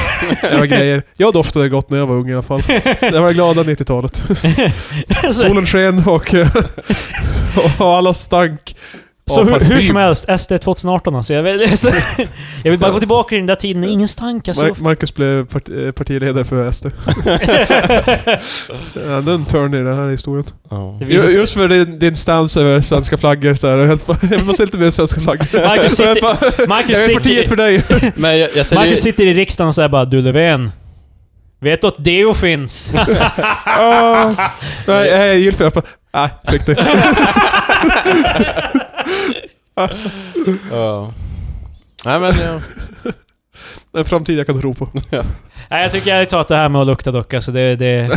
B: Jävla grejer. Jag doftade gott när jag var ung i alla fall. Det var det glada 90-talet.
A: så,
B: Solen sken och, och alla stank.
A: så
B: av
A: hur, hur
B: parfym.
A: som helst, SD 2018 alltså. Jag vill, så, jag vill bara gå tillbaka till den där tiden, ingen stank alltså.
B: Mar- Marcus blev part- eh, partiledare för SD. Ja, Det är en turn i den här historien.
C: Ja.
A: Det visar
B: Ju-
A: sig-
B: Just för din, din stans över svenska flaggor så här. Jag helt bara, Jag måste inte med svenska flaggor.
A: Marcus
B: Jag helt
A: sitter-
B: bara,
A: Marcus
B: Jag är
A: sitter-
B: partiet för dig.
C: Men jag, jag säger ju-
A: Marcus sitter i riksdagen och säger bara Du Löfven, vet du att Deo finns?
B: Ah. Nej, jag är gylfen. Jag bara, nej, fick det.
C: Ja. Nej men... Ja.
B: En framtid jag kan tro på.
A: Nej, jag tycker jag tar att det här med att lukta dock, alltså det... det...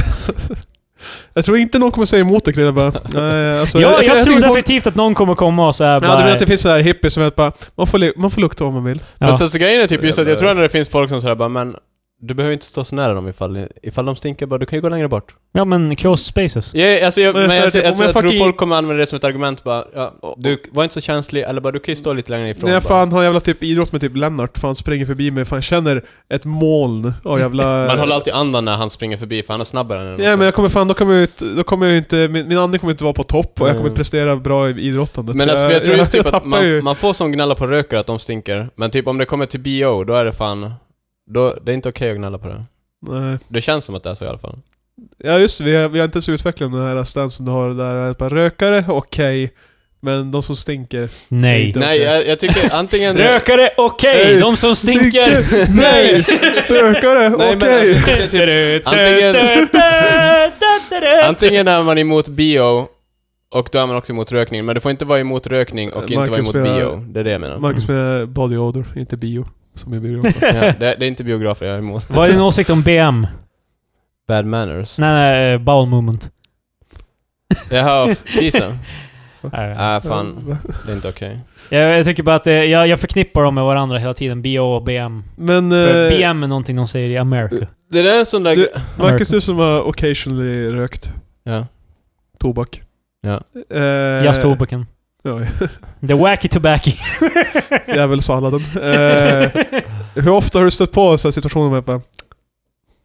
B: Jag tror inte någon kommer säga emot det Krille bara. Nej, alltså,
A: ja, jag,
B: jag
A: tror
B: tycker folk-
A: definitivt att någon kommer komma och säga
B: Ja, du typ- menar att det finns så här hippies som är bara, man får, li- man får lukta om man vill.
A: Ja.
C: Fast alltså, grejen är typ just att jag tror ändå det finns folk som säger bara men... Du behöver inte stå så nära dem ifall, ifall de stinker bara, du kan ju gå längre bort.
A: Ja, men closed spaces.
C: Ja, alltså, jag,
B: Men
C: men,
B: så är
C: jag,
B: det
C: alltså,
B: typ, om
C: alltså,
B: jag
C: jag tror
B: fucking-
C: folk kommer använda det som ett argument bara, ja, du var inte så känslig, eller bara du kan ju stå lite längre ifrån.
B: När jag
C: bara.
B: fan har jävla typ idrott med typ Lennart, fan springer förbi mig, fan känner ett moln av jävla...
C: Man håller alltid andan när han springer förbi för han är snabbare än en.
B: Ja men jag kommer fan, då kommer jag ut, då kommer jag inte, min, min andning kommer inte vara på topp och jag kommer
C: Mm.
B: inte prestera bra i idrottandet.
C: Men alltså, för jag tror just typ att
B: tappar
C: man,
B: ju.
C: man får som gnälla på rökare att de stinker, men typ om det kommer till BO, då är det fan... Då, det är inte okej att gnälla på det.
B: Nej.
C: Det känns som att det är så i alla fall.
B: Ja just det, vi har, vi har inte ens utvecklat den här stansen du har där, bara, rökare, okej. Men de som stinker,
A: Nej.
B: Det är
C: Nej,
B: okej.
C: jag, jag tycker antingen...
A: Rökare, okej!
B: Nej.
A: De som stinker!
B: nej! Rökare,
C: Nej,
B: okej!
C: men alltså, det är typ, Antingen- antingen är man emot bio, och då är man också emot rökning, men du får inte vara emot rökning och inte
B: Marcus
C: vara emot
B: spelar-
C: bio. Det är det jag menar.
B: Marcus med body odor, inte bio. Som är bio.
C: Ja, det, det är inte biografer jag är emot.
A: Vad är din åsikt om BM?
C: Bad manners.
A: Nej, nej, eh, bowel movement.
C: Jaha, fisen?
A: Nej, nej.
C: Nej, fan. Det är inte okej.
A: Jag, jag tycker bara att det, jag, jag förknippar dem med varandra hela tiden. BO och BM.
B: Men...
A: För
B: Eh,
A: BM är någonting de säger i America.
C: Det där är en sån där...
B: Du- Marcus,
A: American.
B: du som har occasionally rökt
C: Ja.
B: tobak.
C: Ja.
B: Eh,
A: Just tobaken.
B: Ja,
A: The wacky tobacco.
B: Djävulsalladen. Eh, hur ofta har du stött på så här situationer med bara,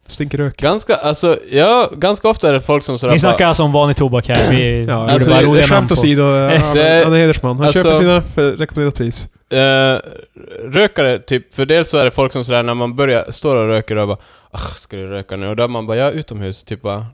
B: stinker rök?
C: Ganska, alltså, ja, ganska ofta är det folk som sådär
A: Vi snackar alltså om vanlig tobak här. Vi
B: Ja,
A: gjorde
C: alltså,
A: bara roliga namn
B: skämt
A: på oss.
B: åsido, eh, han,
C: Det-
B: han är hedersman. Han
C: alltså-
B: köper sina för rekommenderat pris.
C: Eh, rökare, typ, för dels så är det folk som sådär när man börjar, står och röker och bara Ach, ska du röka nu? Och då är man bara, ja, utomhus, typ bara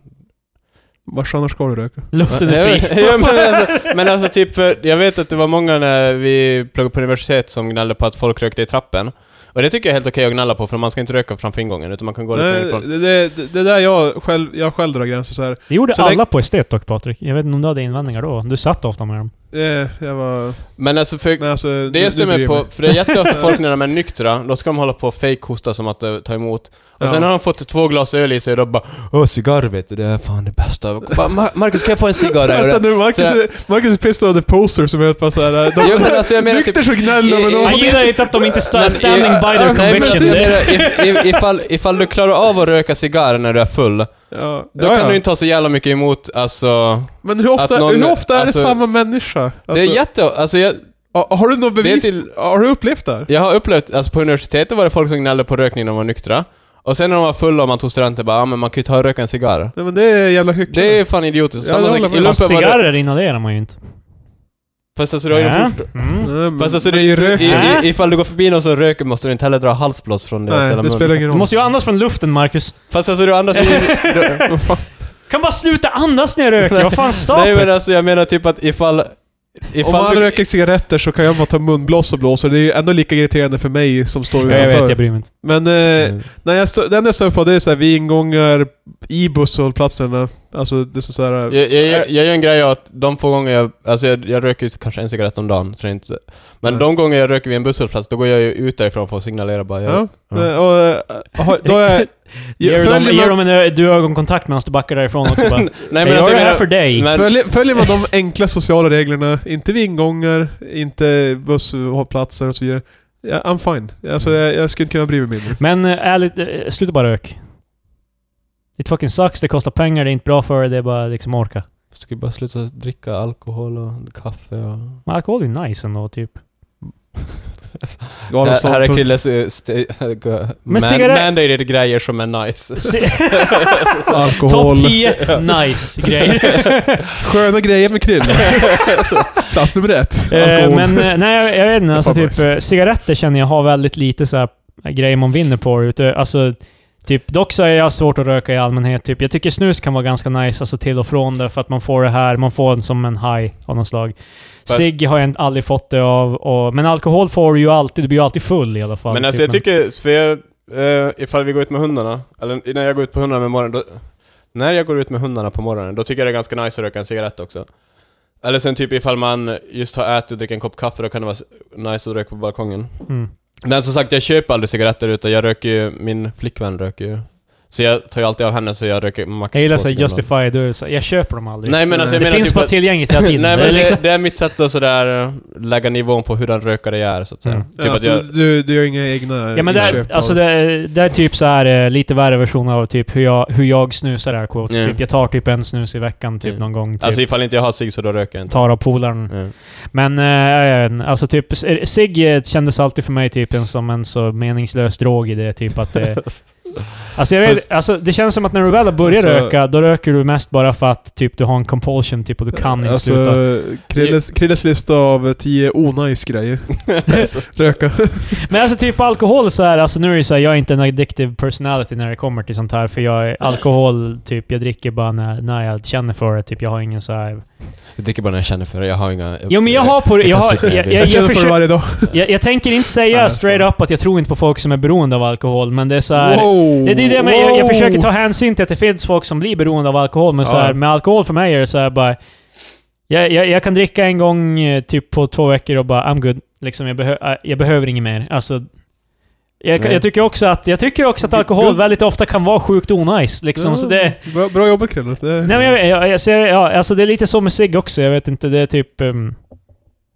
B: Vars annars ska du röka?
A: Luften är fri.
C: ja, men, alltså, men alltså typ, för jag vet att det var många när vi pluggade på universitet som gnällde på att folk rökte i trappen. Och det tycker jag är helt okej att gnälla på, för man ska inte röka framför ingången, utan man kan gå lite
B: Nej,
C: längre ifrån.
B: det, det, det, det där jag själv, jag själv drar gränser så här.
A: Det gjorde
B: Så det-
A: alla på estet dock Patrik. Jag vet inte om du hade invändningar då? Du satt ofta med dem.
B: Eh, jag var...
C: Men alltså, för,
B: Men alltså, nu-
C: det
B: nu
C: jag
B: bryr
C: stämmer
B: jag
C: på,
B: mig.
C: för det är jätteofta folk när de är nyktra, då ska de hålla på och fake-hosta som att eh, ta emot. Och sen
B: Ja.
C: har de fått två glas öl i sig och då bara Åh, cigarr vet du, det är fan det bästa. Och Bara, "Ma- Marcus, kan jag få en cigarr? här?" Och
B: Vänta
C: det-
B: nu, Marcus,
C: så här-
B: är- Marcus är pissed av the poster som är bara såhär... De,
C: Jo, men alltså, jag menar typ-
B: nykter så gnäller
C: I-
B: de,
C: i-
B: men
A: Jag
B: de...
A: gillar inte att de inte står
C: Men-
A: standing by their
C: Nej, men
A: conviction.
C: precis.
A: Det-
C: If- if- ifall, ifall du klarar av att röka cigarr när du är full,
B: Ja,
C: då
B: ja,
C: kan
B: ja.
C: du inte ha så jävla mycket emot, alltså...
B: Men hur ofta,
C: att någon-
B: hur ofta är
C: alltså-
B: det samma människa? Alltså,
C: det är jätte... Alltså jag,
B: har- har du något bevis?
C: Det är till-
B: har du upplevt det här?
C: jag har upplevt, alltså på universitetet var det folk som gnällde på rökning när de var nyktra. Och sen när de var fulla och man tog studenter bara, ah, men man kan ju ta och röka en cigarr.
B: Nej men det är jävla hyckleri.
C: Det är fan idiotiskt.
B: Ja,
C: Samma
B: jag
C: sak, i
B: håller med.
C: lumpen
A: Fast
C: var det-
A: cigarrer inhalerar man ju inte.
C: Fast alltså du har ju
A: Ja.
C: inte
A: Mm.
B: Nej, men-
C: Fast alltså det,
B: men
C: i,
B: rök-
C: i, i, ifall du går förbi någon som röker måste du inte heller dra halsblås från deras
B: Äh? Nej,
C: jävla
B: det
C: mun.
B: spelar ingen
A: Du
B: roll.
A: måste ju andas från luften Marcus.
C: Fast alltså du andas ju... du-
B: Vad fan?
A: Kan bara sluta andas när jag röker. Vad fan
C: Nej men
A: stoppet?
C: alltså jag menar typ att ifall... ifall
B: Om man
C: du,
B: röker cigaretter så kan jag bara ta munblås och blåsa. Det är ju ändå lika irriterande för mig som står
A: Jag
B: utanför.
A: vet, jag bryr mig inte.
B: Men eh,
C: Mm.
B: när jag stå, den jag stör på det är så här, vid ingångar i busshållplatserna. Alltså det är så här...
C: Jag, jag, jag, jag gör en grej av att de få gånger jag... Alltså jag, jag röker ju kanske en cigarett om dagen, så det är inte... Men
B: Nej.
C: de gånger jag röker vid en busshållplats, då går jag ju ut därifrån för att signalera bara... Jag,
B: Ja. eh, Och, eh, har- då är,
A: Ger du dem-
B: följer,
A: ger
B: man,
A: dem en ö- du ögonkontakt medan du backar därifrån också bara.
C: Nej
A: jag gör
C: alltså,
A: det här
C: menar-
A: för dig.
C: Men,
B: följer, följer man de enkla sociala reglerna, inte vid ingångar, inte busshållplatser och så vidare. Ja, I'm fine. Alltså,
C: Mm.
B: jag, jag skulle inte kunna bry mig mindre.
A: Men eh, ärligt, eh, sluta bara rök. It fucking sucks, det kostar pengar, det är inte bra för dig, det är bara liksom orka.
C: Jag ska ju bara sluta dricka alkohol och kaffe och...
A: Men alkohol är ju nice ändå, typ.
B: Galen
C: Här, här är
B: ståndpunkt.
C: Krilles... eh, sta- man,
A: cigarett-
C: mandated grejer som är nice.
A: Se-
B: Alkohol.
A: Topp 10 nice grejer.
B: Sköna grejer med krill. Plats nummer ett.
A: Eh,
B: Alkohol.
A: men eh, nej, jag, jag vet inte. Alltså, typ,
B: fan nice.
A: eh, cigaretter känner jag har väldigt lite så här eh, grejer man vinner på. Ute. Alltså, typ, dock så är jag svårt att röka i allmänhet. Typ. Jag tycker snus kan vara ganska nice, alltså till och från det, för att man får det här, man får en som en high av något slag.
C: Fast-
A: Cigg har jag inte- aldrig fått det av, och, men alkohol får du ju alltid, du blir ju alltid full i alla fall. typ,
C: Men alltså jag tycker, för jag, eh, ifall vi går ut med hundarna, eller när jag går ut på hundarna med morgonen, då, när jag går ut med hundarna på morgonen, då tycker jag det är ganska nice att röka en cigarett också. Eller sen typ ifall man just har ätit och dricker en kopp kaffe, då kan det vara nice att röka på balkongen.
A: Mm.
C: Men som sagt, jag köper aldrig cigaretter utan jag röker ju, min flickvän röker ju. Så jag tar ju alltid av henne så jag röker max
A: Jag gillar
C: två
A: såhär
C: ciggar om dagen.
A: Justify, du, är så här, jag köper dem aldrig.
C: Nej men alltså jag
A: det
C: menar
A: finns
C: typ
A: bara
C: att-
A: tillgängligt hela
C: Nej
A: tiden.
C: men
A: det är liksom,
C: det, det är mitt sätt att sådär eh, lägga nivån på hur den rökare jag är så att säga.
A: Mm.
C: Typ
B: Ja,
C: att
B: alltså,
C: jag,
B: du, du gör inga egna
A: Ja men det är,
B: Eh, inköp av-
A: alltså det, är, det är typ så här eh, lite värre version av typ hur jag, hur jag snusar är quotes.
C: Mm.
A: Typ, jag tar typ en snus i veckan typ
C: Mm.
A: någon gång. Typ.
C: alltså ifall inte jag har cigg så då röker jag inte.
A: tar av polaren.
C: Mm.
A: Men eh, jag vet inte. alltså typ cigg eh, kändes alltid för mig typ en, som en så meningslös drog i det. Typ att
C: eh,
A: det, alltså, jag vet,
C: Fast-
A: alltså det känns som att när du väl börjar
B: Alltså-
A: röka, då röker du mest bara för att typ du har en compulsion typ och du kan inte sluta.
B: Alltså, Krilles, Krilles lista av tio onajs grejer. Röka.
A: Men alltså typ alkohol så här, alltså nu är det så här, jag är inte en addictive personality när det kommer till sånt här. För jag är alkohol, typ jag dricker bara när, när jag känner för det. Typ jag har ingen så här...
C: Jag dricker bara när jag känner för det, jag har inga...
A: Jo men jag har på det, jag, har, jag, jag, jag,
B: Jag känner för det
A: försöker,
B: varje dag.
A: jag, jag tänker inte
C: Nej,
A: säga
C: jag
A: straight up att jag tror inte på folk som är beroende av alkohol, men det är så här...
B: Wow!
A: Det, det är det med, jag, jag
B: Wow!
A: försöker ta hänsyn till att det finns folk som blir beroende av alkohol, men så
B: Ja.
A: här, med alkohol för mig är det så här bara... Jag, jag, jag kan dricka en gång eh, typ på två veckor och bara I'm good. Liksom, jag, behö, eh, jag behöver inget mer. Alltså, Jag, kan-
C: Nej.
A: jag, tycker också att, jag tycker också att alkohol väldigt ofta kan vara sjukt onice. Liksom. Så det,
B: Bra, bra jobbat Chrille. Det...
A: nej, men jag, jag, jag, ser- ja, alltså det är lite så med cigg också. Jag vet inte, det är typ... ehm,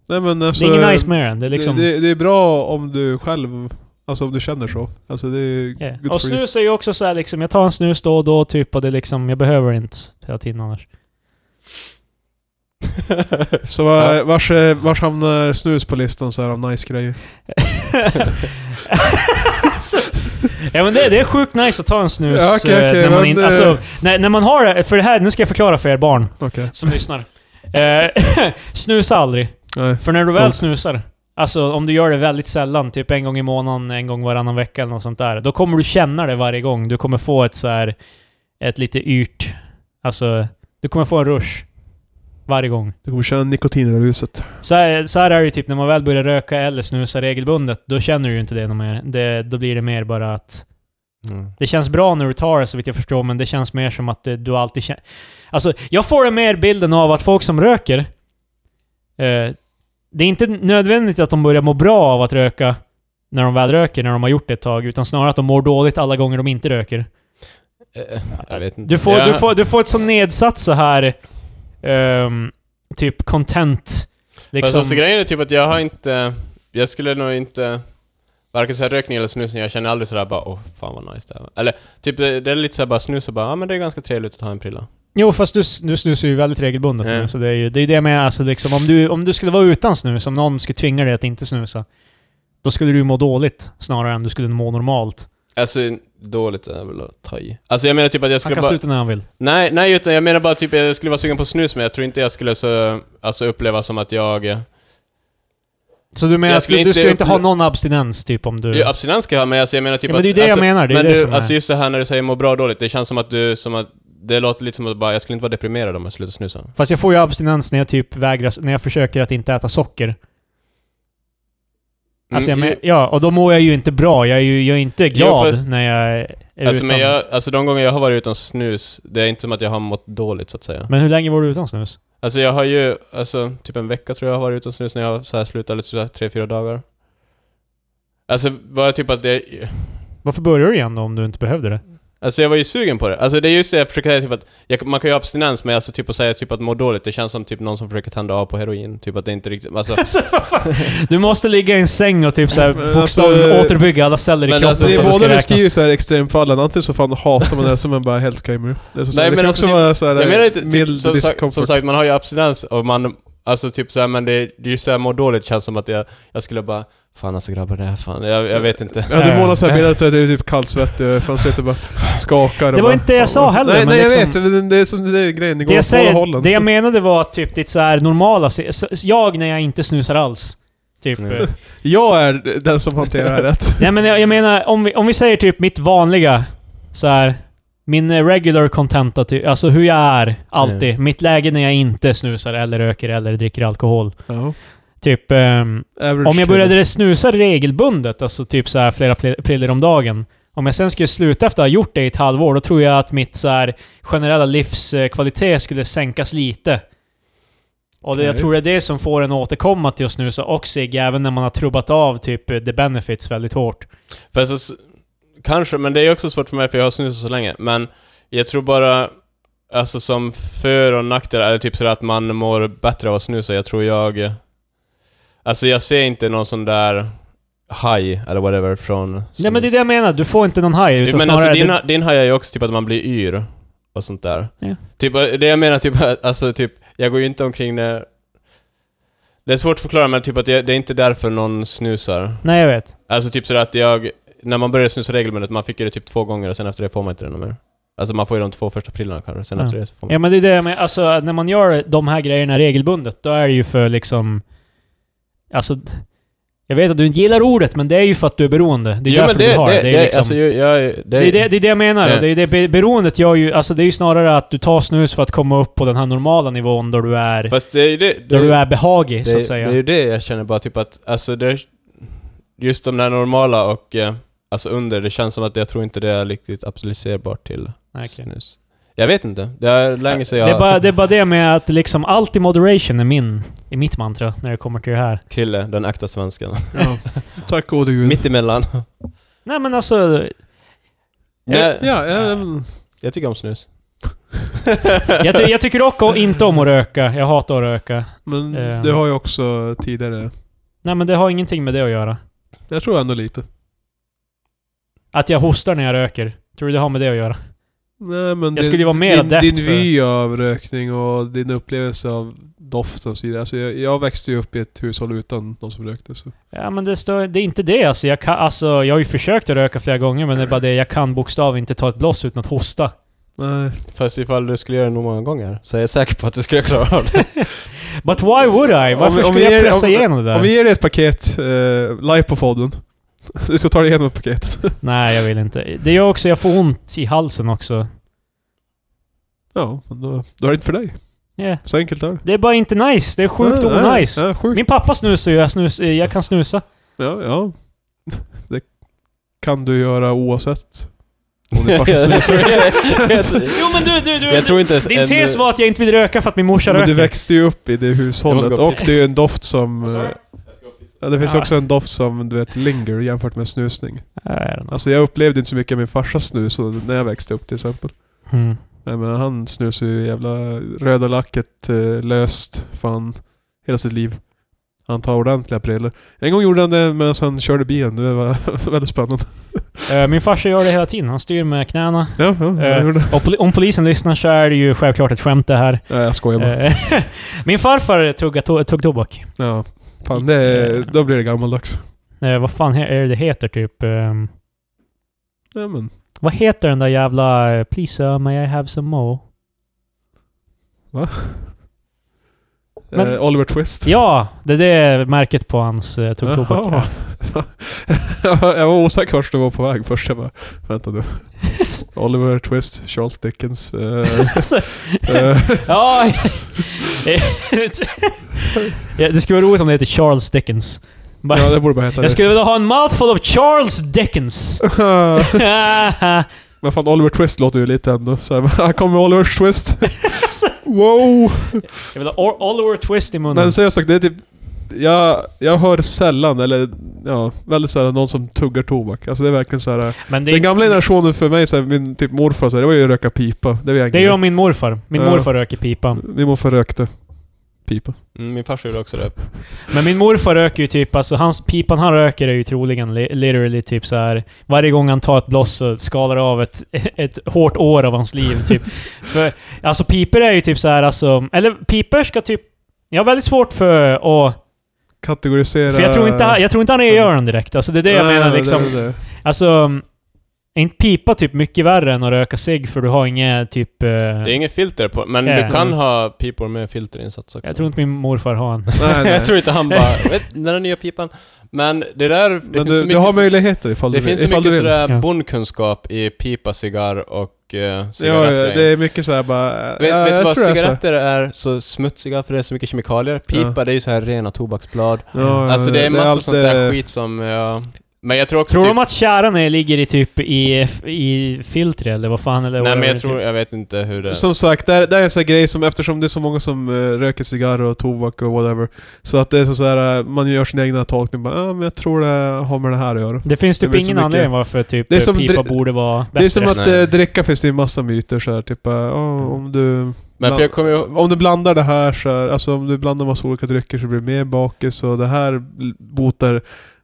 B: Nej, men alltså,
A: det är inget nice med den. Det är liksom...
B: det, det, det är bra om du själv, alltså om du känner så. Alltså det är
A: yeah.
B: good
A: Och
B: for you.
A: snus är ju också så här, liksom, jag tar en snus då och då typ och det är liksom, jag behöver inte hela tiden annars.
B: Så var, vars, eh, vars hamnar snus på listan så här av nice grejer?
A: alltså, ja men det, det är sjukt nice att ta en snus.
B: Ja, okej,
A: eh,
B: okej,
A: när, man
B: men
A: in,
B: det-
A: alltså, när, när man har det, för det här, nu ska jag förklara för er barn
B: Okej.
A: som lyssnar. Eh, snusa aldrig.
B: Nej.
A: För när du väl
B: Stolt.
A: snusar, alltså om du gör det väldigt sällan, typ en gång i månaden, en gång varannan vecka eller något sånt där, då kommer du känna det varje gång. Du kommer få ett så här, ett lite yrt, alltså, du kommer få en rush. Varje gång.
B: Du kommer känna nikotin i huset.
A: Så här, så här är det ju typ när man väl börjar röka eller snusa regelbundet, då känner du ju inte det något mer. Det, då blir det mer bara att...
C: Mm.
A: Det känns bra när du tar det så vitt jag förstår, men det känns mer som att det, du alltid känner... Alltså, jag får det mer bilden av att folk som röker... Eh, det är inte nödvändigt att de börjar må bra av att röka när de väl röker, när de har gjort det ett tag, utan snarare att de mår dåligt alla gånger de inte röker.
C: Eh, Jag vet inte.
A: Du får,
C: Ja.
A: du får, du får ett så nedsatt så här ehm, typ content...
C: Fast
A: Liksom.
C: alltså grejen är typ att jag har inte... Jag skulle nog inte... Varken så här rökning eller snusning, jag känner aldrig sådär bara åh, fan vad nice det här var." Eller typ det, det är lite såhär bara snus och bara, ja ah, men det är ganska trevligt att ha en prilla.
A: Jo, fast du, du snusar ju väldigt regelbundet
C: Ja.
A: nu, så det är ju det, är det med alltså liksom, om du, om du skulle vara utan snus, om någon skulle tvinga dig att inte snusa, då skulle du må dåligt snarare än du skulle må normalt.
C: Alltså dåligt är väl att ta i. Alltså jag menar typ att jag
A: Han
C: skulle
A: kan
C: bara...
A: sluta när han vill.
C: Nej, nej utan jag menar bara typ jag skulle vara sugen på snus men jag tror inte jag skulle så, alltså uppleva som att jag...
A: Mm. Så du menar
C: Jag
A: att
C: skulle
A: du, du
C: inte
A: skulle inte ha
C: upple-
A: någon abstinens, typ om du...
C: Jo, abstinens ska jag ha men alltså, jag menar typ
A: Ja, men det är
C: att...
A: ju det jag
C: alltså,
A: menar, det är
C: men
A: det
C: du,
A: som är-
C: alltså just det här när du säger må bra och dåligt, det känns som att du, som att... Det låter lite som att bara, jag skulle inte vara deprimerad om jag slutade snusa.
A: Fast jag får ju abstinens när jag typ vägrar, när jag försöker att inte äta socker. Alltså jag
C: Mm,
A: men, ja, och då mår jag ju inte bra. Jag är ju jag är inte glad
C: fast-
A: när jag är
C: Alltså,
A: utan.
C: men jag, alltså de gånger jag har varit utan snus, det är inte som att jag har mått dåligt så att säga.
A: men hur länge var du utan snus?
C: Alltså jag har ju, alltså typ en vecka tror jag har varit utan snus när jag har så här slutat lite sådär tre, fyra dagar. Alltså bara typ att det...
A: Varför började du igen då om du inte behövde det?
C: Alltså jag var ju sugen på det. Alltså det är just det jag försöker säga typ att, jag, man kan ju ha abstinens men alltså typ att säga typ att må dåligt, det känns som typ någon som försöker tända av på heroin. Typ att det inte riktigt, alltså...
A: Alltså, vad fan? du måste ligga i en säng och typ såhär
B: Men
A: bokstavligen
B: alltså,
A: återbygga alla celler i
C: men
A: kroppen
C: alltså,
B: Det
A: för
B: är
A: att det ska
B: båda
A: räknas.
B: beskriver såhär extremfallen, antingen så fan hatar man det som en bara helt okej med det. det. är så- så
C: Nej,
B: här, det
C: men
B: kan
C: alltså,
B: också
C: typ-
B: vara såhär
C: Jag menar inte, typ,
B: mild
C: som, sagt,
B: discomfort.
C: som sagt, man har ju abstinens och man, alltså typ såhär, men det, det är ju såhär må dåligt känns som att jag, jag skulle bara, fan alltså grabbar det här fan, jag, jag vet inte.
B: ja, du
A: Äh.
B: målar såhär bilder så att det är typ kallsvettig och fan sitter och typ bara skakar och
A: Det var
B: bara,
A: inte det jag sa heller,
B: Nej,
A: men
B: nej jag
A: liksom-
B: vet, men det är som det är grejen, det
A: Det
B: går
A: jag,
B: åt båda
A: säger,
B: hållen.
A: det jag menade var typ ditt såhär normala... se- så- Jag när jag inte snusar alls. Typ.
C: Mm.
B: Jag är den som hanterar det här rätt.
A: Nej men jag, jag menar, om vi, om vi säger typ mitt vanliga så här min eh, regular contenta, typ, alltså hur jag är alltid.
B: Mm.
A: Mitt läge när jag inte snusar eller röker eller dricker alkohol.
B: Ja.
A: Typ, ehm,
B: Average
A: om jag började snusa regelbundet, alltså typ så här flera pl- priller om dagen. Om jag sen skulle sluta efter att ha gjort det i ett halvår, då tror jag att mitt så här generella livskvalitet skulle sänkas lite. Och det, jag
B: Okej.
A: tror det är det som får en att återkomma till att snusa och cigg, även när man har trubbat av typ eh, the benefits väldigt hårt.
C: Fast alltså, kanske, men det är också svårt för mig för jag har snusat så länge. Men jag tror bara, alltså som för och nackdel, eller typ sådär att man mår bättre av att snusa. Jag tror jag... Alltså jag ser inte någon sån där high eller whatever från snus.
A: Nej men det är det jag menar, du får inte någon high utan
C: men
A: snarare...
C: alltså din,
A: det,
C: ha- din high är ju också typ att man blir yr och sånt där.
A: Ja.
C: Typ, det jag menar typ, alltså typ, jag går ju inte omkring när... Det är svårt att förklara men typ att det, det är inte därför någon snusar.
A: nej jag vet.
C: Alltså typ sådär att jag, när man började snusa regelbundet, man fick ju det typ två gånger och sen efter det får man inte det någon mer. Alltså man får ju de två första prillarna kanske, sen
A: Ja.
C: efter det så får man...
A: Ja men det är det jag menar, alltså när man gör de här grejerna regelbundet, då är det ju för liksom... Alltså... Jag vet att du inte gillar ordet, men det är ju för att du är beroende. Det är därför du har det. Det är, liksom,
C: alltså, ju- jag, det,
A: det, är det, det, är det jag menar.
C: Ja.
A: Det är det be- beroendet gör ju... Alltså det är ju snarare att du tar snus för att komma upp på den här normala nivån där du är...
C: Fast det är ju det... det,
A: där du är behaglig,
C: det,
A: så att säga.
C: det är ju det jag känner bara typ att, alltså det... Just de där normala och, eh, alltså under, det känns som att jag tror inte det är riktigt applicerbart till
A: Nej, okej.
C: snus. Jag vet inte, det är länge sedan jag...
A: det, är bara, det är bara det med att liksom allt i moderation är min... Är mitt mantra när det kommer till det här.
C: Krille, den äkta svensken.
B: Ja. Tack gode gud.
C: Mitt emellan.
A: Nej men alltså,
C: Nej,
B: Ja, ehm,
C: Jag tycker om snus.
A: jag, ty- jag tycker också inte om att röka. Jag hatar att röka.
B: men
A: Ehm.
B: det har ju också tidigare...
A: Nej men det har ingenting med det att göra.
B: Jag tror ändå lite.
A: Att jag hostar när jag röker. Tror du det har med det att göra?
B: Nej, men
A: Jag skulle ju vara mer
B: din,
A: adept
B: din
A: för-
B: vy av rökning och din upplevelse av doft och så vidare. Alltså jag, jag växte ju upp i ett hushåll utan någon som rökte. Så.
A: Ja men det, stör, det är inte det alltså. Jag, kan, alltså. jag har ju försökt att röka flera gånger men det är bara det, jag kan bokstavligen inte ta ett bloss utan att hosta.
B: Nej.
C: Fast ifall du skulle göra det nog många gånger så är jag säker på att du skulle klara av det.
A: But why would I? Varför
B: Om vi- om
A: skulle
B: vi
A: jag
B: ger-
A: pressa
B: om-
A: igenom det där?
B: Om vi ger dig ett paket eh, live på podden. Du ska ta dig igenom ett paket.
A: Nej, jag vill inte. Det gör också, jag får ont i halsen också.
B: Ja, men då, då är det inte för dig.
A: Yeah.
B: Så enkelt är det.
A: Det är bara inte nice. Det är sjukt
B: Ja, ja,
A: onajs.
B: Ja, sjukt.
A: Min pappa snusar ju, jag, snus, eh, jag kan snusa.
B: Ja, ja. Det kan du göra oavsett. Om din farsa snusar.
A: Jo men du, du, du!
C: jag tror inte ens
A: din tes var att jag inte vill röka för att min morsa
B: Men
A: röker.
B: du växte ju upp i det hushållet
C: Jag måste gå och
B: och
C: pissa.
B: det är ju en doft som...
A: Vad sa du?
B: eh, Ja, det finns
A: Ja.
B: också en doft som du vet linger jämfört med snusning.
A: Ja, jag vet inte.
B: Alltså jag upplevde inte så mycket av min farsas snus och- när jag växte upp till exempel.
A: Mm.
B: Nej men han snusar ju jävla röda lacket eh, löst fan hela sitt liv. Han tar ordentliga prillor. En gång gjorde han det medan han körde bilen. Det var väldigt spännande.
A: Eh, Min farsa gör det hela tiden. Han styr med knäna.
B: Ja, ja, jag
A: Eh.
B: gjorde det.
A: Och poli- om polisen lyssnar så är det ju självklart ett skämt det här.
B: Nej, jag skojar bara.
A: Eh, Min farfar tugga to- tugg tobak.
B: Ja. Fan, det, då blir det gammaldags.
A: Eh, Vad fan he- är det det heter typ? ehm,
B: Ja, men.
A: Vad heter den där jävla... eh, Please sir, may I have some more? Men-
B: eh, Oliver Twist.
A: Ja, det det är märket på hans uh, tuggtobak.
B: Jaha. jag var osäker vart du var på väg först. Jag bara, vänta nu. Oliver Twist, Charles Dickens. eh,
A: Alltså,
B: eh,
A: ja. ja, det skulle vara roligt om det heter Charles Dickens. Bara,
B: ja, det borde bara heta
A: jag
B: det.
A: skulle vilja ha en mouthful of Charles Dickens.
B: Men fan, Oliver Twist låter ju lite ändå. Så här, här kommer Oliver Twist. wow!
A: jag vill ha Or- Oliver Twist i munnen.
B: Men seriöst sagt, det är typ... Jag, jag hör sällan, eller ja, väldigt sällan, någon som tuggar tobak. Alltså det är verkligen så här.
A: Men det, är-
B: Den gamla generationen för mig, så här, min typ morfar, så här, det var ju att röka pipa. Det var
A: det
B: egentligen...
A: gör min morfar. Min
B: Ja.
A: morfar röker pipa.
B: Min morfar rökte pipa.
C: Mm, min farsa gjorde också det.
A: Men min morfar röker ju typ, alltså hans pipan han röker är ju troligen li- literally typ så här. Varje gång han tar ett bloss så skalar det av ett, ett hårt år av hans liv typ. för, alltså piper är ju typ så här, alltså, eller piper ska typ... Jag har väldigt svårt för att...
B: Kategorisera...
A: För jag tror inte, han- jag tror inte han gör den direkt. Alltså det är det jag
B: Nej,
A: menar
B: nej,
A: liksom.
B: det är det.
A: Alltså... Är inte pipa typ mycket värre än att röka cigg för du har inga typ... eh,
C: Det är inget filter på, men
A: Ja.
C: du kan ha pipor med filterinsats också.
A: jag tror inte min morfar har en.
B: Nej, nej.
C: jag tror inte han bara, vet, den där nya pipan. Men det där, det
B: Men
C: finns
B: du,
C: så
B: du
C: mycket,
B: har möjligheter ifall
C: det
B: du vill.
C: finns så
B: ifall du
C: mycket
B: vill.
C: sådär
A: Ja.
C: bondkunskap i pipa, cigarr och eh,
B: Ja,
C: cigarettgrejen.
B: ja, det är mycket såhär bara...
C: Vet,
B: ja,
C: vet du
B: jag
C: vad
B: tror jag är så här.
C: cigaretter är så smutsiga för det är så mycket kemikalier? Pipa, det är ju så här rena tobaksblad.
B: Ja, ja,
C: alltså det är massa
B: allt
C: sånt
B: det-
C: där skit som... Ja. Men jag tror också
A: Tror
C: typ...
A: de att tjäran är, ligger i typ i, i filtret eller vad fan? Eller
C: Nej
A: vad
C: men
A: det
C: jag
A: är,
C: tror,
A: typ.
C: jag vet inte hur det...
B: Som sagt, det här, det här är en sån här grej som eftersom det är så många som eh, röker cigarrer och tobak och whatever. Så att det är så så här, eh, man gör sin egna tolkning bara, ah, men jag tror det har med det här att göra.
A: Det finns
B: det
A: typ
B: blir så
A: ingen
B: mycket-
A: anledning varför typ
B: Det är som
A: pipa
B: dri-
A: borde vara bättre.
B: Det är som att
C: Nej. Mm.
B: eh, dricka finns det ju massa myter så här, typ eh, ah, om du...
C: men för jag kommer ihåg...
B: Om du blandar det här så här, alltså om du blandar massa olika drycker så blir du mer bakis och det här botar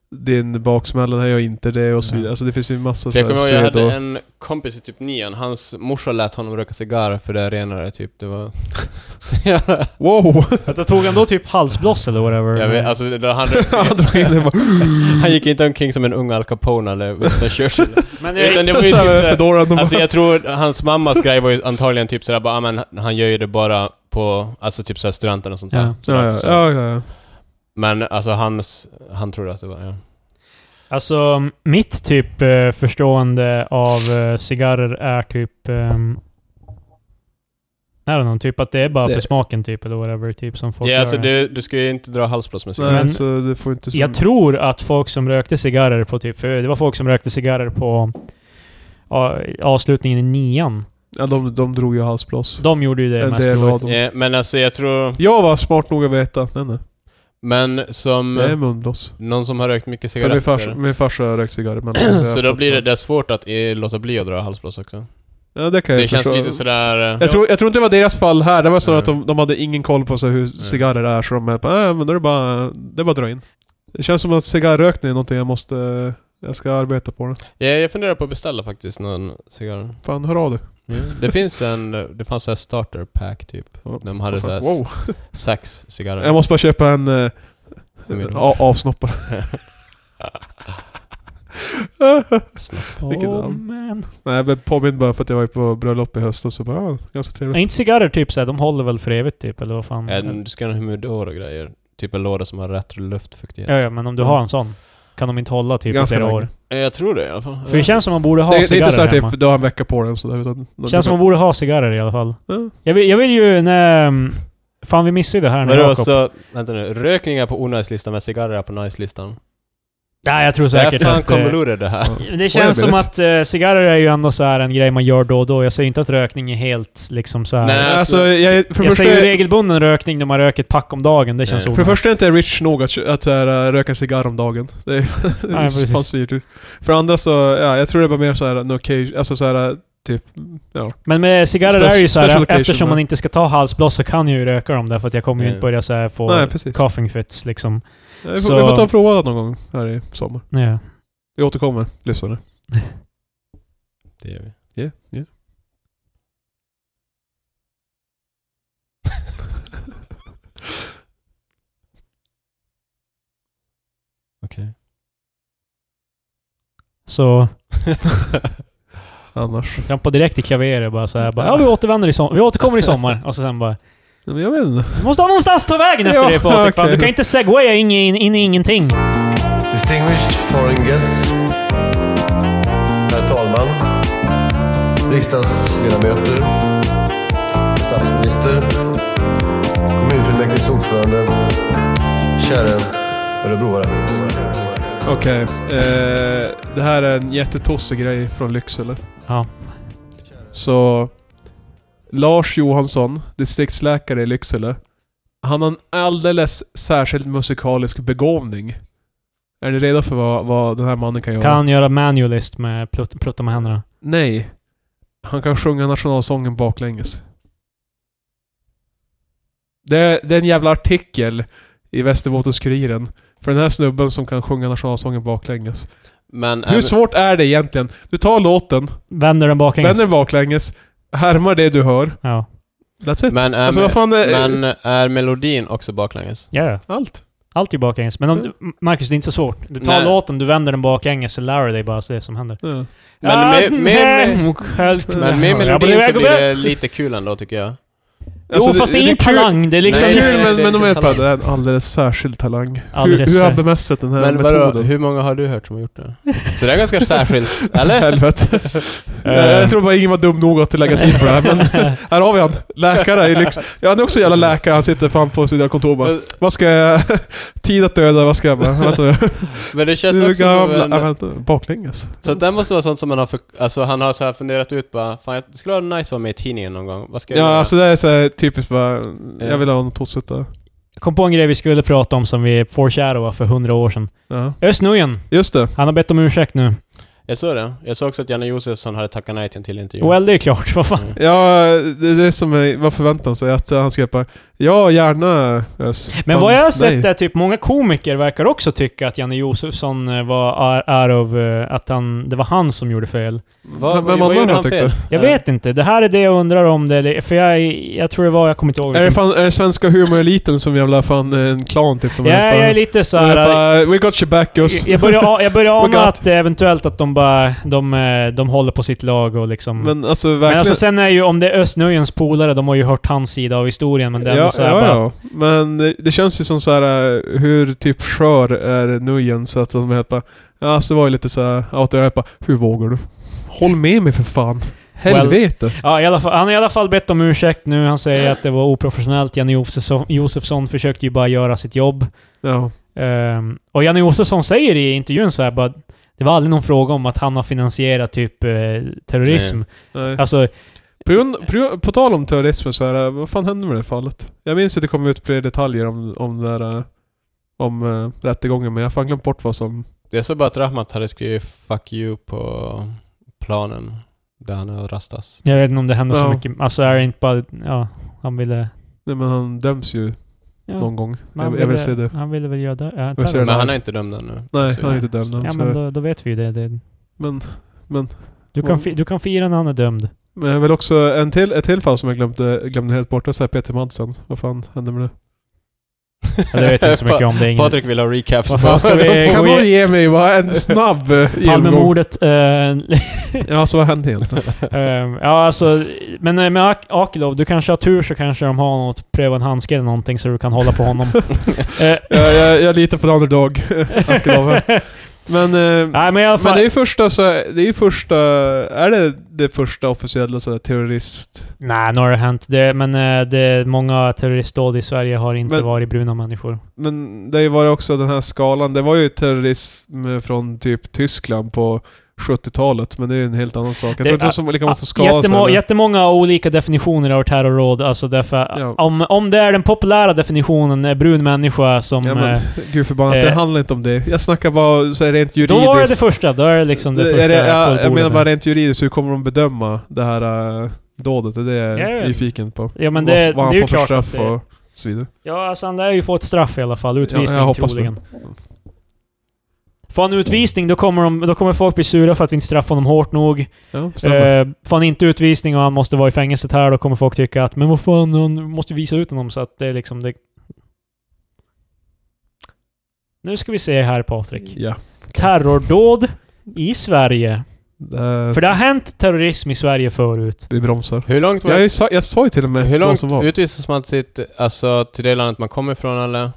B: din baksmälla, det här gör inte det och så
A: Ja.
B: vidare. Alltså det finns ju massa
C: För
B: så
C: jag
B: här
C: kommer ihåg, jag
B: pseudo...
C: hade en kompis i typ nian, hans morsa lät honom röka cigarr för det är renare typ. Det var... Så jag,
B: Wow!
A: Att jag tog han då typ halsbloss eller whatever?
C: jag vet, alltså det, han,
B: Han drog in det bara...
C: han gick inte omkring som en ung Al Capone eller Winston Churchill.
A: men jag,
C: Utan det var ju
B: Såhär,
C: typ...
B: fedoran och bara-
C: Alltså jag tror hans mammas grej var ju antagligen typ sådär bara, ah, men han gör ju det bara på, alltså typ såhär studenten och sånt där.
A: Ja.
C: Så
B: Ja, ja,
C: därför så-
B: ja, ja, ja.
C: Men alltså hans, han trodde att det var, ja.
A: alltså mitt typ eh, förstående av eh, cigarrer är typ... Um, I don't know, typ att det är bara
B: Det-
A: för smaken typ eller whatever typ som folk
C: Ja, alltså
A: gör.
C: du, du ska ju inte dra halsblås med cigarr.
B: Nej,
A: Men-
B: så du får inte... så-
A: Jag tror att folk som rökte cigarrer på typ... För det var folk som rökte cigarrer på ja, avslutningen i nian.
B: Ja, de, de drog ju halsbloss.
A: Typ. De gjorde ju det
B: En
A: mest
B: del
A: troligt.
B: av dem.
C: Ja, men alltså jag tror...
B: Jag var smart nog att veta. Nej, nej.
C: Men som
B: Det är munblås.
C: någon som har rökt mycket
B: För min farsa,
C: cigaretter.
B: min farsa har rökt cigarr. men-
C: Så då blir det, det är svårt att eh, låta bli att dra halsblås också.
B: Ja, det kan jag
C: Det känns
B: förstå.
C: lite sådär... eh,
B: Jag tror, jag tror inte det var deras fall här, det var så
C: Nej.
B: att de, de hade ingen koll på så hur cigarrer är, så de är bara, äh, men då är det bara, det är bara att dra in. Det känns som att cigarrökning är någonting jag måste, jag ska arbeta på. Det.
C: Jag, jag funderar på att beställa faktiskt någon cigarr.
B: Fan, hör av dig.
C: Mm. Det finns en, det fanns såhär starter pack typ. De hade
B: Fan,
C: såhär
B: wow.
C: sex cigarrer.
B: Jag måste bara köpa en eh,
C: Vad menar du?
B: a- avsnoppare.
C: Snabbt.
B: Vilket
A: oh,
B: namn.
A: man.
B: Nej, jag blev påmind bara för att jag var ju på bröllop i höst och så bara, ja, ganska
A: Är
B: trevligt.
A: inte cigarrer typ såhär, de håller väl för evigt typ, eller vad fan?
C: En, du ska ha en humidor och grejer. Typ en låda som har rätt luftfuktighet.
A: ja, ja, men om du har en sån, kan de inte hålla typ i
B: Ganska
A: flera
B: länge.
A: år?
C: Eh, Jag tror det i alla fall.
A: För det känns som man borde ha
B: Det, det är
A: cigarrer
B: inte typ- såhär
A: hemma.
B: typ, du har en vecka på den sådär, utan...
A: känns som man borde ha cigarrer i alla fall.
B: Ja.
A: Jag vill, jag vill ju när... mm, Fan vi missade ju det här nu
C: Vadå
A: Jakob.
C: så, vänta nu, rökningar på onajs-listan men cigarrer på nice-listan?
A: Nej jag tror
C: Det är
A: säkert
C: fan
A: att... eh,
C: konvolutet det här.
A: Det känns som
B: Oändligt.
A: att eh, cigarrer är ju ändå så här en grej man gör då och då. Jag säger inte att rökning är helt liksom så här.
C: Nej,
B: Nej, alltså, jag, för det
A: Jag
B: första,
A: säger ju regelbunden rörökning när man röker ett pack om dagen. Det
C: Nej.
A: känns
C: För
B: för det
A: onajs.
B: första är jag inte rich nog att, att så här, äh, röka cigarr om dagen. Det är
A: Nej, precis.
B: fan svindyrt. För det andra så, ja, jag tror det var mer såhär, en occasion, alltså såhär, typ, ja.
A: Men med cigarrer
B: Spec-
A: är ju så
B: special
A: här,
B: occasion,
A: eftersom
B: ja.
A: man inte ska ta halsblås så kan jag ju röka dem där för att jag kommer ju
C: Nej.
A: inte börja så här få
B: Nej, precis.
A: coughing fits liksom.
B: Vi får,
A: Så-
B: vi får ta och prova det någon gång här i sommar.
A: Ja.
B: Vi återkommer, lyssnare.
C: Det gör vi.
B: Yeah, yeah.
C: Okej.
A: Så
B: Annars.
A: trampa direkt i klaveret bara så här, bara, ja vi återvänder i sommar. Vi återkommer i sommar. Och så sen bara,
B: Ja, Men jag vet inte.
A: du måste ha någonstans att ta vägen efter
B: Ja,
A: det Patrik. fan. Du
B: okej.
A: kan inte segwaya in, i- in i ingenting.
D: Distinguished foreign guests. Herr talman. Riksdagsledamöter. Statsminister. Kommunfullmäktiges ordförande. Kära örebroare.
B: Okej. Eh, det här är en jättetossig grej från Lycksele.
A: Ja.
B: Så... Lars Johansson, distriktsläkare i Lycksele. Han har en alldeles särskild musikalisk begåvning. Är ni redo för vad, vad den här mannen kan göra?
A: Kan han göra manualist med plut- plutta med händerna.
B: Nej. Han kan sjunga nationalsången baklänges. Det är, det är en jävla artikel i Västerbottens-Kuriren för den här snubben som kan sjunga nationalsången baklänges.
C: Men...
B: Hur svårt är det egentligen? Du tar låten,
A: Vänder den baklänges.
B: vänder den baklänges, härmar det du hör.
A: Ja.
B: That's it.
C: men, är,
B: alltså vad fan är...
C: men är melodin också baklänges?
A: Ja, ja.
B: Allt.
A: Allt är ju baklänges. Men om, du- Marcus, det är inte så svårt. Du tar
C: Nej.
A: låten, du vänder den baklänges, så lär du dig bara det som händer.
B: Ja.
C: Men med- med-
A: Mm, självt-
C: Men med
A: Ah, Ja,
C: melodin
A: men
C: så
A: jag går
C: blir
A: med.
C: det lite kul ändå tycker jag.
B: Alltså,
A: Jo, fast det är ingen
B: kul-
A: talang. Det är liksom...
B: Det är kul,
C: Nej, nej, nej, det
B: men,
C: är
B: men de
C: inte
B: är på
C: talang.
B: det är en alldeles särskild talang.
A: Alldeles
B: hur, hur har han
A: sär-
B: bemästrat den här
C: Men vadå,
B: metoden?
C: hur många har du hört som har gjort det? Så det är ganska särskilt, eller?
B: Helvete. jag,
A: Eh.
B: jag tror bara ingen var dum nog att lägga tid på det här, men här har vi han. Läkare i lyx. Ja, han är också en jävla
A: Mm.
B: läkare. Han sitter fan på sitt kontor och bara. Vad ska jag... Tid att döda, vad ska jag bara... Vänta nu.
C: Men det känns
B: Du
C: också
B: kan...
C: som
B: ja,
C: en...
B: vänta, Baklänges.
C: Så att det måste vara sånt som man har för, Alltså han har så här funderat ut bara, fan jag- det skulle vara nice att vara med i tidningen någon gång. Vad ska jag
B: Ja,
C: göra?
B: alltså det är så här typiskt bara... Jag vill ha något tossigt där.
A: Jag kom på en grej vi skulle prata om som vi foreshadowade för hundra år sedan.
B: Ja.
A: Özz Nujen,
B: Just det.
A: han har bett om ursäkt nu.
C: Jag såg det. Jag såg också att Janne Josefsson hade tackat nej till en till intervju.
A: Well, det är klart. Vad fan.
C: Mm.
B: Ja, det är det som är, var förväntan sig. Att han ska bara... Ja, gärna Ös.
A: Men
B: Fan,
A: vad jag har
B: nej.
A: sett är typ många komiker verkar också tycka att Janne Josefsson eh, var är, är av... eh, Att han, det var han som gjorde fel.
C: Vad,
B: Vem
C: vad, vad
B: annan
C: gjorde
B: har
C: han
B: tyckt
C: fel?
A: Jag
C: Ja.
A: vet inte. Det här är det jag undrar om det. eller- För jag, jag tror det var... Jag kommer inte ihåg.
B: Är det,
A: vilken-
B: fan, är det svenska humoreliten som jävla fan en klan typ? De
A: Ja,
B: är fan-
A: jag är lite
B: de är
A: såhär...
B: bara, We got your back us.
A: Jag börjar, jag börjar
B: We
A: ana
B: got-
A: att det är eventuellt att de bara... De, eh, de håller på sitt lag och liksom... Men,
B: Men alltså verkligen.
A: alltså sen är ju... Om det är Östnöjens polare, de har ju hört hans sida av historien, men det är ändå
B: ja,
A: så här
B: ja,
A: bara...
B: ja. Men det- det känns ju som så här eh, hur typ skör är Nujen så att de är helt bara... Ja, alltså det var ju lite så här out there, jag bara, hur vågar du? Håll med mig för fan. Helvete.
A: Ja, i alla fall, han har i alla fall bett om ursäkt nu. Han säger att det var oprofessionellt. Janne Josefsson, Josefsson försökte ju bara göra sitt jobb.
B: ja.
A: Ehm, och Janne Josefsson säger i intervjun så här bara... Det var aldrig någon fråga om att han har finansierat typ eh, terrorism.
B: Nej.
A: Alltså,
B: På, grund- på, grund- på tal om terrorismen så här, eh, vad fan hände med det fallet? Jag minns att det kom ut fler detaljer om, om det där... eh, om eh, rättegången, men jag har fan glömt bort vad som...
C: Jag såg bara att Rahmat hade skrivit 'fuck you' på planen där han har rastas.
A: Jag vet inte om det hände så
B: Ja.
A: mycket. Alltså är det inte bara... Ja, han ville...
B: Nej men han döms ju
A: Ja,
B: någon gång.
A: men han
B: Jag, jag
A: ville-
B: vill se det.
A: Han ville väl göra det. Ja,
B: vill se
C: Men
B: det.
C: han är inte dömd ännu.
B: Nej,
C: Så-
B: han är inte dömd än.
A: ja
B: så-
A: men då, då vet vi ju det. det
B: men, men,
A: du, kan fi, du kan fira när han är dömd.
B: men jag vill också... En till, ett till fall som jag glömde, glömde helt bort, det är så här Peter Madsen. Vad fan hände med det?
A: Ja, det vet jag inte så mycket om. Det är inget...
C: Patrik vill ha recaps.
A: Vad fan ska vi- Eh,
B: kan
A: gå
B: någon
A: i-
B: ge mig bara en snabb eh, genomgång?
A: Palmemordet. eh,
B: Ja, så vad hände egentligen?
A: Ehm, ja, alltså, men eh, med Ak- Akilov, du kanske har tur så kanske de har något, pröva en handske eller någonting så du kan hålla på honom. Eh,
B: jag, jag, jag litar på the underdog. Akilov här. men... eh,
A: Nej, men i alla fall.
B: Men det är ju första så, det är ju första, är det det första officiella så här, terrorist...
A: Nej, nu har det hänt. Det, men eh, det, många terroristdåd i Sverige har inte
B: Men-
A: varit bruna människor.
B: Men det har ju varit också den här skalan, det var ju terrorism från typ Tyskland på 70-talet, men det är ju en helt annan sak. Jag
A: Det-
B: tror inte
A: ah,
B: det som lika måste skala sig.
A: Jättemo-
B: eller-
A: jättemånga olika definitioner av terrorråd. Alltså därför,
B: Ja.
A: om, om det är den populära definitionen, eh, brun människa som...
B: Ja, men,
A: eh,
B: gud förbannat, det
A: eh,
B: handlar inte om det. Jag snackar bara så här, rent
A: då
B: juridiskt.
A: var det det första. Då är det liksom det,
B: Det-
A: första
B: är det, jag, jag menar
A: fullbordade.
B: bara rent juridiskt, hur kommer de bedöma det här eh, dådet? Det är det jag
A: Ja,
B: är
A: ja.
B: nyfiken på.
A: Ja, men det-
B: vad, vad han
A: det är ju
B: får för
A: klart att
B: straff
A: det-
B: och så vidare.
A: Ja, alltså han lär ju få ett straff i alla fall. Utvisning
B: Ja, jag hoppas
A: troligen. Får han utvisning, då kommer, de, då kommer folk bli sura för att vi inte straffar honom hårt nog.
B: Ja, stämmer.
A: Eh, får han inte utvisning och han måste vara i fängelset här, då kommer folk tycka att men vad fan, hon måste visa ut honom så att det är liksom det... Nu ska vi se här Patrik.
B: ja.
A: Terrordåd i Sverige.
B: Det,
A: För det har hänt terrorism i Sverige förut.
B: vi bromsar.
C: Hur långt var
B: Jag, har ju sa, jag sa ju till och med
C: Hur
B: de
C: långt
B: som var.
C: utvisas man till, alltså, till det landet man kommer ifrån eller?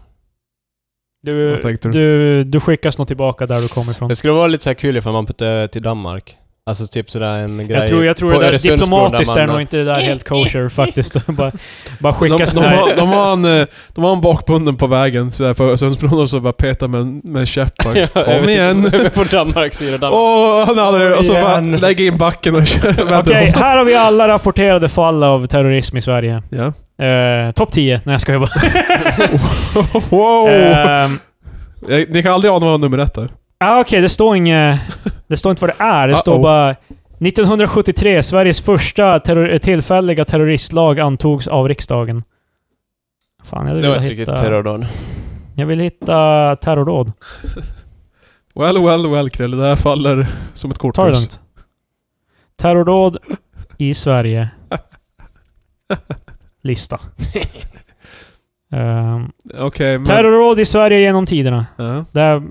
A: Du,
B: Vad tänkte du?
A: du, du skickas nog tillbaka där du kommer ifrån.
C: Det skulle vara lite så här kul ifall man putte till Danmark. Alltså typ sådär en grej
A: Jag tror, jag tror
C: på
A: det där
C: Öresundsbron
A: diplomatiskt
C: där
A: är
C: man-
A: nog inte det där helt kosher faktiskt. bara, bara
B: De,
A: skicka
B: de,
A: sån här...
B: har, de, har en, eh, de har en bakbunden på vägen så här på Öresundsbron och så bara petar med, en- med en käpp. bara,
C: Ja, jag
B: Kom
C: vet
B: igen!
C: inte. på Danmarks sida. Danmark.
B: Och, han hade, och så
C: Kom
B: bara
C: igen.
B: lägger in backen och kör vänder
A: Okej,
B: om.
A: här har vi alla rapporterade fall av terrorism i Sverige.
B: Ja.
A: Eh, Topp 10. Nej, jag skojar bara.
B: Wow!
A: Ehm,
B: Eh, Jag- Ni kan aldrig ana vad nummer ett är.
A: Ja, okej, det står inget... Det står inte vad det är. Det står
B: Uh-oh.
A: bara... 1973, Sveriges första terror tillfälliga terroristlag antogs av riksdagen. Fan, jag
C: Det var
A: vill
C: ett riktigt
A: hitta...
C: terrordåd.
A: Jag vill hitta terrorråd.
B: Well, well, well Krille. Det här faller som ett
A: Ta det
B: korthus.
A: lugnt. Terrordåd i Sverige. Lista. Ehm,
B: Okej, men...
A: terrorråd i Sverige genom tiderna.
B: Ja.
A: Det här,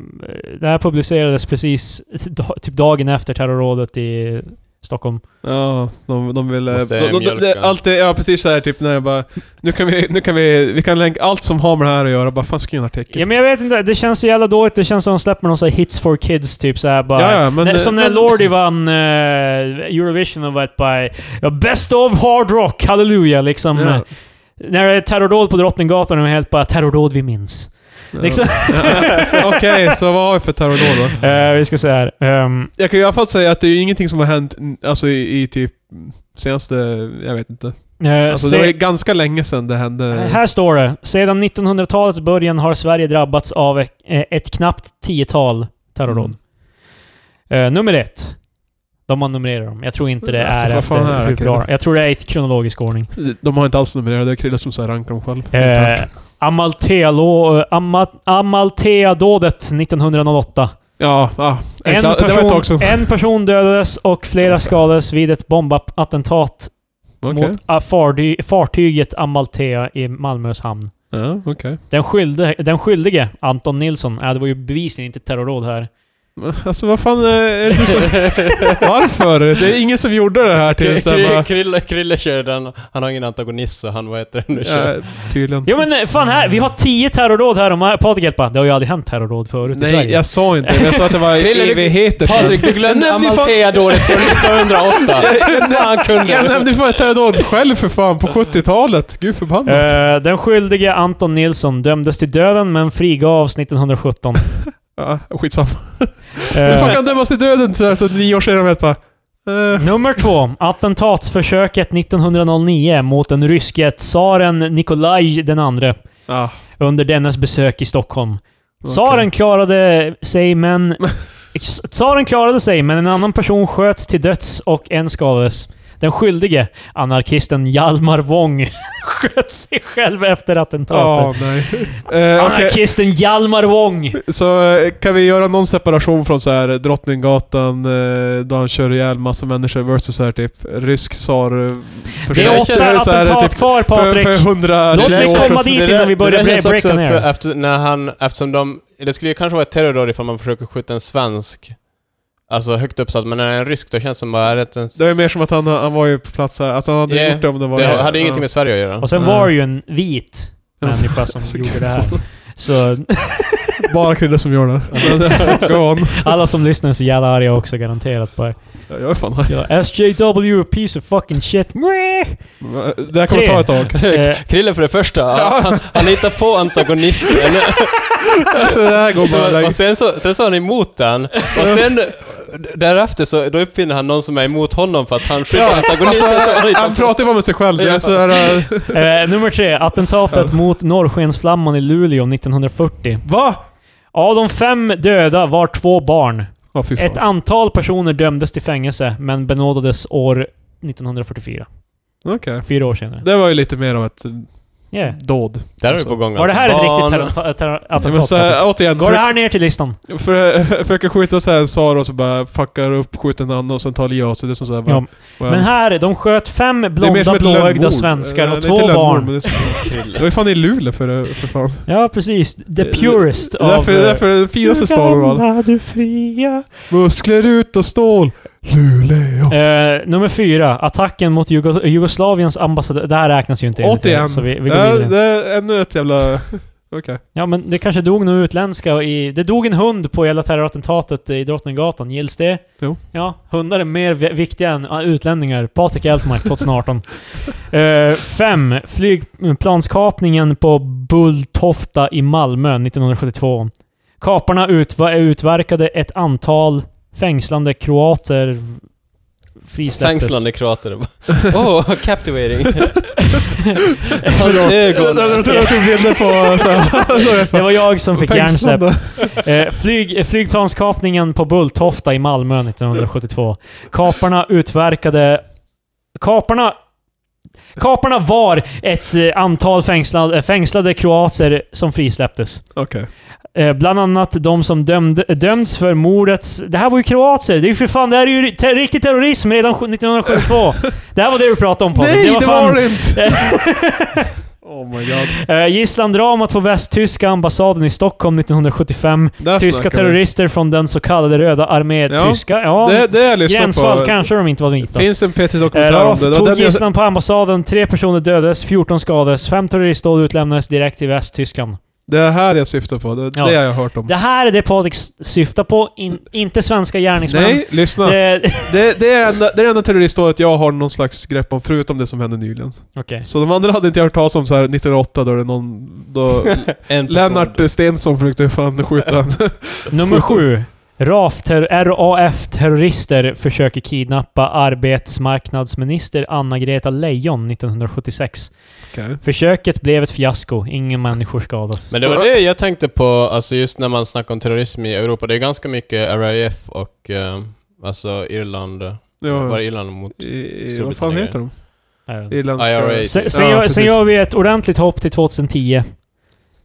A: det här publicerades precis da- typ dagen efter terrorrådet i Stockholm.
B: Ja, de, de vill... eh,
C: Måste
B: De, de, de,
C: mjölka.
B: allt det, ja, precis så här typ när jag bara... Nu kan vi... Nu kan vi, vi kan länka allt som har med det här att göra. Bara fan, skriv en artikel.
A: Ja, men jag vet inte, det känns så jävla dåligt. Det känns som de släpper någon sån här hits for kids, typ såhär bara...
B: Ja, ja, men, eh,
A: Nej, som när
B: men-
A: Lordi vann eh, Eurovision och var ett bara... Ja, best of hard rock, halleluja, liksom.
B: Ja.
A: När det är terrordåd på Drottninggatan och de är helt bara terrordåd vi minns.
B: Ja.
A: Liksom.
B: Okej, så vad har vi för terrordåd då?
A: Eh, vi ska säga här. ehm,
B: Jag kan i alla fall säga att det är ju ingenting som har hänt mm, alltså, i, i typ senaste... Jag vet inte.
A: eh,
B: Alltså,
A: se-
B: det var ju ganska länge sedan det hände.
A: Eh, Här står det. Sedan 1900-talets början har Sverige drabbats av ett, eh, ett knappt tiotal terrorråd. Eh, nummer ett. De man numrerar dem. Jag tror inte det
B: Mm. Alltså,
A: är
B: vad fan är
A: efter
B: det
A: hur
B: här,
A: bra...
B: Krille?
A: Jag tror det är i kronologisk ordning.
B: Mm. De har inte alls numrerat, det är Krille som så här rankar dem själv.
A: Eh, Amaltealo- Ama, Amaltea-dådet 1908.
B: Ja, ah, en
A: En
B: kla- det var ett tag
A: person,
B: sedan.
A: en person dödades och flera skadades vid ett bombattentat
B: Okej.
A: mot ah, farty, fartyget Amaltea i Malmös hamn.
B: Ja, okej.
A: Den, skylde, den skyldige, Anton Nilsson, ja, det var ju bevisligen inte ett terrorråd här.
B: Alltså vad fan eh, är det du som... Varför? Det är ingen som gjorde det här till så här
C: Krille,
B: bara,
C: Krille, Krille kör den. Han har ingen antagonist så han, vad heter det nu, kör.
B: ja, Tydligen.
A: Jo men eh, fan här, vi har tio terrorråd här och Patrik helt bara, det har ju aldrig hänt terrorråd förut i
B: Nej,
A: Sverige.
B: jag sa inte det. Jag sa att det var
C: Krille, du-
B: evigheter sedan.
C: Patrik, du glömde
B: Jag nämnde ju fan-
C: Amalthea-dådet från 1908. Han
B: Jag
C: kunde.
B: nämnde fan terrordåd själv för fan på 70-talet. Gud förbannat.
A: Eh, den skyldige Anton Nilsson dömdes till döden men frigavs 1917.
B: Ja, skitsamma. Hur fan
A: Eh,
B: kan han dömas till döden så här, så att nio år senare? Vet bara, eh,
A: nummer två. Attentatsförsöket 1909 mot den ryske tsaren Nikolaj den andre
B: ja.
A: under dennes besök i Stockholm. Tsaren klarade sig, men... Tsaren klarade sig, men en annan person sköts till döds och en skadades. Den skyldige, anarkisten Hjalmar Wång, sköt sig själv efter attentatet.
B: Ja, nej. Eh, Okej,
A: Anarkisten Hjalmar Wång!
B: så eh, kan vi göra någon separation från så här eh, Drottninggatan, eh, då han kör ihjäl massa människor, versus så här typ rysk tsar... eh,
A: Det
B: försök.
A: är
C: Försöker-
A: åtta
B: så här,
A: attentat
B: typ,
A: kvar,
B: För,
A: Patrik.
B: för hundra...
A: Låt mig
B: tio år sedan.
A: komma dit innan vi börjar
C: det känns
A: breaka
C: också
A: ner.
C: För, efter, när han, eftersom de, det skulle ju kanske vara ett terrordåd ifall man försöker skjuta en svensk, alltså högt uppsatt, men när det är en rysk då känns det som bara, är det ens,
B: Det är mer som att han, han var ju på plats här. Alltså han hade
C: Yeah.
B: gjort det om det var...
C: det hade ju ingenting med Sverige att göra.
A: Och sen
B: Mm.
A: var det ju en vit människa som
B: Så
A: gjorde
B: kul.
A: det här. Så
B: Bara kvinnor som gör det. Men, Go on.
A: alla som lyssnar är så jävla arga också garanterat på
B: Ja, Jag är fan här.
A: ja, SJW, a piece of fucking shit. Mwah!
B: Det här kommer
A: Tre.
B: ta ett tag.
A: Eh,
C: Krille för det första, han, han hittar på antagonisten.
B: Alltså det här går bara...
C: Så, och sen så, sen så är han emot den, och sen därefter så då uppfinner han någon som är emot honom för att han skjuter
B: Ja,
C: antagonisten. så han
B: alltså,
C: hittar
B: han
C: på-
B: pratar ju bara med sig själv. Det är
C: Ja.
B: så här... äh,
A: Eh, nummer tre. Attentatet mot Norrskensflamman i Luleå 1940.
B: Va?
A: Av de fem döda var två barn.
B: Ja, fy
A: Ett
B: fan.
A: antal personer dömdes till fängelse, men benådades år 1944.
B: Okej.
A: Fyra år senare.
B: Det var ju lite mer av ett eh,
A: Yeah.
B: dåd.
C: Där är vi på gång
B: alltså
A: Var det här ett
C: alltså- Barn.
A: riktigt terror- terror-
B: Ja, men
A: attentat?
B: så här, återigen,
A: Går det
B: för,
A: här ner till listan?
B: för, försöker skjuta så här en tsar och så bara fuckar upp, skjuter en annan och sen tar livet av sig. Det är som så här, bara,
A: Ja.
B: well,
A: Men här, de sköt fem
B: det är mer som
A: blonda
B: ett
A: blåögda
B: lönnmord.
A: svenskar
B: Eh,
A: och
B: det är
A: två
B: inte lönnmord, men
A: barn.
B: Det är så- det var ju fan i Luleå för, för fan.
A: Ja, precis. The purest
B: Eh, det är
A: av...
B: därför, det är därför den finaste staden av alla.
A: Gamla du fria.
B: Muskler utan stål, Luleå.
A: Eh, nummer fyra. Attacken mot Jugo- Jugoslaviens ambassadör. Det här räknas ju inte. enligt det,
B: Återigen.
A: Så vi, vi
B: Det
A: går
B: är,
A: vidare.
B: det är ännu ett jävla... Okej.
A: Ja, men det kanske dog några utländska i... Det dog en hund på hela terrorattentatet i Drottninggatan. Gills det?
B: Jo.
A: Ja, hundar är mer vi- viktiga än äh, utlänningar. Patrik Elfmark 2018. Eh, fem. Flygplanskapningen på Bulltofta i Malmö 1972. Kaparna utva- utverkade ett antal fängslande kroater frisläpptes.
C: Fängslande kroater. Oh, captivating. Hans
B: Jag,
C: ögon.
B: jag, tror jag tog typ bilder på... Så här,
A: Det var jag som fick hjärnsläpp.
B: Fängslande.
A: Eh, flyg, eh, flygplanskapningen på Bulltofta i Malmö 1972. Kaparna utverkade... Kaparna... Kaparna var ett eh, antal fängslade, fängslade kroater som frisläpptes.
B: Okej.
A: Eh, Bland annat de som dömde, dömts för mordets... Det här var ju kroater! Det är ju för fan, det här är ju te, riktig terrorism redan 1972! Det här var det du pratade om Patrik.
B: Nej, det
A: fan-
B: var det inte! oh my god.
A: Eh, Gisslandramat på västtyska ambassaden i Stockholm 1975.
B: Där
A: Tyska
B: snackar vi.
A: terrorister från den så kallade Röda armé
B: Ja,
A: tyska. Ja,
B: Det, det jag lyssnade på...
A: gränsfall kanske de inte var vita.
B: Finns det en P3-dokumentär om
A: Raf
B: det? Det var
A: tog
B: den jag-
A: gisslan på ambassaden, tre personer dödades, 14 skadades, fem terroristdåd utlämnades direkt till Västtyskland.
B: Det är här jag syftar på. Det är
A: Ja.
B: det jag har hört om.
A: Det här är det Patrik s- syftar på, in, inte svenska gärningsmän.
B: Nej, lyssna. Det,
A: Det,
B: det, är enda, det är det enda terroristdådet jag har någon slags grepp om, förutom det som hände nyligen.
A: Okej.
B: Så de andra hade inte jag hört talas om så här 1908 då det någon... Då
C: En person.
B: Lennart Stensson försökte fan skjuta en.
A: Nummer sju. RAF-terrorister RAF terrorister försöker kidnappa arbetsmarknadsminister Anna-Greta Leijon 1976.
B: Okej.
A: Försöket blev ett fiasko. Ingen människor skadas.
C: Men det var det jag tänkte på, alltså just när man snackar om terrorism i Europa, det är ganska mycket RAF och eh, alltså Irland. Var
B: Ja.
C: det Irland mot...
B: I, vad fan
C: Storbritannien.
B: heter de?
A: Eh,
B: Irländska...
C: IRA.
A: sen, sen,
B: Ja,
A: gör,
B: precis.
A: sen gör vi ett ordentligt hopp till 2010.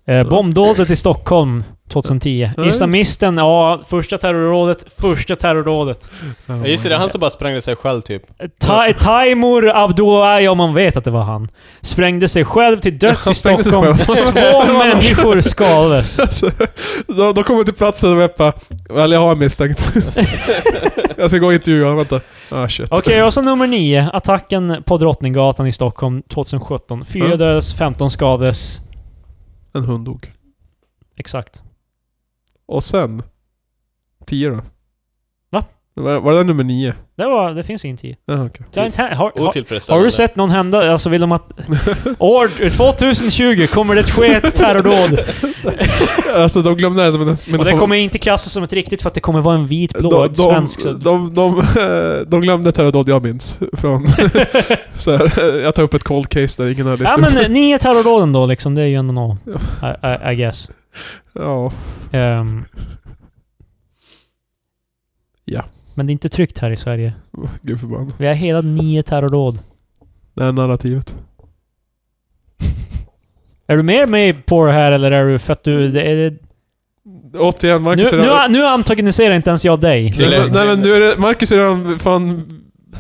A: Eh, bombdådet i Stockholm 2010.
B: Ja, just.
A: Islamisten, ja, första terrorrådet, första terrorrådet. Eh,
C: Ja, just det, det är han som bara sprängde sig själv typ.
A: Ta, eh, Taimur Abdullahi, om man vet att det var han, sprängde sig själv till döds i
B: Han sprängde sig
A: Stockholm.
B: själv.
A: Två människor skadades.
B: Alltså, de, de kommer till platsen och jag bara... Eller jag har en misstänkt. jag ska gå och intervjua honom, vänta. Ah shit.
A: Okej, och så nummer nio. Attacken på Drottninggatan i Stockholm 2017. Fyra
B: Mm.
A: dödades, 15 skadades.
B: En hund dog.
A: Exakt.
B: Och sen... Tio då.
A: Va?
B: Var, var det nummer nio?
A: Det, var, det finns ingen tio.
B: Ja, okej.
A: Det har, inte, hä- har, har, har
C: Otillfredsställande.
A: du sett någon hända? Alltså vill de att... År 2020 kommer det ske ett terrordåd.
B: Alltså de glömde det, men... men
A: Och
B: de-
A: det kommer inte klassas som ett riktigt för att det kommer vara en vit, blå,
B: de,
A: ett
B: de,
A: svensk.
B: de, de, de, de glömde ett terrordåd jag minns. Från, så här, jag tar upp ett cold case där ingen har
A: Ja eh,
B: listat ut.
A: men nio terrordåden då liksom, det är ju ändå nå. I, I, I guess.
B: Ja.
A: Ehm.
B: Ja.
A: Men det är inte tryggt här i Sverige.
B: Gud förbannat.
A: Vi har hela nio terrordåd.
B: Det här narrativet.
A: Är du mer med på det här eller är du för att du... Det är,
B: Återigen,
A: nu,
B: Marcus är
A: nu,
B: redan...
A: nu antagoniserar inte ens jag dig.
C: Nu-
B: Nej, nej men nu är det, Marcus har redan fan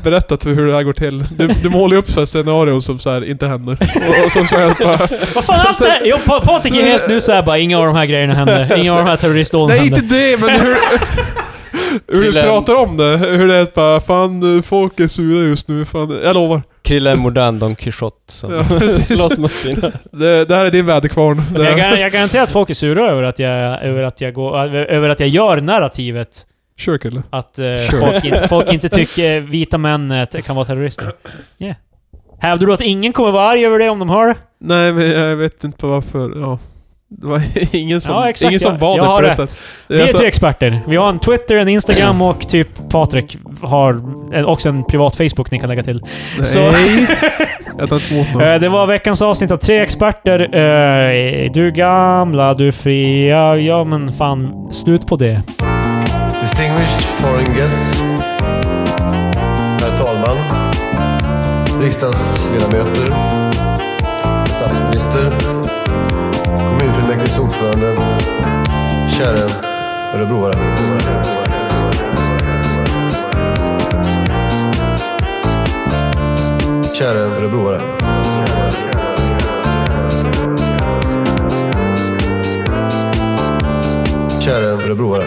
B: berättat hur det här går till. Du, du målar ju upp så här scenarion som så här inte händer. Och, och så så jag bara...
A: Vad fan är allt det här? Jo, Pa- Patrik är helt nu såhär bara, inga av de här grejerna hände. Inga av de här terroristdåden
B: Nej
A: hände.
B: inte det, men hur... Hur du
C: Killen-
B: pratar om det, hur det är att bara fan folk är sura just nu, fan, jag lovar.
C: Krille är en modern Don Quijote som
B: Ja, precis.
C: slåss mot sina...
B: Det, det här är din väderkvarn.
A: Men Jag,
B: Det,
A: gar- jag garanterar att folk är sura över att jag, över att jag, går, över att jag gör narrativet
B: kör kille.
A: att eh,
B: Sure.
A: folk, in, folk inte tycker vita män eh, t- kan vara terrorister. Yeah. Hävdar du att ingen kommer vara arg över det om de hör det?
B: Nej, men jag vet inte varför. Ja. Det var ingen som,
A: Ja, exakt,
B: ingen som
A: jag-
B: bad
A: jag
B: det
A: har
B: på det
A: rätt.
B: sättet.
A: Vi är
B: Alltså,
A: tre experter. Vi har en Twitter, en Instagram och typ Patrik har eh, också en privat Facebook ni kan lägga till. Så-
B: Nej, jag tar inte emot någon.
A: Eh, Det var veckans avsnitt av Tre Experter. Eh, Du gamla, du fria. Ja, men fan. Slut på det.
D: Distinguished foreign guests. Herr talman. Riksdagsledamöter. Statsminister. Kommunfullmäktiges ordförande. Käre örebroare. Käre örebroare. Käre örebroare.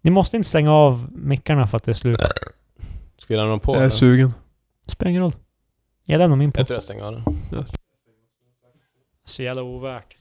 A: Ni måste inte stänga av mickarna för att det är slut.
C: Ska vi lämna dem på?
B: Jag är
C: eller?
B: sugen.
A: Spelar ingen roll. Jag lämnar min på.
C: jag tror jag stänger av den.
A: Så jävla ovärt.